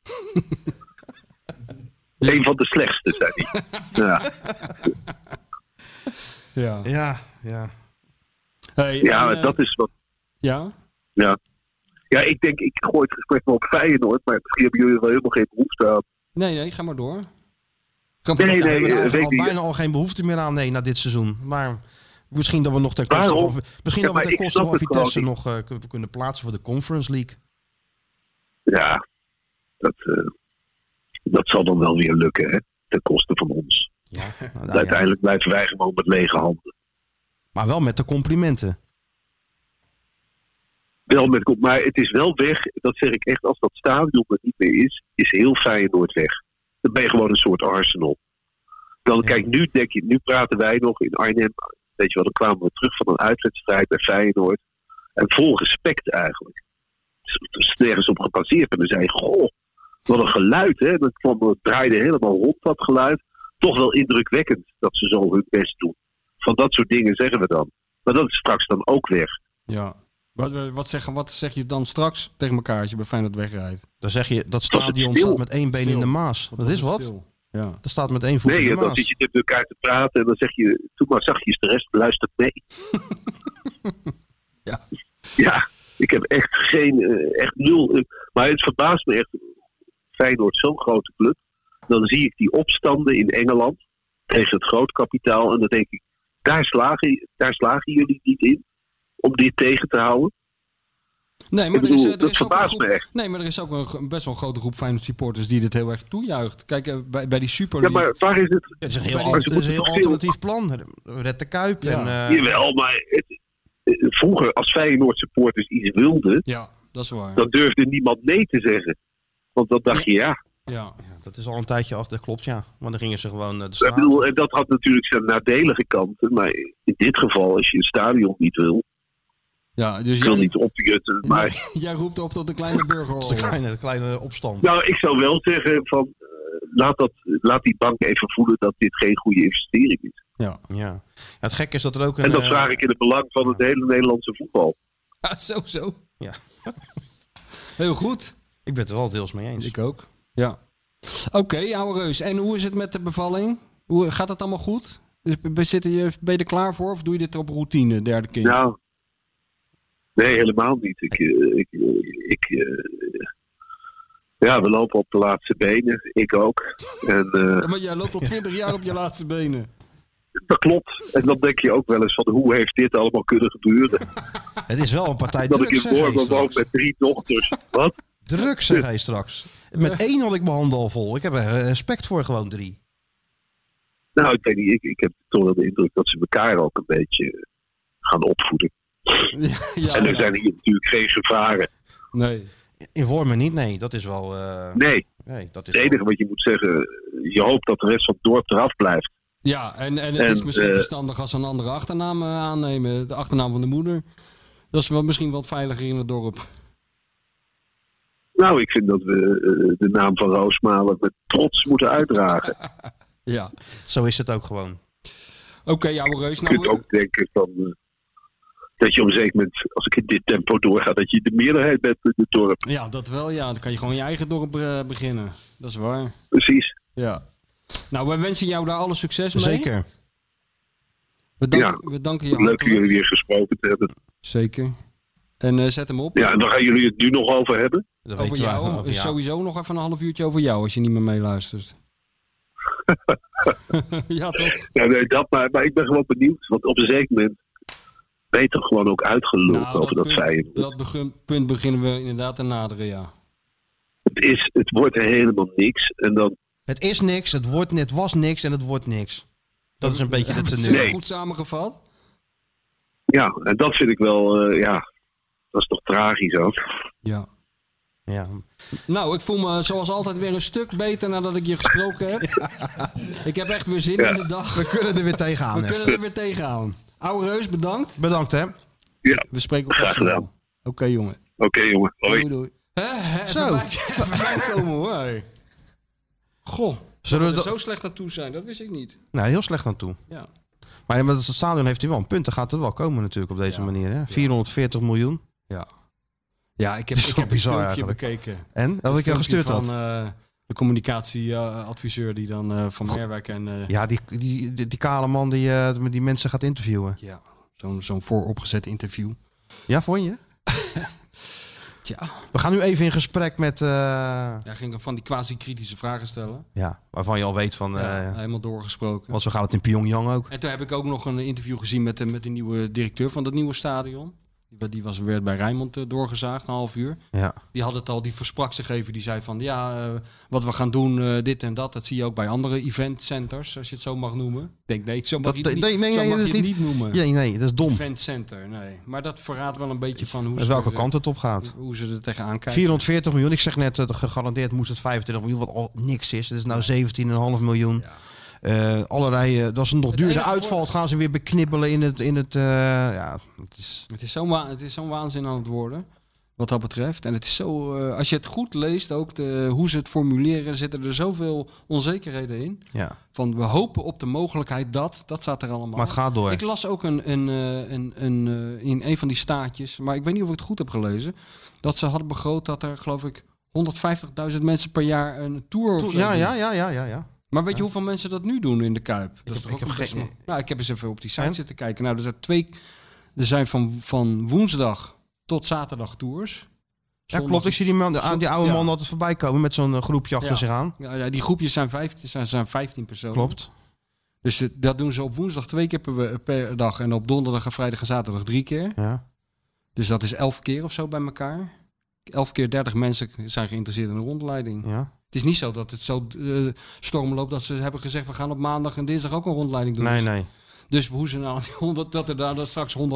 S11: Een van de slechtste, zei hij. Ja,
S3: Ja.
S2: Ja, ja.
S3: Hey,
S11: ja
S3: en, eh,
S11: dat is wat.
S3: Ja?
S11: Ja. ja, ik denk, ik gooi het gesprek wel op Feyenoord, maar misschien hebben jullie er wel helemaal geen behoefte aan.
S3: Nee, nee, ga maar door.
S11: Nee,
S2: We hebben
S11: nee,
S2: er
S11: eh, weet
S2: eigenlijk al
S11: je.
S2: bijna al geen behoefte meer aan, nee, na dit seizoen. Maar misschien dat we nog ten koste
S11: Waarom?
S2: van, misschien
S11: Ja,
S2: dat we
S11: maar
S2: ten
S11: ik
S2: koste
S11: snap
S2: van
S11: het gewoon
S2: Vitesse nog eh, kun- kunnen plaatsen voor de Conference League.
S11: Ja, dat, eh, dat zal dan wel weer lukken, hè? ten koste van ons.
S2: Nou, nou, ja.
S11: Uiteindelijk blijven wij gewoon met lege handen.
S2: Maar wel met de complimenten.
S11: Wel met, maar het is wel weg, dat zeg ik echt, als dat stadion er niet meer is, is heel Feyenoord weg. Dan ben je gewoon een soort Arsenal. Dan kijk, nu denk je, nu praten wij nog in Arnhem, weet je wel, dan kwamen we terug van een uitwedstrijd bij Feyenoord. En vol respect eigenlijk. Dus Het is nergens op gebaseerd. En we zeiden, goh, wat een geluid hè. Dat kwam, dat draaide helemaal rond dat geluid. Toch wel indrukwekkend dat ze zo hun best doen. Van dat soort dingen zeggen we dan. Maar dat is straks dan ook weg.
S3: Ja. Wat, eh, wat, zeg, wat zeg je dan straks tegen elkaar als je bij Feyenoord wegrijdt?
S2: Dan zeg je, dat stadion staat met één been in de Maas. Dat is wat.
S3: Ja.
S2: Dat staat met één voet in
S11: nee,
S2: de
S11: dan zit
S2: Maas.
S11: je met elkaar te praten en dan zeg je, doe maar zachtjes de rest, luistert mee.
S3: ja.
S11: Ja, ik heb echt geen, eh, echt nul. eh, maar het verbaast me echt, Feyenoord zo'n grote club, dan zie ik die opstanden in Engeland tegen het groot kapitaal en dan denk ik, daar slagen, daar slagen jullie niet in om dit tegen te houden.
S3: Nee, maar
S11: Ik
S3: er is, eh,
S11: bedoel,
S3: er
S11: dat
S3: is ook een
S11: verbaast
S3: groep-
S11: me echt.
S3: Nee, maar er is ook een, gro- best wel een grote groep Feyenoord supporters die dit heel erg toejuicht. Kijk, eh, bij, bij die Super
S11: Ja,
S3: League...
S11: maar waar is het?
S2: Het is een heel,
S3: Maar
S2: al-
S3: ze
S2: het is
S3: moeten
S2: een heel
S3: toch veel-
S2: alternatief plan. Red de Kuip. En, eh,
S11: Jawel, maar het- eh, vroeger als Feyenoord supporters iets wilden,
S3: Ja, dat is waar.
S11: dan durfde niemand nee te zeggen. Want dan dacht je, ja,
S3: Ja.
S2: dat is al een tijdje achter, dat klopt ja. Want dan gingen ze gewoon eh, de
S11: Ik
S2: straat.
S11: bedoel, en dat had natuurlijk zijn nadelige kanten, maar in dit geval, als je een stadion niet wil,
S3: Ja, dus
S11: ik wil
S3: jij,
S11: niet opjutten, maar...
S3: jij roept op tot een kleine burgeroorlog.
S2: De kleine, de kleine opstand.
S11: Nou, ik zou wel zeggen van, eh, laat, dat, laat die bank even voelen dat dit geen goede investering is.
S3: Ja.
S2: ja. Het gekke is dat er ook een...
S11: En dat
S2: eh,
S11: vraag ik in het belang van het hele Nederlandse voetbal.
S3: Ja, zo, zo.
S2: Ja.
S3: Heel goed.
S2: Ik ben het er wel deels mee eens.
S3: Ik ook. Ja. Oké, oude reus. En hoe is het met de bevalling? Hoe, gaat dat allemaal goed? Dus b- b- zitten je, ben je er klaar voor of doe je dit op routine, derde kind?
S11: Nou, nee, helemaal niet. Ik, eh, ik, eh, ik, eh, ja, we lopen op de laatste benen, ik ook. En, eh,
S3: Ja, maar jij loopt al twintig jaar op je laatste benen.
S11: dat klopt. En dan denk je ook wel eens van, hoe heeft dit allemaal kunnen gebeuren?
S2: Het is wel een partij
S11: dat ik
S2: druk,
S11: in
S2: zeg hij
S11: Borgo woon
S2: straks.
S11: met drie dochters. Wat?
S2: Druk, zeg hij straks. Met één had ik mijn handen al vol. Ik heb er respect voor gewoon drie.
S11: Nou, ik weet niet, ik, ik heb toch wel de indruk dat ze elkaar ook een beetje
S13: gaan opvoeden. en er zijn hier natuurlijk geen gevaren.
S3: Nee.
S2: In Wormen niet, nee. Dat is wel... eh,
S13: Nee.
S2: nee dat is
S13: Het enige wat je moet zeggen, je hoopt dat de rest van het dorp eraf blijft.
S3: Ja, en, en het
S13: En,
S3: is misschien
S13: eh,
S3: verstandig als ze een andere achternaam eh, aannemen. De achternaam van de moeder. Dat is wel misschien wat veiliger in het dorp.
S13: Nou, ik vind dat we eh, de naam van Roosmalen met trots moeten uitdragen.
S3: Ja.
S2: Zo is het ook gewoon.
S3: Oké, jouwe reus.
S13: Je kunt
S3: Nou,
S13: ook denken van, eh, dat je op een zeker moment, als ik in dit tempo doorga, dat je de meerderheid bent in het dorp.
S3: ja, dat wel. Ja, dan kan je gewoon je eigen dorp eh, beginnen. Dat is waar.
S13: Precies.
S3: Ja. Nou, wij wensen jou daar alle succes mee.
S2: Zeker.
S3: We danken, we danken je
S13: Leuk dat
S3: hartelijk.
S13: jullie weer gesproken te hebben.
S3: Zeker. En eh, zet hem op.
S13: Ja, en dan gaan jullie het nu nog over hebben?
S3: over jou. is Sowieso nog even een half uurtje over jou als je niet meer meeluistert. ja, toch?
S13: Ja, nee, dat maar. Maar ik ben gewoon benieuwd. Want op een zeker moment ben je toch gewoon ook uitgeluld
S10: Nou,
S13: over dat, feit.
S3: Nou, Dat begin- punt beginnen we inderdaad te naderen, ja.
S13: Het, is, het wordt helemaal niks. En dan,
S2: Het is niks, het wordt net was niks en het wordt niks. Dat is een beetje de
S3: Hebben we
S2: teneur.
S3: het Goed samengevat.
S13: ja, en dat vind ik wel, eh, ja, dat is toch tragisch ook.
S3: Ja.
S2: Ja.
S3: Nou, ik voel me zoals altijd weer een stuk beter nadat ik je gesproken heb. Ik heb echt weer zin
S2: Ja.
S3: in de dag.
S2: We kunnen er weer tegenaan,
S3: We
S2: hè.
S3: kunnen er weer tegenaan. Oude Reus, bedankt.
S2: Bedankt, hè.
S13: Ja,
S3: We spreken elkaar
S2: graag
S3: snel.
S2: gedaan.
S3: Oké, jongen.
S13: Oké, jongen.
S3: Doei, doei. Hè, hè,
S2: Zo.
S3: Even bij, even bijkomen, hoor. Goh.
S2: Zullen we
S3: dat
S2: dat-
S3: we zo slecht naartoe zijn? Dat wist ik niet.
S2: Nou, heel slecht aan toe.
S3: Ja.
S2: Maar ja, met het stadion heeft hij wel een punt. Dan gaat het wel komen natuurlijk op deze manier. Hè? 440 miljoen.
S3: Ja. Ja, ik
S2: Dat
S3: heb,
S2: is
S3: ik
S2: wel
S3: heb
S2: bizar
S3: het filmpje
S2: eigenlijk.
S3: bekeken.
S2: En? Dat had ik jou
S3: Het filmpje
S2: gestuurd had.
S3: van, eh, de communicatieadviseur die dan eh, van Merwijk en... eh,
S2: Ja, die, die, die, die kale man die, eh, die mensen gaat interviewen.
S3: Ja, zo'n zo'n vooropgezet interview.
S2: Ja, vond je?
S3: Tja.
S2: We gaan nu even in gesprek met... eh,
S3: Daar ging ik van die quasi-kritische vragen stellen.
S2: ja, waarvan je al weet van...
S3: Ja,
S2: eh,
S3: helemaal doorgesproken.
S2: want zo gaat het in Pyongyang ook.
S3: En toen heb ik ook nog een interview gezien met de, met de nieuwe directeur van dat nieuwe stadion. Die- Die was, werd bij Rijnmond eh, doorgezaagd, een half uur.
S2: Ja.
S3: Die had het al, die voorsprak zich even. Die zei van, ja, eh, wat we gaan doen, eh, dit en dat. Dat zie je ook bij andere eventcenters, als je het zo mag noemen. Ik denk, nee, zo mag
S2: Dat- eh,
S3: je het niet,
S2: nee, nee,
S3: zo
S2: nee,
S3: mag
S2: dat
S3: je
S2: is
S3: het
S2: niet-
S3: niet noemen.
S2: Nee, nee, dat is dom.
S3: Eventcenter, nee. Maar dat verraadt wel een beetje van hoe,
S2: Met
S3: ze,
S2: welke
S3: er-
S2: kant het op gaat.
S3: hoe ze er tegenaan kijken.
S2: 440 miljoen. Ik zeg net, eh, gegarandeerd moest het 25 miljoen, wat al niks is. Het is nou 17,5 miljoen. Eh, allerlei, eh, dat is een nog duurder
S3: enige
S2: uitval. Dat gaan ze weer beknibbelen in het... In het eh, ja, het is...
S3: Het is zo'n wa- het is zo'n waanzin aan het worden. Wat dat betreft. En het is zo, eh, als je het goed leest, ook de, hoe ze het formuleren, zitten er zoveel onzekerheden in.
S2: Ja.
S3: Van we hopen op de mogelijkheid dat, dat staat er allemaal.
S2: Maar het gaat door.
S3: Ik las ook een, een, eh, een, een, eh, in een van die staatjes, maar ik weet niet of ik het goed heb gelezen, dat ze hadden begroot dat er, geloof ik, 150.000 mensen per jaar een tour of zo
S2: Ja,
S3: doen.
S2: ja, ja, ja, ja, ja.
S3: Maar weet je hoeveel mensen dat nu doen in de Kuip? Dat
S2: heb-
S3: is toch
S2: ik
S3: ook
S2: heb
S3: een best
S2: geen-
S3: nog- Nou, ik heb eens even op die site zitten kijken. Nou, er zijn twee... Er zijn van, van woensdag tot zaterdag tours.
S2: Ja,
S3: Zondag-
S2: klopt. Ik zie die, man, die, die oude
S3: Ja.
S2: man altijd voorbij komen met zo'n eh, groepje achter
S3: Ja.
S2: zich aan.
S3: Ja, ja, die groepjes zijn 15, zijn, zijn 15 personen.
S2: Klopt.
S3: Dus eh, dat doen ze op woensdag twee keer per, we- per dag. En op donderdag en vrijdag en zaterdag drie keer.
S2: Ja.
S3: Dus dat is elf keer of zo bij elkaar. Elf keer dertig mensen zijn geïnteresseerd in een rondleiding.
S2: Ja.
S3: Het is niet zo dat het zo eh, storm loopt dat ze hebben gezegd... we gaan op maandag en dinsdag ook een rondleiding doen.
S2: Nee,
S3: Dus-
S2: nee.
S3: Dus hoe ze nou, die 100 dat er daar dan straks
S2: Nou,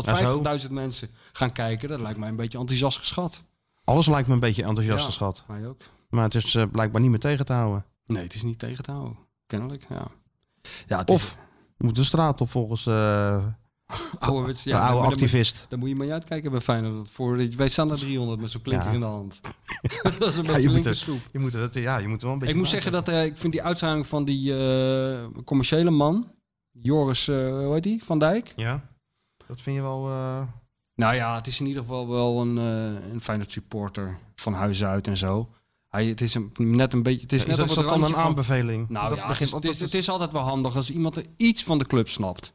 S3: 150.000 mensen gaan kijken... dat lijkt mij een beetje enthousiast geschat.
S2: Alles lijkt me een beetje enthousiast
S3: Ja,
S2: geschat.
S3: Mij ook.
S2: Maar het is eh, blijkbaar niet meer tegen te houden.
S3: Nee, het is niet tegen te houden. Kennelijk, ja. ja het
S2: Of moet de straat op volgens eh,
S3: Ouderwets,
S2: een
S3: maar-
S2: oude
S3: maar dan
S2: activist.
S3: moet- Dan moet je maar uitkijken bij Feyenoord. Voor, wij staan er 300 met zo'n klinker
S2: Ja.
S3: in de hand. dat is
S2: Ja,
S3: een beetje
S2: je, moet
S3: flinke
S2: er,
S3: snoep.
S2: je, moet er, ja, je moet er wel een beetje
S3: Ik moet zeggen dat eh, ik vind die uitzending van die eh, commerciële man, Joris, eh hoe heet die, Van Dijk.
S2: Ja, dat vind je wel... eh,
S3: Nou ja, het is in ieder geval wel een, eh een Feyenoord supporter van huis uit en zo. Hij, het is een, net een beetje. Het is,
S2: Is
S3: net
S2: dat-
S3: op
S2: is
S3: het
S2: dat dan
S3: randje
S2: een
S3: van-
S2: aanbeveling?
S3: Nou
S2: Dat
S3: ja,
S2: begint-
S3: het, is, het, is, het is altijd wel handig als iemand er iets van de club snapt.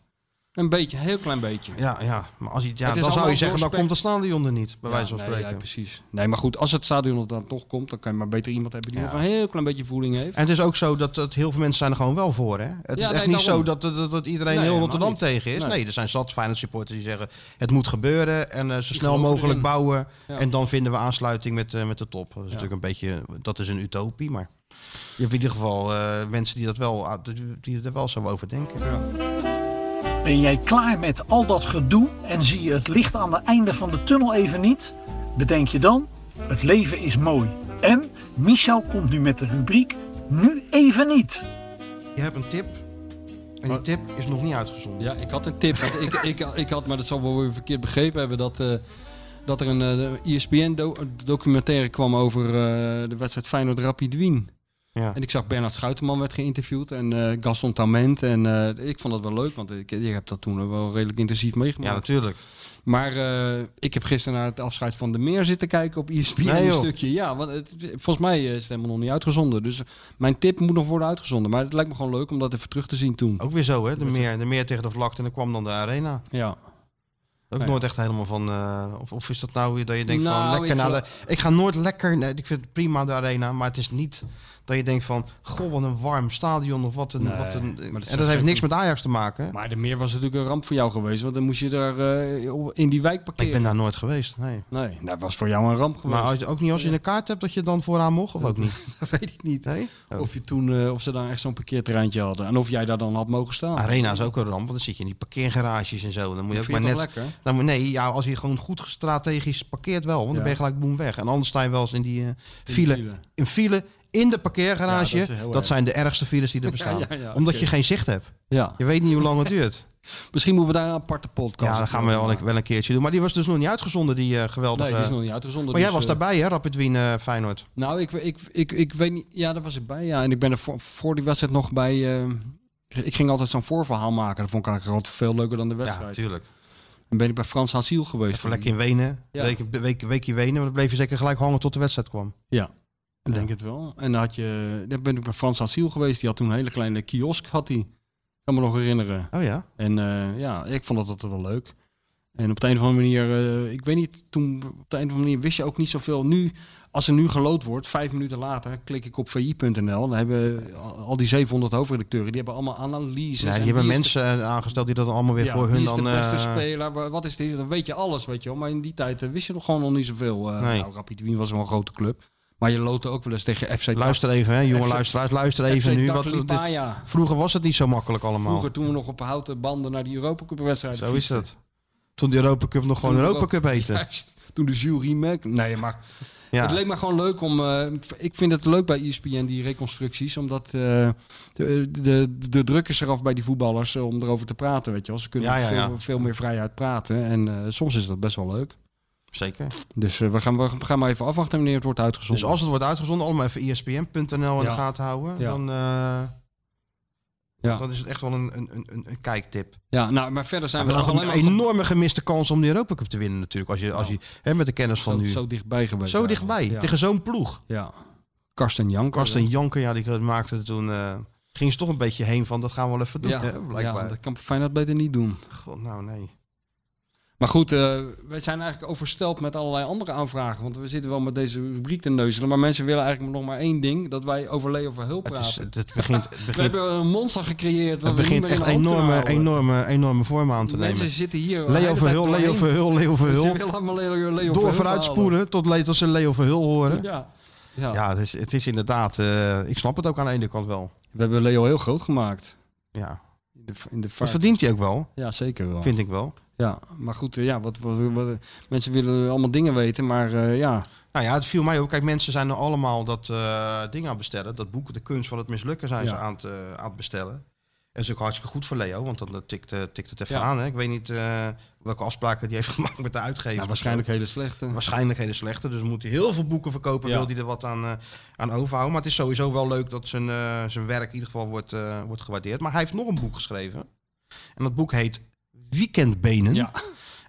S3: Een beetje, een heel klein beetje.
S2: Ja, ja. Maar als je, ja,
S3: Het
S2: dan
S3: is
S2: zou
S3: allemaal
S2: je zeggen, dan
S3: doorspek-
S2: komt de stadion er niet, bij
S3: Ja,
S2: wijze van
S3: nee,
S2: spreken.
S3: ja, precies. Nee, maar goed, als het stadion er dan toch komt, dan kan je maar beter iemand hebben die
S2: Ja.
S3: nog een heel klein beetje voeling heeft.
S2: En het is ook zo dat, dat heel veel mensen zijn er gewoon wel voor. Hè? Het
S3: Ja,
S2: is echt
S3: nee,
S2: niet
S3: daarom.
S2: zo dat, dat, dat iedereen
S3: Nee,
S2: heel
S3: helemaal
S2: Rotterdam
S3: niet.
S2: tegen is.
S3: Nee.
S2: Nee. er zijn zat Feyenoord supporters die zeggen het moet gebeuren en eh, zo snel
S3: geloven
S2: mogelijk
S3: erin.
S2: bouwen.
S3: Ja.
S2: En dan vinden we aansluiting met, eh, met de top. Dat is natuurlijk een beetje, dat is een utopie, maar je hebt in ieder geval eh, mensen die, dat wel, die er wel zo over denken.
S14: Ben jij klaar met al dat gedoe en zie je het licht aan het einde van de tunnel even niet? Bedenk je dan, het leven is mooi. En Michel komt nu met de rubriek Nu even niet.
S2: Je hebt een tip. En die tip is nog niet uitgezonden.
S3: Oh. Ja, ik had een tip. want ik, ik, ik had, maar dat zal wel weer verkeerd begrepen hebben, dat, eh, dat er een eh, E ESPN-documentaire kwam over eh, de wedstrijd Feyenoord Rapid Wien.
S2: Ja.
S3: En ik zag Bernard Schuitenman werd geïnterviewd en eh, Gaston Tament. En eh, ik vond dat wel leuk, want ik, je hebt dat toen wel redelijk intensief meegemaakt.
S2: Ja, natuurlijk.
S3: Maar eh, ik heb gisteren naar het afscheid van de Meer zitten kijken op E ESPN
S2: Nee,
S3: een
S2: joh.
S3: stukje. Ja, want het, volgens mij is het helemaal nog niet uitgezonden. Dus mijn tip moet nog worden uitgezonden. Maar het lijkt me gewoon leuk om dat even terug te zien toen.
S2: Ook weer zo, hè? De meer, de meer tegen de vlakte en dan kwam dan de arena.
S3: Ja.
S2: Ook
S3: Ja.
S2: nooit echt helemaal van. eh, of, of is dat nou weer dat je denkt
S3: Nou,
S2: van lekker
S3: ik
S2: naar de.
S3: geloof-
S2: Ik ga nooit lekker. Nee, ik vind het prima de arena. Maar het is niet dat je denkt van. Goh, wat een warm stadion. Of wat een.
S3: Nee,
S2: wat een
S3: maar dat is
S2: en dat heeft
S3: natuurlijk-
S2: niks met Ajax te maken. hè?
S3: Maar de Meer was natuurlijk een ramp voor jou geweest. Want dan moest je daar eh, op- in die wijk parkeren.
S2: Ik ben daar nooit geweest. Nee.
S3: Nee, dat was voor jou een ramp geweest.
S2: Maar als, je- ook niet als je een kaart hebt dat je dan vooraan mocht. Of ook niet.
S3: dat weet ik niet.
S2: Nee?
S3: Of, je toen, eh, of ze daar echt zo'n parkeerterreintje hadden. En of jij daar dan had mogen staan.
S2: Arena is ook een ramp, want dan zit je in die parkeergarages en zo. Dan moet je
S3: Oh. Dat
S2: ook
S3: vind
S2: maar
S3: je
S2: net.
S3: toch lekker?
S2: Dan, moet- nee, ja, als je gewoon goed strategisch parkeert wel, want
S3: Ja.
S2: dan ben je gelijk boem weg. En anders sta je wel eens in die eh, file,
S3: file.
S2: in file in de parkeergarage.
S3: Ja, dat is
S2: dat
S3: heel erg.
S2: zijn de ergste files die er bestaan,
S3: ja, ja,
S2: omdat
S3: oké.
S2: je geen zicht hebt.
S3: Ja.
S2: Je weet niet hoe lang het duurt.
S3: Misschien moeten we daar een aparte podcast
S2: Ja, dat gaan we wel een, wel een keertje doen. Maar die was dus nog niet uitgezonden, die eh, geweldige.
S3: Nee, die is nog niet uitgezonden,
S2: Maar jij
S3: dus,
S2: was
S3: eh,
S2: daarbij, hè, Rapid Wien eh, Feyenoord.
S3: Nou, ik, ik, ik, ik weet niet. Ja, daar was ik bij. Ja. En ik ben er voor, voor die wedstrijd nog bij. eh, ik ging altijd zo'n voorverhaal maken. Dat vond ik eigenlijk altijd veel leuker dan de wedstrijd.
S2: Ja, tuurlijk.
S3: En ben ik bij Frans Hasiel geweest.
S2: Even lekker in Wenen,
S3: Ja.
S2: week, week, weekje Wenen, maar dan bleef je zeker gelijk hangen tot de wedstrijd kwam.
S3: Ja, ik denk het wel. En dan had je, daar ben ik bij Frans Asiel geweest. Die had toen een hele kleine kiosk, had hij. Kan me nog herinneren.
S2: Oh ja?
S3: En eh, ja, ik vond dat altijd wel leuk. En op de een of andere manier, eh, ik weet niet, toen op de een of andere manier wist je ook niet zoveel. Nu, als er nu gelood wordt, vijf minuten later, klik ik op vi.nl. Dan hebben al- al die 700 hoofdredacteuren, die hebben allemaal analyses.
S2: Nee,
S3: en
S2: die hebben
S3: wie is de-
S2: mensen eh, aangesteld die dat allemaal weer
S3: ja,
S2: voor hun
S3: wie
S2: dan.
S3: is de beste
S2: eh,
S3: speler, wa- wat is dit? Dan weet je alles, weet je wel. Maar in die tijd eh, wist je nog gewoon nog niet zoveel. eh
S2: Nee.
S3: Nou, Rapid Wien was wel een grote club. Maar je lootte ook wel eens tegen FC...
S2: Luister
S3: Tak-
S2: even, hè, jonge
S3: FC
S2: luisteraars, luister
S3: FC
S2: even nu. Wat,
S3: Taklipaya.
S2: dit- vroeger was het niet zo makkelijk allemaal.
S3: Vroeger toen we nog op houten banden naar die Europa Cup wedstrijd
S2: zo is dat. Toen de Europa Cup nog gewoon Europa Cup heette.
S3: toen de jury merk. Nee, maar
S2: Ja.
S3: het leek me gewoon leuk om. eh, ik vind het leuk bij E ESPN die reconstructies, omdat eh, de, de, de druk is eraf bij die voetballers eh, om erover te praten, weet je wel. Ze kunnen
S2: Ja, ja,
S3: veel,
S2: ja.
S3: veel meer vrijheid praten en eh, soms is dat best wel leuk.
S2: Zeker.
S3: Dus eh, we, gaan, we gaan maar even afwachten wanneer het wordt uitgezonden.
S2: Dus als het wordt uitgezonden, allemaal even E ESPN.nl in
S3: Ja.
S2: de gaten houden.
S3: Ja.
S2: Dan, eh,
S3: Ja.
S2: dan is het echt wel een, een, een, een- een kijktip.
S3: Ja, nou, maar verder zijn
S2: we
S3: we
S2: hebben
S3: nog
S2: nog een
S3: alleen maar-
S2: enorme gemiste kans om de Europa Cup te winnen natuurlijk. Als je, als je hè, met de kennis van
S3: zo,
S2: nu.
S3: zo dichtbij geweest.
S2: Zo dichtbij.
S3: eigenlijk. Ja.
S2: Tegen zo'n ploeg.
S3: Ja. Karsten Janker.
S2: Karsten Janker, ja, die maakte er toen... eh ging ze toch een beetje heen van, dat gaan we wel even doen.
S3: Ja,
S2: hè, blijkbaar.
S3: ja, dat kan Feyenoord beter niet doen.
S2: God, nou nee.
S3: Maar goed, eh, wij zijn eigenlijk oversteld met allerlei andere aanvragen. Want we zitten wel met deze rubriek te neuzelen. Maar mensen willen eigenlijk nog maar één ding. Dat wij over Leo Verhul praten.
S2: is- het- het begint- het begint-
S3: we hebben een monster
S2: Het
S3: gecreëerd. wat we niet
S2: begint
S3: meer in
S2: echt
S3: de hand kunnen
S2: enorme,
S3: houden.
S2: enorme, enorme vorm aan te nemen.
S3: Mensen zitten hier... de
S2: Leo
S3: hele tijd
S2: Verhul, Leo
S3: doorheen.
S2: Verhul, Leo
S3: Ze
S2: Verhul.
S3: willen allemaal Leo, Leo
S2: Door
S3: Verhul
S2: vooruit
S3: halen.
S2: spoelen tot, le- tot ze Leo Verhul horen.
S3: Ja.
S2: Ja,
S3: Ja.
S2: het, is, het is inderdaad... eh, ik snap het ook aan de ene kant wel.
S3: We hebben Leo heel groot gemaakt.
S2: Ja.
S3: In de, in de
S2: Dat
S3: vaart.
S2: verdient hij ook wel.
S3: Ja, zeker wel.
S2: Vind ik wel.
S3: Ja, maar goed, eh, ja, wat, wat, wat- mensen willen allemaal dingen weten, maar eh, ja.
S2: Nou ja, het viel mij op. Kijk, mensen zijn er allemaal dat eh, ding aan het bestellen. Dat boek De Kunst van het Mislukken zijn ze
S3: Ja.
S2: aan het, eh, aan het bestellen. En dat is ook hartstikke goed voor Leo, want dan eh, tikt, eh, tikt het even
S3: Ja.
S2: aan. Hè? Ik weet niet eh, welke afspraken die heeft gemaakt met de uitgever.
S3: Ja, Nou, waarschijnlijk hele slechte.
S2: Waarschijnlijk hele slechte. Dus moet hij heel veel boeken verkopen,
S3: Ja.
S2: wil hij er wat aan, eh, aan overhouden. Maar het is sowieso wel leuk dat zijn, eh, zijn werk in ieder geval wordt, eh, wordt gewaardeerd. Maar hij heeft nog een boek geschreven. En dat boek heet Weekendbenen.
S3: Ja.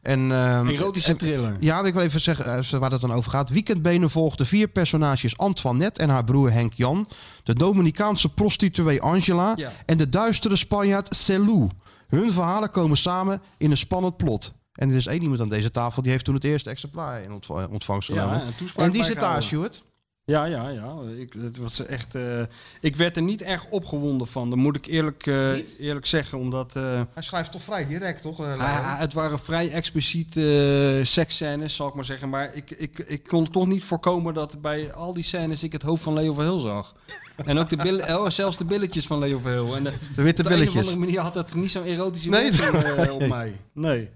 S2: En, ehm,
S3: Erotische
S2: en-
S3: thriller.
S2: Ja, ik wil even zeggen eh, waar dat dan over gaat. Weekendbenen volgden vier personages Antoinette en haar broer Henk Jan. De Dominicaanse prostituee Angela
S3: Ja.
S2: en de duistere Spanjaard Selou. Hun verhalen komen samen in een spannend plot. En er is één iemand aan deze tafel die heeft toen het eerste exemplaar in ontva- ontvangst
S3: Ja,
S2: genomen.
S3: een toespraak
S2: en die zit
S3: bijgehouden.
S2: daar, Stuart.
S3: Ja, ja, ja. Ik, het was echt, eh, ik werd er niet erg opgewonden van. Dat moet ik eerlijk, eh, eerlijk zeggen. Omdat eh,
S2: Hij schrijft toch vrij direct, toch? eh, Leo?
S3: ah, het waren vrij expliciete eh, seksscènes, zal ik maar zeggen. Maar ik, ik, ik kon toch niet voorkomen dat bij al die scènes ik het hoofd van Leo Verheul zag. En ook de billen, oh, zelfs de billetjes van Leo Verheul. En, eh,
S2: De witte
S3: Op een
S2: billetjes.
S3: of andere manier had dat niet zo'n erotische
S2: Nee,
S3: werking eh, op
S2: nee.
S3: mij. Nee.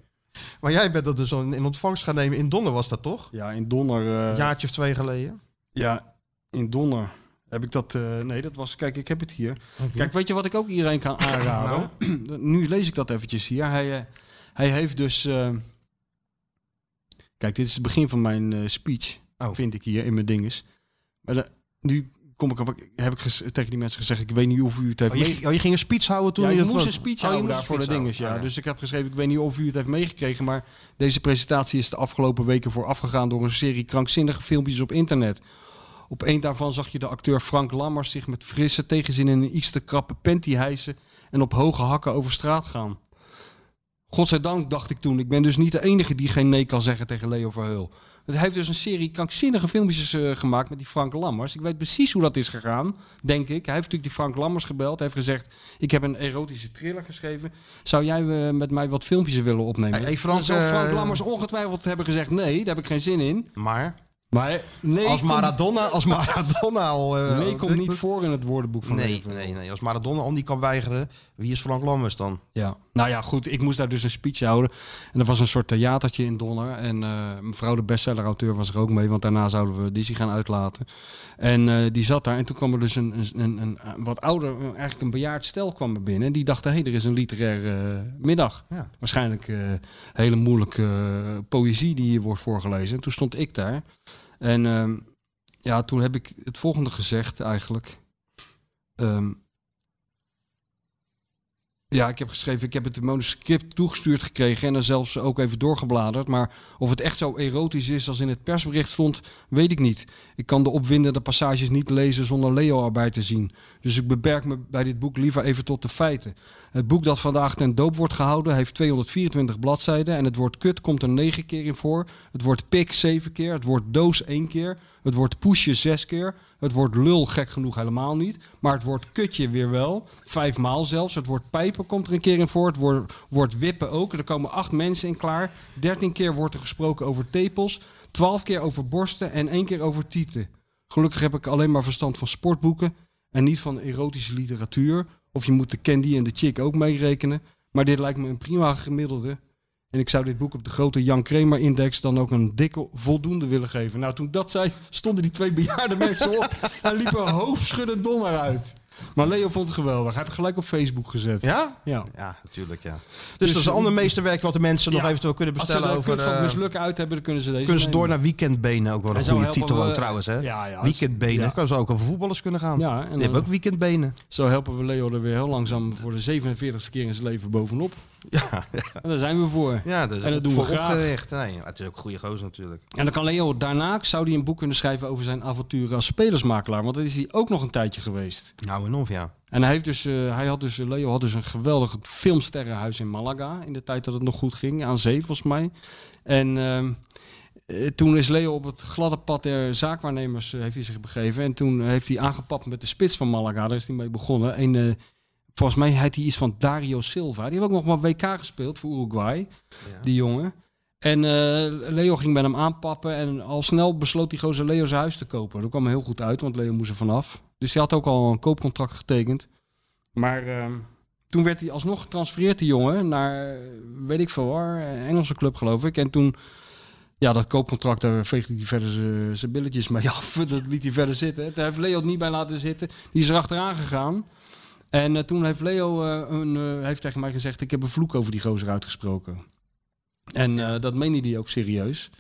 S2: Maar jij bent dat dus al in ontvangst gaan nemen. In Donner was dat toch?
S3: Ja, in Donner... eh,
S2: Een jaartje of twee geleden.
S3: Oh, Ja, in Donner heb ik dat. eh, nee, dat was. Kijk, ik heb het hier.
S2: Mhm.
S3: Kijk, weet je wat ik ook iedereen kan
S2: Nou.
S3: aanraden? nu lees ik dat eventjes hier. Hij, eh, hij heeft dus. eh, kijk, dit is het begin van mijn eh, speech.
S2: Oh.
S3: Vind ik hier in mijn dinges. Maar de- nu kom ik op, heb ik ges- tegen die mensen gezegd: ik weet niet of u het heeft
S2: Oh, je,
S3: meege-
S2: ging- oh, je ging een speech houden toen?
S3: ja,
S2: je
S3: ik
S2: dat
S3: moest een
S2: was?
S3: speech
S2: Oh, je
S3: houden
S2: moest
S3: daar
S2: een
S3: voor de
S2: speech
S3: dinges. Ja.
S2: houden. Ah,
S3: Dus ik heb geschreven, ik weet niet of u het heeft meegekregen, maar deze presentatie is de afgelopen weken voorafgegaan door een serie krankzinnige filmpjes op internet. Op een daarvan zag je de acteur Frank Lammers zich met frisse tegenzin in een iets te krappe panty hijsen en op hoge hakken over straat gaan. Godzijdank, dacht ik toen. Ik ben dus niet de enige die geen nee kan zeggen tegen Leo Verheul. Want hij heeft dus een serie krankzinnige filmpjes eh, gemaakt met die Frank Lammers. Ik weet precies hoe dat is gegaan, denk ik. Hij heeft natuurlijk die Frank Lammers gebeld. Hij heeft gezegd, ik heb een erotische thriller geschreven. Zou jij eh, met mij wat filmpjes willen opnemen?
S2: Hey, hey, Frank,
S3: Dan zou Frank
S2: eh,
S3: Lammers ongetwijfeld hebben gezegd, nee, daar heb ik geen zin in.
S2: Maar?
S3: Maar nee,
S2: Als
S3: komt-
S2: Maradona, als Maradona al... eh,
S3: nee komt niet
S2: dat-
S3: voor in het woordenboek van Leo
S2: Nee,
S3: Verheul.
S2: nee, nee. Als Maradona al niet kan weigeren, wie is Frank Lammers dan?
S3: Ja, nou ja, goed. Ik moest daar dus een speech houden. En dat was een soort theatertje in Donner. En eh, mevrouw de bestseller-auteur was er ook mee, want daarna zouden we Dizzy gaan uitlaten. En eh, die zat daar. En toen kwam er dus een, een, een, een- een wat ouder, eigenlijk een bejaard stel kwam er binnen. En die dachten, hé, hey, er is een literaire eh, middag.
S2: Ja.
S3: Waarschijnlijk eh, hele moeilijke eh, poëzie die hier wordt voorgelezen. En toen stond ik daar. En ehm, ja, toen heb ik het volgende gezegd eigenlijk. Ehm, ja, ik heb geschreven, ik heb het manuscript toegestuurd gekregen en er zelfs ook even doorgebladerd. Maar of het echt zo erotisch is als in het persbericht stond, weet ik niet. Ik kan de opwindende passages niet lezen zonder Leo erbij te zien. Dus ik beperk me bij dit boek liever even tot de feiten. Het boek dat vandaag ten doop wordt gehouden heeft 224 bladzijden en het woord kut komt er 9 keer in voor. Het woord pik 7 keer, het woord doos 1 keer, het woord poesje 6 keer, het woord lul gek genoeg helemaal niet, maar het woord kutje weer wel, vijfmaal zelfs. Het woord pijpen komt er een keer in voor, het woord, woord wippen ook. Er komen acht mensen in klaar. 13 keer wordt er gesproken over tepels, 12 keer over borsten en één keer over tieten. Gelukkig heb ik alleen maar verstand van sportboeken en niet van erotische literatuur. Of je moet de Candy en de Chick ook meerekenen. Maar dit lijkt me een prima gemiddelde. En ik zou dit boek op de grote Jan Kramer Index dan ook een dikke voldoende willen geven. Nou, toen ik dat zei, stonden die twee bejaarde mensen op en liepen hoofdschuddend donder uit. Maar Leo vond het geweldig. Hij heeft het gelijk op Facebook gezet.
S2: Ja?
S3: Ja.
S2: Ja, natuurlijk, ja. Dus,
S3: Dus-
S2: dat is een ander meesterwerk wat de mensen nog
S3: Ja.
S2: eventueel kunnen bestellen
S3: Als ze
S2: over...
S3: de kunst van
S2: eh,
S3: mislukken uit hebben, dan kunnen ze deze
S2: kunnen ze door
S3: nemen.
S2: naar Weekendbenen, ook wel
S3: En
S2: een
S3: zo
S2: goede
S3: helpen
S2: titel
S3: we-
S2: ook trouwens, hè?
S3: Ja, ja, als-
S2: weekendbenen,
S3: ja.
S2: dan kan ze ook over voetballers kunnen gaan.
S3: Ja, en
S2: Die hebben
S3: dan-
S2: ook weekendbenen.
S3: Zo helpen we Leo er weer heel langzaam voor de 47ste keer in zijn leven bovenop.
S2: Ja, ja.
S3: En daar zijn we voor.
S2: Ja, dat is
S3: en dat doen we
S2: voor
S3: graag.
S2: opgericht. Nee, het is ook een goede gozer natuurlijk.
S3: En dan kan Leo daarna, zou hij een boek kunnen schrijven over zijn avonturen als spelersmakelaar. Want dat is hij ook nog een tijdje geweest.
S2: Nou en of, ja.
S3: En hij, heeft dus, eh, hij had dus, Leo had dus een geweldig filmsterrenhuis in Malaga. In de tijd dat het nog goed ging, aan zee volgens mij. En ehm, eh, toen is Leo op het gladde pad der zaakwaarnemers eh, heeft hij zich begeven. En toen heeft hij aangepakt met de spits van Malaga. Daar is hij mee begonnen. En, eh, volgens mij heet hij iets van Dario Silva. Die heeft ook nog maar WK gespeeld voor Uruguay. Die jongen. En eh, Leo ging bij hem aanpappen. En al snel besloot die gozer Leo zijn huis te kopen. Dat kwam heel goed uit, want Leo moest er vanaf. Dus hij had ook al een koopcontract getekend. Maar ehm, toen werd hij alsnog getransfereerd, die jongen, naar eh, weet ik veel waar, een Engelse club geloof ik. En toen, ja, dat koopcontract, daar veegde hij verder zijn- zijn billetjes mee af. Dat liet hij verder zitten. Daar heeft Leo het niet bij laten zitten. Die is erachteraan gegaan. En eh, toen heeft Leo eh, een, eh, heeft tegen mij gezegd, ik heb een vloek over die gozer uitgesproken. En eh, dat meende hij ook serieus.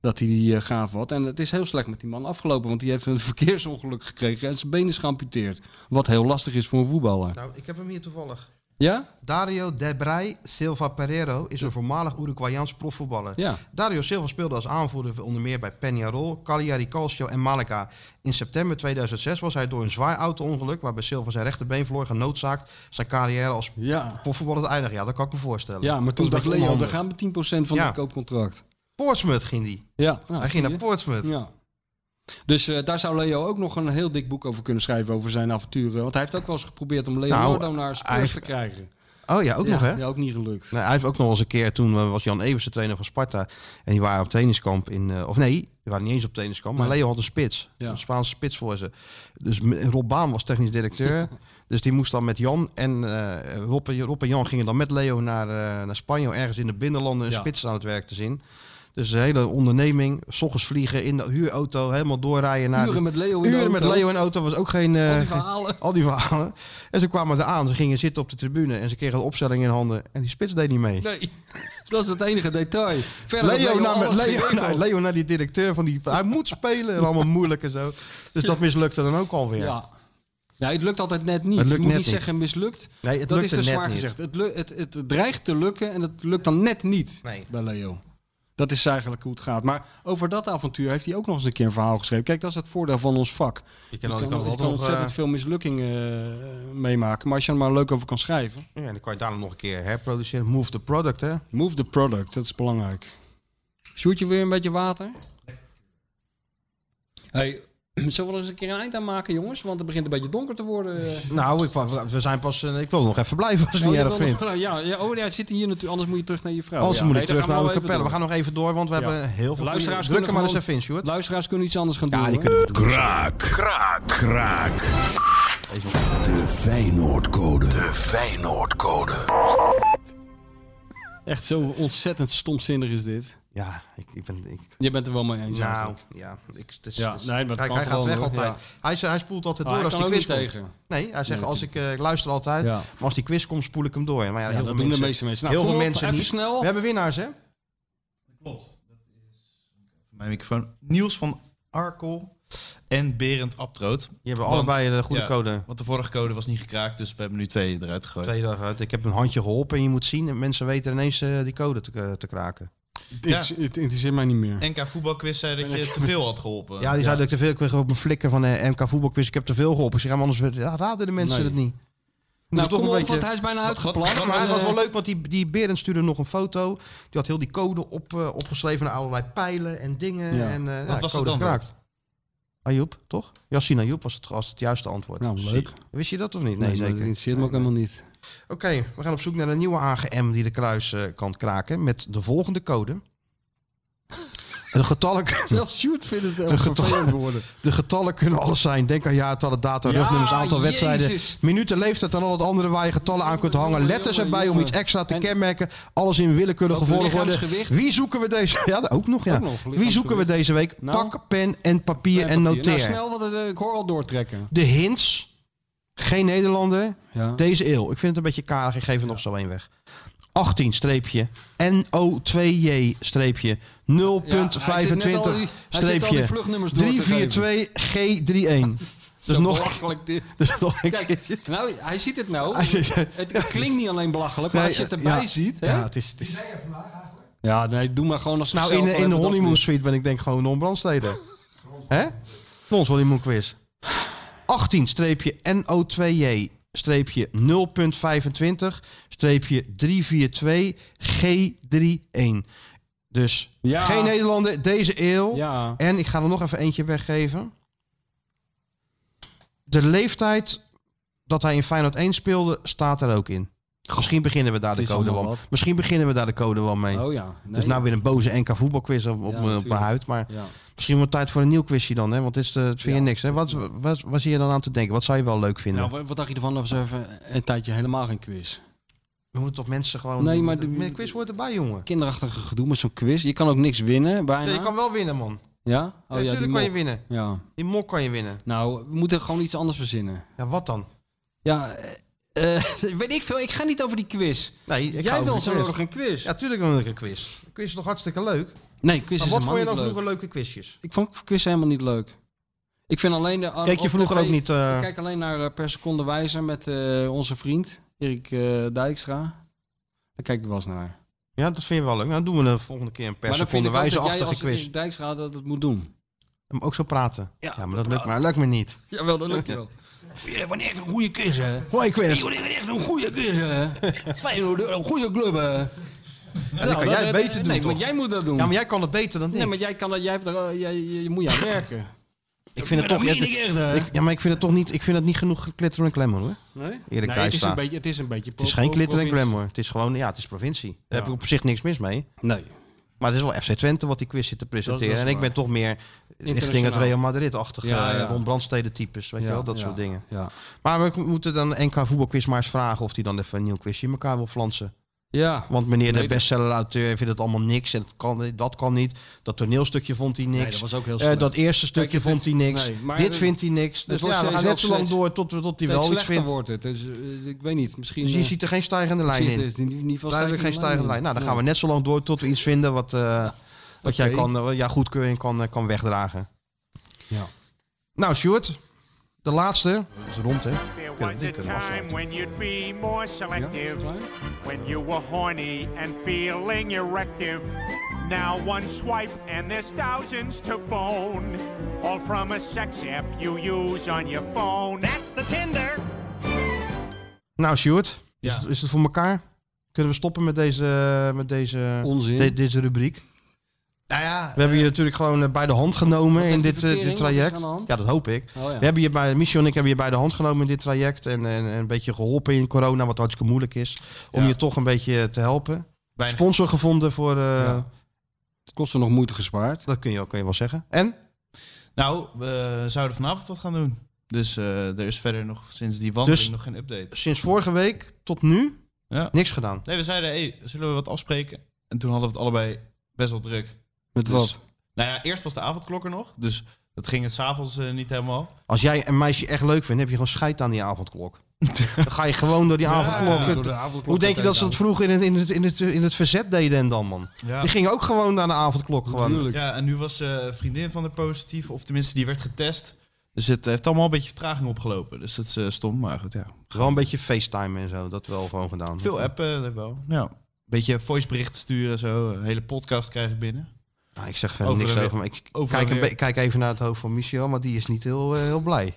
S3: Dat hij die eh, gaaf had. En het is heel slecht met die man afgelopen. Want die heeft een verkeersongeluk gekregen. En zijn been is geamputeerd. Wat heel lastig is voor een voetballer.
S2: Nou, ik heb hem hier toevallig.
S3: Ja?
S2: Dario Debray Silva Pereiro is een voormalig Uruguayaans profvoetballer.
S3: Ja.
S2: Dario Silva speelde als aanvoerder onder meer bij Peñarol, Cagliari Calcio en Malaga. In september 2006 was hij door een zwaar auto-ongeluk... waarbij Silva zijn rechterbeen verloor genoodzaakt... zijn carrière als profvoetballer te eindigen. Ja, dat kan ik me voorstellen.
S3: Ja, maar
S2: Dat
S3: toen
S2: is
S3: dacht
S2: een beetje
S3: Leo, daar
S2: onhandig.
S3: gaan we 10% van
S2: Ja.
S3: het koopcontract.
S2: Portsmouth ging die.
S3: Ja, nou,
S2: hij
S3: zie
S2: ging
S3: je.
S2: naar Portsmouth.
S3: Ja. Dus eh, daar zou Leo ook nog een heel dik boek over kunnen schrijven, over zijn avonturen. Want hij heeft ook wel eens geprobeerd om Leonardo
S2: Nou,
S3: naar
S2: hij
S3: Spurs
S2: heeft-
S3: te krijgen.
S2: Oh ja, ook nog hè?
S3: Ja, ook niet gelukt.
S2: Nou, hij heeft ook nog eens een keer, toen eh, was Jan Evers de trainer van Sparta. En die waren op trainingskamp in, eh, of nee, die waren niet eens op trainingskamp. Maar
S3: Nee.
S2: Leo had een spits,
S3: Ja.
S2: een Spaanse spits voor ze. Dus m- Rob Baan was technisch directeur. dus die moest dan met Jan en eh, Rob, en Rob en Jan gingen dan met Leo naar, eh, naar Spanje. om Ergens in de binnenlanden een
S3: Ja.
S2: spits aan het werk te zien. Dus de hele onderneming, s ochtends vliegen in de huurauto, helemaal doorrijden naar...
S3: Uren met Leo in de
S2: Uren met
S3: auto.
S2: Leo in de auto was ook geen... eh,
S3: Al die
S2: geen-
S3: verhalen.
S2: al die verhalen. En ze kwamen eraan, ze gingen zitten op de tribune en ze kregen de opstelling in handen. En die spits deed niet mee.
S3: Nee, dat is het enige detail. Verder had
S2: Leo naar,
S3: alles
S2: Leo,
S3: geregeld.
S2: naar, Leo naar die directeur van die... Hij moet spelen en allemaal moeilijk en zo. Dus dat mislukte dan ook alweer.
S3: Ja. Ja, het lukt altijd net niet.
S2: Het lukt
S3: je moet
S2: net
S3: niet
S2: niet.
S3: zeggen mislukt.
S2: Nee, het
S3: dat is
S2: lukte
S3: te
S2: net
S3: zwaar
S2: niet.
S3: gezegd. Het, lu- het, het dreigt te lukken en het lukt dan net niet
S2: Nee.
S3: bij Leo. Dat is eigenlijk hoe het gaat. Maar over dat avontuur heeft hij ook nog eens een keer een verhaal geschreven. Kijk, dat is het voordeel van ons vak. Je
S2: kan- je Nou, kan altijd nog,
S3: ontzettend
S2: eh,
S3: veel mislukkingen eh, meemaken. Maar als je er maar leuk over kan schrijven.
S2: Ja, en dan kan je daarna nog een keer herproduceren. Move the product, hè?
S3: Move the product, dat is belangrijk. Sjoerdje, wil je een beetje water? Hey, zullen we er eens een keer een eind aan maken, jongens? Want het begint een beetje donker te worden.
S2: Nou, ik, wa- we zijn pas... eh, Ik wil nog even blijven als je
S3: Oh,
S2: het
S3: je
S2: niet erg
S3: wil nog-
S2: vindt.
S3: ja, ja, oh ja, het zit hier natuurlijk. Anders moet je terug naar je vrouw.
S2: Anders
S3: ja.
S2: moet
S3: Nee,
S2: ik
S3: dan
S2: terug
S3: gaan
S2: naar
S3: we
S2: de
S3: wel
S2: kapellen. We
S3: even
S2: gaan nog even door, want we
S3: Ja.
S2: hebben heel veel...
S3: Luisteraars
S2: Druk er
S3: kunnen
S2: maar eens
S3: gewoon-
S2: even in, Sjoerd.
S3: Luisteraars kunnen iets anders gaan doen.
S2: Ja, die
S3: hoor.
S2: kunnen we doen.
S15: Kraak. Kraak. Kraak. De Feyenoordcode. De Feyenoordcode.
S3: Echt zo ontzettend stomzinnig is dit.
S2: Ja, ik, ik ben... Ik...
S3: Je bent er wel mee eens.
S2: Nou,
S3: eigenlijk.
S2: ja. Ik, het is-
S3: Ja,
S2: het is-
S3: nee, maar het
S2: Kijk,
S3: kan
S2: hij gaat
S3: gewoon,
S2: weg
S3: hoor.
S2: altijd.
S3: Ja.
S2: Hij, is- hij spoelt altijd
S3: Ah,
S2: door
S3: hij
S2: als
S3: kan
S2: die
S3: ook
S2: quiz komt.
S3: niet tegen.
S2: Nee, hij zegt
S3: Nee,
S2: als ik, eh, ik luister altijd,
S3: Ja.
S2: maar als die quiz komt spoel ik hem door. Maar ja,
S3: Ja,
S2: heel veel
S3: dat doen de
S2: mensen,
S3: meeste mensen. Nou,
S2: heel
S3: kom
S2: veel
S3: op,
S2: mensen
S3: even
S2: niet.
S3: snel.
S2: We hebben winnaars, hè?
S10: Mijn microfoon. Niels van Arkel en Berend Abtroot. Die
S2: hebben allebei de goede code.
S10: Want de vorige code was niet gekraakt, dus we hebben nu twee eruit gegooid.
S2: Twee dagen uit. Ik heb een handje geholpen en je moet zien, mensen weten ineens eh, die code te, te kraken.
S3: Dit is- Het interesseert mij niet meer.
S10: NK voetbalquiz zei dat je te veel had geholpen.
S2: Ja, die zei dat ik te veel kreeg op mijn flikken van eh, MK voetbalquiz. Ik heb te veel geholpen. Ze gaan anders weer- ja, raden de mensen
S3: Nee.
S2: het niet.
S3: Nou,
S2: Moet toch
S3: kom
S2: een
S3: op,
S2: beetje-
S3: want hij is bijna uitgeplast.
S2: Maar
S3: Maar,
S2: het was
S3: eh,
S2: wel leuk, want die, die Berend stuurde nog een foto. Die had heel die code op, eh, opgeschreven naar allerlei pijlen en dingen.
S3: Ja.
S2: En, eh,
S3: Wat
S2: ja,
S3: was
S2: code
S3: het antwoord?
S2: gekraakt. Ajoep, toch? Yassine Ajoep was het, was het juiste antwoord.
S3: Nou, leuk.
S2: Wist je dat of niet? Nee,
S3: Nee, maar dat
S2: zeker.
S3: interesseert me ook helemaal niet.
S2: Oké, we gaan op zoek naar een nieuwe AGM die de kruis eh, kan kraken met de volgende code. De getallen,
S3: Zelfs Sjoerd vindt het
S2: de,
S3: heel vervelend
S2: getallen,
S3: worden.
S2: de getallen kunnen alles zijn. Denk aan jaartallen, data,
S3: Ja,
S2: rugnummers, aantal
S3: jezus.
S2: wedstrijden, minuten, leeftijd en al het andere waar je getallen aan kunt hangen. Letters erbij om iets extra te kenmerken. Alles in willekeurige
S3: Ook
S2: volgorde.
S3: lichaamsgewicht.
S2: Wie zoeken we deze? Ja, ook nog ja.
S3: Ook nog,
S2: Wie zoeken we
S3: lichaamsgewicht.
S2: deze week?
S3: Nou.
S2: Pak pen en papier en
S3: Papier.
S2: noteer.
S3: Nou, snel, want het, eh, ik hoor al doortrekken.
S2: De hints. Geen Nederlander.
S3: Ja.
S2: Deze eeuw. Ik vind het een beetje karig. Ik geef er nog zo één weg. 18 streepje. NO2J streepje. 0.25
S3: hij zit net al die- hij zit al die
S2: streepje.
S3: vluchtnummers door te
S2: 342 G31.
S3: Zo
S2: Dus nog,
S3: belachelijk dit.
S2: dus nog een keer.
S3: Nou, hij ziet het nou.
S2: Hij zit-
S3: het klinkt niet alleen belachelijk, maar als je het erbij
S2: ja,
S3: ziet... Hè?
S2: Ja, het is... Het is
S3: Ja, nee, doe maar gewoon als
S2: nou, in, de-
S3: zichzelf, we
S2: in de
S3: hebben dat
S2: honeymoon
S3: niet.
S2: suite ben ik denk gewoon non brandsteden Hè? Ons honeymoon quiz. 18 streepje NO2J streepje 0.25 streepje 342 G31. Dus
S3: Ja.
S2: geen Nederlander deze eeuw.
S3: Ja.
S2: En ik ga er nog even eentje weggeven. De leeftijd dat hij in Feyenoord 1 speelde staat er ook in. Misschien beginnen we daar de
S3: is
S2: code
S3: allemaal
S2: wel.
S3: wat.
S2: Misschien beginnen we daar de code wel mee.
S3: Oh ja. Nee.
S2: Dus nou weer een boze NK voetbalquiz op, op,
S3: Ja,
S2: mijn- op mijn
S3: natuurlijk.
S2: huid. Maar
S3: Ja.
S2: misschien wordt het tijd voor een nieuw quizje dan. Hè? Want dit is de, het vind je niks. Hè? Wat, wat, wat zie je dan aan te denken? Wat zou je wel leuk vinden?
S3: Nou, wat- wat dacht je ervan als we even een tijdje helemaal geen quiz?
S2: we moeten toch mensen gewoon...
S3: Nee, maar de-
S2: de quiz hoort erbij, jongen.
S3: Kinderachtige gedoe met zo'n quiz. Je kan ook niks winnen, bijna.
S2: Nee, je kan wel winnen, man.
S3: Ja?
S2: Ja,
S3: Oh, die
S2: tuurlijk kan je
S3: mop.
S2: winnen.
S3: Ja.
S2: Die mok kan je winnen.
S3: Nou, we moeten gewoon iets anders verzinnen.
S2: Ja, wat dan?
S3: Ja, eh, eh, weet ik veel. Ik ga niet over die quiz.
S2: Nee, ik ga
S3: Jij
S2: over
S3: wil
S2: de
S3: zo
S2: quiz.
S3: nodig een quiz.
S2: Ja, tuurlijk wil ik een quiz. Een quiz is toch hartstikke leuk?
S3: Nee,
S2: Maar wat
S3: quiz is helemaal
S2: vond je dan
S3: niet leuk.
S2: vroeger leuke quizjes?
S3: Ik vond quiz helemaal niet leuk. Ik vind alleen de...
S2: Keek je
S3: op
S2: vroeger
S3: tv
S2: ook niet, eh?
S3: Ik kijk alleen naar eh, Per Seconde Wijzer met eh, onze vriend Erik eh, Dijkstra. Daar kijk ik wel eens naar.
S2: Ja, dat vind je wel leuk. Nou, dan doen we de volgende keer een per
S3: Maar dan vind
S2: seconde
S3: ik ook dat jij
S2: wijze-achtige
S3: als
S2: quiz.
S3: Erik Dijkstra dat het moet doen.
S2: Hem ook zo praten. Ja, maar dat lukt, maar, lukt me niet.
S3: Jawel, dat lukt wel. Jullie hebben echt een goede quiz, hè?
S2: Hoi, quiz.
S3: Jullie hebben echt een goede quiz, hè? Feyenoord, een goede club, hè? Nou,
S2: Ja, dat kan jij beter doen,
S3: Nee,
S2: toch?
S3: maar jij moet dat doen.
S2: Ja, maar jij kan het beter dan ik.
S3: Nee, maar jij kan dat... Jij, hebt er- jij, je, je moet je aan werken.
S2: Ik vind het
S3: Maar
S2: toch.
S3: dat meen ik echt, hè?
S2: ik- ja, maar maar ik vind het toch niet, ik vind het niet genoeg glitter en glamour hoor.
S3: Nee? Nee,
S2: Eerlijk
S3: het
S2: thuis
S3: is
S2: staan.
S3: een beetje- het is een beetje
S2: Het is
S3: pro-
S2: geen
S3: pro-
S2: glitter en
S3: provincie.
S2: glamour. Het is gewoon, ja, het is provincie. Daar
S3: Ja.
S2: heb ik op zich niks mis mee.
S3: Nee.
S2: Maar het is wel FC Twente wat die quiz zit te presenteren.
S3: Dat- dat is
S2: en ik ben
S3: waar.
S2: toch meer richting het
S3: Internationaal.
S2: Real Madrid-achtige
S3: Ja,
S2: ja,
S3: ja.
S2: Ron Brandstede-types, weet
S3: Ja,
S2: je wel, dat
S3: ja,
S2: soort dingen.
S3: ja.
S2: Maar we k- moeten dan NK voetbalquiz maar eens vragen of die dan even een nieuw quizje in elkaar wil flansen.
S3: Ja.
S2: Want meneer
S3: Nee,
S2: de
S3: dat-
S2: bestseller-auteur vindt het allemaal niks. En dat kan, dat kan niet. Dat toneelstukje vond hij niks.
S3: Nee, dat was ook heel
S2: Eh,
S3: slecht.
S2: dat eerste
S3: Kijk,
S2: stukje
S3: het is-
S2: vond hij niks.
S3: nee, maar
S2: Dit
S3: het-
S2: vindt hij niks.
S3: het
S2: Dus
S3: wordt
S2: ja, we
S3: steeds
S2: gaan net zo lang
S3: slechts-
S2: door tot, tot hij
S3: steeds
S2: wel iets
S3: slechter
S2: vindt.
S3: wordt het. Dus, eh, ik weet niet, misschien...
S2: Dus je
S3: eh,
S2: ziet er geen stijgende
S3: ik
S2: lijn
S3: zie
S2: in.
S3: het, eh, in ieder geval
S2: Duidelijk geen stijgende lijn. Nou, dan gaan we
S3: Nee.
S2: net zo lang door tot we iets vinden wat, eh, wat jij
S3: Oké.
S2: kan, eh, wat jouw goedkeuring kan, eh, kan wegdragen.
S3: Ja.
S2: Nou, Stuart, de laatste. Dat is rond, hè?
S16: There
S2: Kunnen
S16: was
S2: we-
S16: a
S2: kunnen we afsluiten.
S16: time when you'd be more selective, when you were horny and feeling erective. Now one swipe and there's thousands to bone, all from a sex app you use on your phone. That's the Tinder.
S2: Nou, Stuart, is, het, is het voor elkaar? Kunnen we stoppen met deze, met deze,
S3: Onzin.
S2: de- deze rubriek?
S10: Nou ja,
S2: We hebben je natuurlijk gewoon eh, bij de hand genomen in
S3: heeft die
S2: dit, eh, dit
S3: verkering? Wat is er
S2: traject.
S3: aan de hand?
S2: Ja, dat hoop ik.
S3: Oh, ja.
S2: We hebben je bij, Michel en ik hebben je bij de hand genomen in dit traject. En, en, en een beetje geholpen in corona, wat hartstikke moeilijk is. Om
S3: Ja.
S2: je toch een beetje eh, te helpen.
S3: Weinig.
S2: Sponsor gevonden voor... eh,
S3: Het kost er nog moeite gespaard.
S2: Dat kun je, kun je wel zeggen. En?
S10: Nou, we zouden vanavond wat gaan doen. Dus eh, er is verder nog sinds die wandeling
S2: Dus-
S10: nog geen update.
S2: Sinds vorige week tot nu
S10: Ja.
S2: niks gedaan.
S10: Nee, we zeiden, hey, zullen we wat afspreken? En toen hadden we het allebei best wel druk.
S3: Met
S10: Dus-
S3: wat?
S10: Nou ja, eerst was de avondklok er nog. Dus dat ging het s'avonds eh, niet helemaal.
S2: Als jij een meisje echt leuk vindt, heb je gewoon scheid aan die avondklok. Dan ga je gewoon door die
S10: Ja,
S2: avondklok.
S10: door de avondklok
S2: Hoe denk je dat ze dat vroeger in het, in het, in het, in het verzet deden en dan, man?
S10: Ja.
S2: Die gingen ook gewoon naar de avondklok. Gewoon.
S10: Ja, en nu was eh, een vriendin van de positief. Of tenminste, die werd getest. Dus het heeft allemaal een beetje vertraging opgelopen. Dus dat is eh, stom, maar goed, ja.
S2: Gewoon een beetje FaceTime en zo, dat wel gewoon gedaan.
S10: Veel appen,
S2: eh,
S10: dat wel. Ja. Beetje voiceberichten sturen, zo. Een hele podcast krijg ik binnen.
S2: Nou, ik zeg verder
S10: Over
S2: niks
S10: en
S2: over,
S10: weer.
S2: maar ik
S10: Over
S2: kijk,
S10: en
S2: een
S10: weer.
S2: be- kijk even naar het hoofd van Michel, maar die is niet heel, eh, heel blij.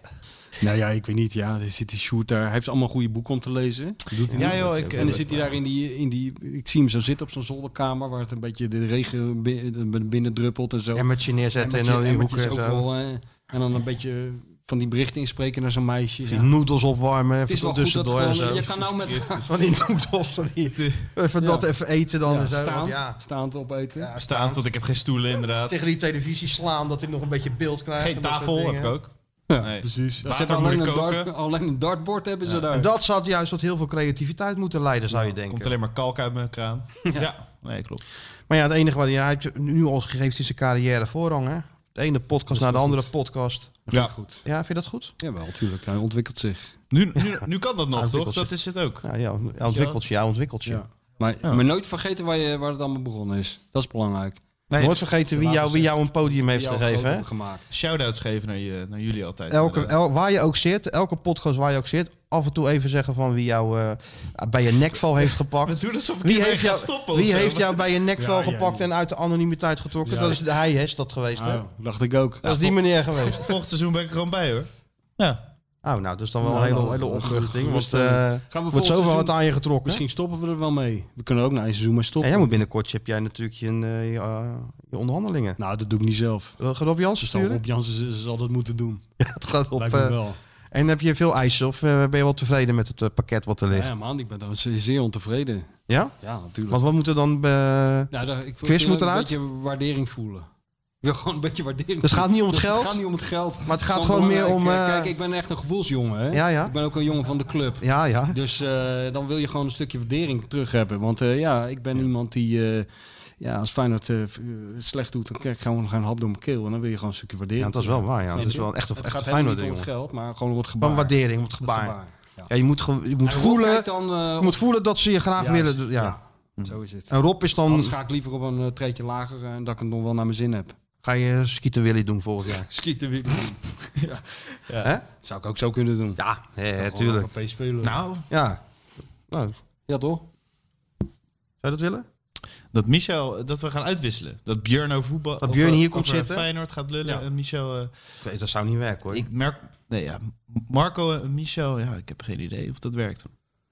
S3: Nou ja, ik weet niet. Ja, er zit die shoot daar. Hij heeft allemaal goede boeken om te lezen. Doet hij
S10: Ja,
S3: niet.
S10: joh, ik-
S3: en
S2: dus-
S3: dan zit hij daar in die, in die... Ik zie hem zo zitten op zo'n zolderkamer... waar het een beetje de regen bin- binnen druppelt en zo.
S2: Emmertje neerzetten
S3: Emmertje-
S2: en dan die
S3: emmertjes
S2: hoeken en
S3: ook
S2: zo.
S3: wel, eh, en dan een beetje van die berichten inspreken naar zo'n meisje.
S2: Die
S3: Ja.
S2: noedels opwarmen,
S3: Het is wel
S2: even
S3: goed dat
S2: tussendoor en
S3: gewoon,
S2: zo.
S3: je kan nou met...
S2: Van die noedels, van die, even
S3: Ja.
S2: dat even eten dan
S3: Ja,
S2: en zo. want
S3: Staand,
S2: ja.
S3: staand opeten.
S10: Staand, want ik heb geen stoelen inderdaad.
S2: Tegen die televisie slaan, dat ik nog een beetje beeld krijg.
S10: Geen
S2: en dat soort
S10: tafel heb
S2: dingen.
S10: ik ook.
S3: Ja,
S10: Nee.
S3: precies. Ze
S10: Water
S3: hebben
S10: moet
S3: alleen,
S10: ik
S3: een
S10: koken.
S3: dart, alleen een dartbord hebben ze daar.
S2: En dat zou juist tot heel veel creativiteit moeten leiden, zou je denken.
S10: Komt alleen maar kalk uit mijn kraan.
S3: Ja.
S10: Ja, nee, klopt.
S2: Maar ja, het enige wat hij, hij heeft nu al gegeven is zijn carrière voorrang. Hè? De ene podcast naar de andere podcast.
S3: Ja. goed.
S2: Ja, vind je dat goed?
S3: Jawel, tuurlijk. Hij ontwikkelt zich.
S10: Nu, nu, nu kan dat nog,
S2: Ontwikkelt
S10: toch? Dat
S2: zich.
S10: is het ook.
S2: Ja, ja ontwikkelt je, ja, ontwikkelt je.
S3: Ja. Maar, maar nooit vergeten waar, je, waar het allemaal begonnen is. Dat is belangrijk.
S2: Nooit vergeten wie jou, wie jou een podium heeft
S3: jou
S2: gegeven.
S3: groot
S2: hè?
S3: hebben gemaakt.
S10: Shoutouts geven naar, je, naar jullie altijd.
S2: Elke,
S10: inderdaad.
S2: el- waar je ook zit, elke podcast waar je ook zit, af en toe even zeggen van wie jou eh, bij je nekval heeft gepakt.
S10: doen alsof ik
S2: wie
S10: hiermee
S2: heeft,
S10: ga
S2: jou,
S10: stoppen of
S2: wie
S10: zo.
S2: heeft jou bij je nekval
S3: Ja, ja,
S2: gepakt en uit de anonimiteit getrokken?
S3: Ja.
S2: Dat is de hij is dat geweest. hè?
S3: Oh, dacht ik ook.
S2: Dat is die meneer geweest.
S10: Volgend seizoen ben ik er gewoon bij hoor. Ja.
S2: Oh, nou, dat is dan wel
S3: Nou,
S2: een hele,
S3: nou,
S2: hele
S3: gerust-
S2: opluchting. Want
S3: gerust,
S2: eh
S3: eh, gaan we
S2: wordt
S3: volgend
S2: zoveel
S3: seizoen-
S2: hard aan je getrokken.
S3: Misschien stoppen we er wel mee. We kunnen ook na een seizoen mee
S2: En
S3: stoppen.
S2: jij moet binnenkort, heb jij natuurlijk je, eh, je, eh, je onderhandelingen.
S3: Nou, dat doe ik niet zelf.
S2: Dat gaat op Jansen
S3: Zal
S2: sturen?
S3: Rob Jansen z- zal dat moeten doen.
S2: Ja, het gaat op.
S3: Lijkt me
S2: eh,
S3: wel.
S2: en heb je veel eisen of eh, ben je wel tevreden met het eh, pakket wat er
S3: Ja,
S2: ligt?
S3: ja, man, ik ben daar ze- zeer ontevreden.
S2: Ja?
S3: Ja, natuurlijk.
S2: Want wat moet er dan... eh,
S3: Nou, daar, ik wil-
S2: quiz
S3: ik wil
S2: moet
S3: een
S2: eruit?
S3: beetje waardering voelen. Ik wil gewoon een beetje waardering
S2: Dus het gaat niet om het
S3: voelen.
S2: geld?
S3: Het gaat niet om het geld.
S2: Maar het gaat gewoon meer
S3: belangrijk,
S2: om,
S3: eh,
S2: eh,
S3: Kijk, ik ben echt een gevoelsjongen. Hè?
S2: Ja, ja.
S3: Ik ben ook een jongen van de club.
S2: Ja, ja.
S3: Dus eh, dan wil je gewoon een stukje waardering terug hebben. Want eh, ja, ik ben iemand die... eh, ja, als Feyenoord eh, v- eh, slecht doet, dan krijg ik gewoon een hap door mijn keel. En dan wil je gewoon een stukje waardering.
S2: Ja, dat is wel waar, ja.
S3: Snap
S2: Dat is
S3: je?
S2: wel een echte-
S3: het
S2: echte
S3: gaat helemaal niet om
S2: Feyenoorder,
S3: het geld, maar gewoon om het gebaar.
S2: Van waardering, om het gebaar.
S3: ja.
S2: Ja. je moet, gewoon- je moet
S3: En Rob
S2: voelen...
S3: kijkt dan, eh,
S2: je moet voelen dat ze je graag
S3: Juist,
S2: willen... Ja.
S3: Zo is het.
S2: En Rob is dan-
S3: Anders ga ik liever op een eh, treedje lager eh, en dat ik het nog wel naar mijn zin heb.
S2: Ga je skieten Willy doen volgend jaar?
S3: Schieten weer. ja.
S2: Hè?
S3: Zou ik ook zo kunnen doen.
S2: Ja, hè,
S3: Gewoon
S2: tuurlijk.
S3: lekker PSV lullen.
S10: Nou,
S2: Ja. Nou, zou
S3: Ja, toch?
S2: je dat willen?
S10: dat Michel, eh, dat we gaan uitwisselen. Dat Björn over voetbal.
S2: Dat
S10: of,
S2: Björn
S10: eh,
S2: hier komt
S10: over
S2: zitten?
S10: Feyenoord gaat lullen
S2: Ja.
S10: en Michel. eh,
S2: Nee, dat zou niet werken hoor.
S10: ik merk. Nee, ja. Marco en Michel, ja, ik heb geen idee of dat werkt.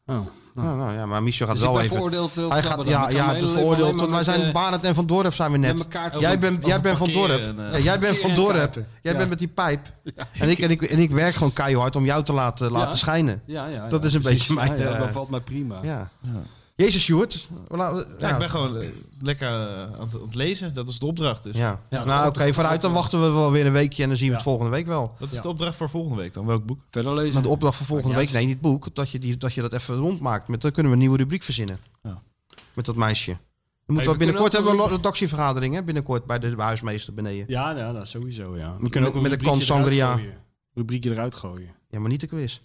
S3: nou.
S2: Nou, ja, maar Michel gaat
S3: Dus ik
S2: wel
S3: ben
S2: even.
S3: veroordeeld, eh, op
S2: hij gaat,
S3: Krabbe dan.
S2: ja,
S3: Ik
S2: ja,
S3: kan
S2: het
S3: mijn
S2: is
S3: hele leven
S2: veroordeeld.
S3: alleen
S2: tot
S3: maar
S2: wij
S3: met,
S2: zijn
S3: eh,
S2: Barend en Van Dorp zijn we net.
S3: met elkaar
S2: jij
S3: over-
S2: bent, jij
S3: over
S2: bent Van
S3: parkeren
S2: Dorp.
S3: en, eh,
S2: Ja, jij bent Van
S3: parkeren en
S2: Dorp.
S3: kaarten.
S2: Jij
S3: Ja.
S2: bent met die pijp. En, ik, en, ik, en ik werk gewoon keihard om jou te laten, laten schijnen.
S3: Ja, ja, ja,
S2: dat is een
S3: precies.
S2: beetje mijn...
S3: Ja, ja,
S2: eh,
S3: dat valt mij prima.
S2: Ja. Jezus, Sjoerd. we la-
S10: Ja, ik ben gewoon eh, lekker eh, aan het aan het lezen. Dat is de opdracht dus.
S2: Ja. nou, oké, vooruit. Dan wachten we wel weer een weekje en dan zien we het volgende week wel.
S10: Wat is de opdracht voor volgende week dan? Welk boek?
S3: Verder lezen.
S2: Maar de opdracht voor volgende week, nee, niet het boek, dat je, die, dat je dat even rondmaakt. Met, dan kunnen we een nieuwe rubriek verzinnen.
S10: Ja.
S2: Met dat meisje. Dan
S3: Hey,
S2: moeten
S3: we
S2: we binnenkort
S3: kunnen ook
S2: hebben we
S3: een
S2: een redactievergadering, hè? Binnenkort bij de huismeester beneden.
S17: Ja, ja
S3: nou,
S17: dat sowieso, ja.
S2: We kunnen ook een rubriekje
S17: kans
S2: eruit gooien.
S17: Gooien. Rubriekje eruit gooien.
S2: Ja, maar niet de quiz.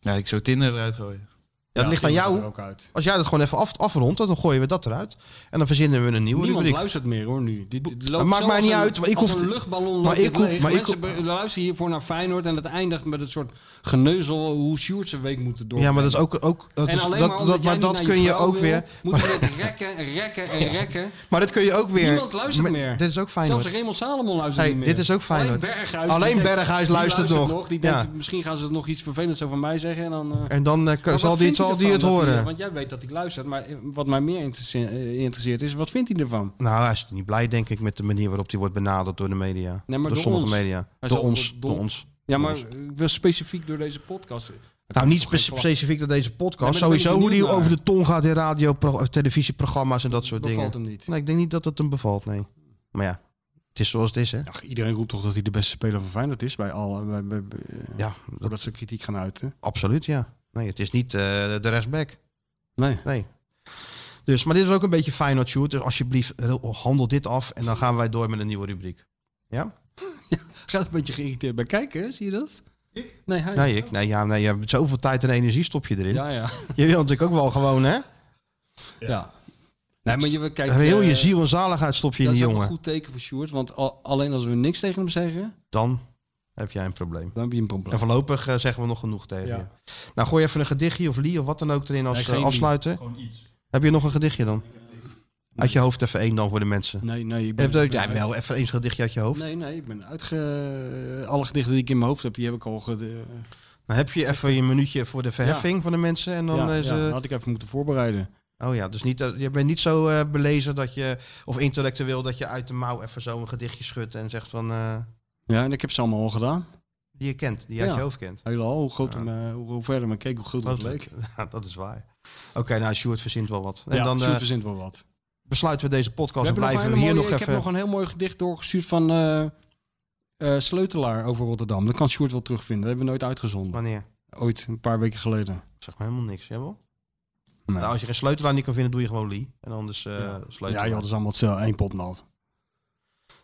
S10: Ja, ik zou Tinder eruit gooien.
S2: Ja, dat ligt aan jou. Als jij dat gewoon even af, afrondt, dan gooien we dat eruit. En dan verzinnen we een nieuwe
S3: Niemand
S2: rubriek.
S3: luistert meer hoor nu. Dit, dit loopt
S2: Het maakt
S3: zo
S2: mij
S3: als
S2: niet
S3: een-
S2: uit, maar ik
S3: als
S2: hoef-
S3: een luchtballon
S2: maar
S3: loopt dit
S2: ik hoef-
S3: leeg.
S2: maar ik
S3: Mensen be- luisteren hiervoor naar Feyenoord en het eindigt met een soort geneuzel hoe Sjoerd zijn week moeten door.
S2: Ja, maar dat is ook- ook- dat
S3: en
S2: is-
S3: alleen
S2: dat-
S3: maar
S2: dat-
S3: omdat jij
S2: maar
S3: niet
S2: dat
S3: naar
S2: kun je
S3: vrouw
S2: ook
S3: wil,
S2: weer-
S3: Moeten we dit rekken en rekken en rekken.
S2: Maar dat kun je ook weer.
S3: Niemand luistert
S2: Maar
S3: meer.
S2: Dit is ook
S3: Zelfs
S2: Feyenoord.
S3: Raymond Salomon luistert
S2: Hey,
S3: niet meer.
S2: dit is ook Feyenoord.
S3: Alleen Berghuis,
S2: Alleen
S3: die denkt-
S2: Berghuis
S3: die
S2: luistert nog.
S3: Die
S2: Ja.
S3: denkt, misschien gaan ze nog iets vervelends over mij zeggen. En dan, eh,
S2: En dan, eh,
S3: maar wat
S2: zal die-
S3: vindt hij
S2: zal die
S3: ervan
S2: het
S3: dat
S2: horen?
S3: hij- eh, Want jij weet dat ik luister. Maar eh, wat mij meer interesse- eh, interesseert is, wat vindt hij ervan?
S2: Nou, hij is niet blij, denk ik, met de manier waarop hij wordt benaderd door de media.
S3: Nee, maar
S2: door
S3: door
S2: sommige
S3: ons.
S2: media.
S3: Hij
S2: Door
S3: zal-
S2: ons,
S3: door-
S2: door ons.
S3: Ja,
S2: Door
S3: maar
S2: ons.
S3: ik wil specifiek door deze podcast.
S2: Nou, niet spe-
S3: specifiek.
S2: specifiek door deze podcast.
S3: Nee, maar daar ben ik
S2: Sowieso hoe die
S3: benieuwd
S2: over
S3: naar.
S2: de tong gaat in radio, pro- eh, televisieprogramma's en dat soort
S3: Bevalt
S2: dingen.
S3: hem niet.
S2: Nee, ik denk niet dat dat hem bevalt, nee. Maar ja, het is zoals het is, hè.
S17: Ach, iedereen roept toch dat hij de beste speler van Feyenoord is bij alle. Bij, bij, bij-
S2: Ja,
S17: voordat ze kritiek gaan uiten.
S2: Absoluut, ja. Nee, het is niet eh, de rechtsback.
S3: Nee.
S2: Nee. Dus, maar dit is ook een beetje Feyenoord, Sjoerd. Dus alsjeblieft, eh, handel dit af en dan gaan wij door met een nieuwe rubriek. Ja?
S3: Gaat een beetje geïrriteerd bij kijken, hè? zie je dat? Nee, hij.
S2: Nee, ik, nee, ja, nee, je hebt zoveel tijd en energie stop je erin.
S3: Ja, ja.
S2: Je wil natuurlijk ook wel gewoon, hè?
S3: Ja. Nee, maar je we kijken.
S2: Heel je
S3: eh,
S2: ziel en zaligheid stop je in
S3: dat
S2: die
S3: is ook
S2: jongen.
S3: een goed teken voor Sjoerd, want al- alleen als we niks tegen hem zeggen,
S2: Dan heb jij een probleem.
S3: dan heb je een probleem.
S2: En voorlopig eh, zeggen we nog genoeg tegen
S3: Ja.
S2: je. Nou, gooi even een gedichtje of Lee of wat dan ook erin als
S3: Nee,
S2: eh,
S3: geen Lee.
S2: afsluiter.
S3: Gewoon iets.
S2: Heb je nog een gedichtje dan? Uit je hoofd even één dan voor de mensen.
S17: Nee, nee. Ik
S2: ben,
S17: ben-
S2: je
S17: ik ben
S2: ja, wel even één gedichtje uit je hoofd.
S3: Nee, nee, ik ben uitge. Alle gedichten die ik in mijn hoofd heb, die heb ik al. Ge...
S2: Dan heb je even je minuutje voor de verheffing van de mensen. En dan
S3: Ja,
S2: is,
S3: ja,
S2: eh,
S3: dat had ik even moeten voorbereiden.
S2: Oh ja, dus niet, dat- je bent niet zo eh, belezen dat je, of intellectueel dat je uit de mouw even zo een gedichtje schudt en zegt van, eh,
S17: Ja, en ik heb ze allemaal al gedaan.
S2: die je kent, die je uit
S3: Ja.
S2: je hoofd kent.
S3: Helemaal, hoe, groot hem, eh, hoe, hoe verder men keek, hoe groot het
S2: Groot
S3: leek.
S2: Ja, dat is waar. Oké, nou, Sjoerd verzint wel wat.
S3: Ja,
S2: eh,
S3: Sjoerd verzint wel wat.
S2: Besluiten we deze podcast en
S3: hebben
S2: blijven
S3: een
S2: we
S3: hele
S2: hier
S3: mooie-
S2: nog
S3: ik
S2: even...
S3: heb nog een heel mooi gedicht doorgestuurd van eh, eh, Sleutelaar over Rotterdam. Dat kan Sjoerd wel terugvinden. Dat hebben we nooit uitgezonden.
S2: Wanneer?
S3: Ooit, een paar weken geleden.
S2: Zeg maar helemaal niks, jawel? Nou, als je geen sleutelaar niet kan vinden, doe je gewoon Lee. En anders eh
S17: Ja,
S2: sleutelaar.
S17: joh, dat is allemaal hetzelfde. één pot nat.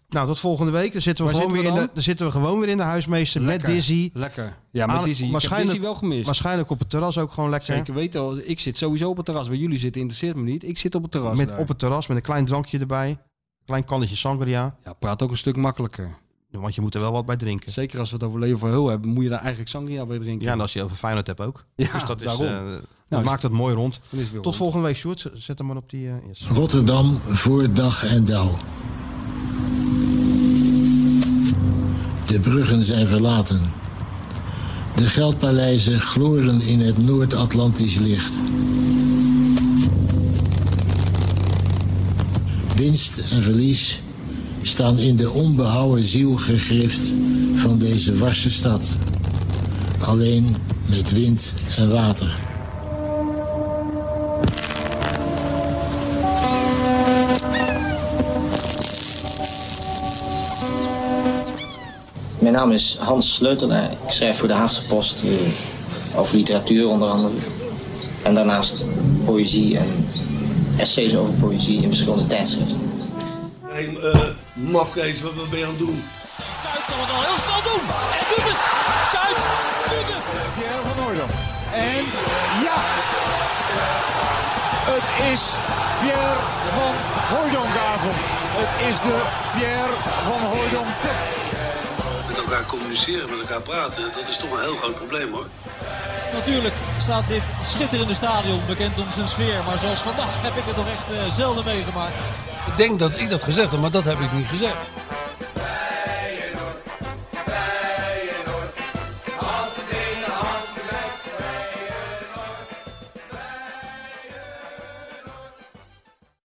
S2: Nou, tot volgende week. Dan zitten we,
S3: Waar
S2: gewoon,
S3: zitten we
S2: weer in de,
S3: dan?
S2: dan zitten we gewoon weer in de huismeester
S3: Lekker,
S2: met Dizzy.
S3: Lekker. Ja, met
S2: Aan-
S3: Dizzy. Ik heb
S2: waarschijnlijk-
S3: Dizzy wel gemist.
S2: Waarschijnlijk op het terras ook gewoon lekker.
S3: Zeker weten. al- Ik zit sowieso op het terras. Waar jullie zitten interesseert me niet. Ik zit op het terras.
S2: Met,
S3: daar.
S2: op het terras met een klein drankje erbij. Klein kannetje sangria.
S3: Ja, praat ook een stuk makkelijker.
S2: Want je moet er wel wat bij drinken.
S3: Zeker als we het over Leo van Hul hebben, moet je daar eigenlijk sangria bij drinken.
S2: Ja, en als je over Feyenoord hebt ook.
S3: Ja,
S2: dus dat is,
S3: daarom.
S2: eh,
S3: Nou, is
S2: dat
S3: het-
S2: maakt het mooi rond.
S3: Dan is het weer
S2: Tot
S3: rond.
S2: volgende week, Sjoerd. Zet hem maar op die... eh, eerste.
S18: Rotterdam voor dag en dauw. De bruggen zijn verlaten. De geldpaleizen gloren in het Noord-Atlantisch licht. Winst en verlies staan in de onbehouwen ziel gegrift van deze warse stad. Alleen met wind en water.
S19: Mijn naam is Hans Sleutelaar. Ik schrijf voor de Haagse Post eh, over literatuur onder andere. En daarnaast poëzie en essays over poëzie in verschillende tijdschriften.
S1: Hé, eh mafkees, wat, wat ben je aan het doen?
S12: Kuit kan het al heel snel doen. En doet het. Kuit doet het.
S20: Pierre van Hooydonk. En ja! Het is Pierre van Hooydonkavond. Het is de Pierre van Hooydonk Cup.
S1: Met elkaar communiceren, met elkaar praten, dat is toch een heel groot probleem hoor.
S12: Natuurlijk staat dit schitterende stadion bekend om zijn sfeer. Maar zoals vandaag heb ik het nog echt eh, zelden meegemaakt.
S21: Ik denk dat ik dat gezegd heb, maar dat heb ik niet gezegd.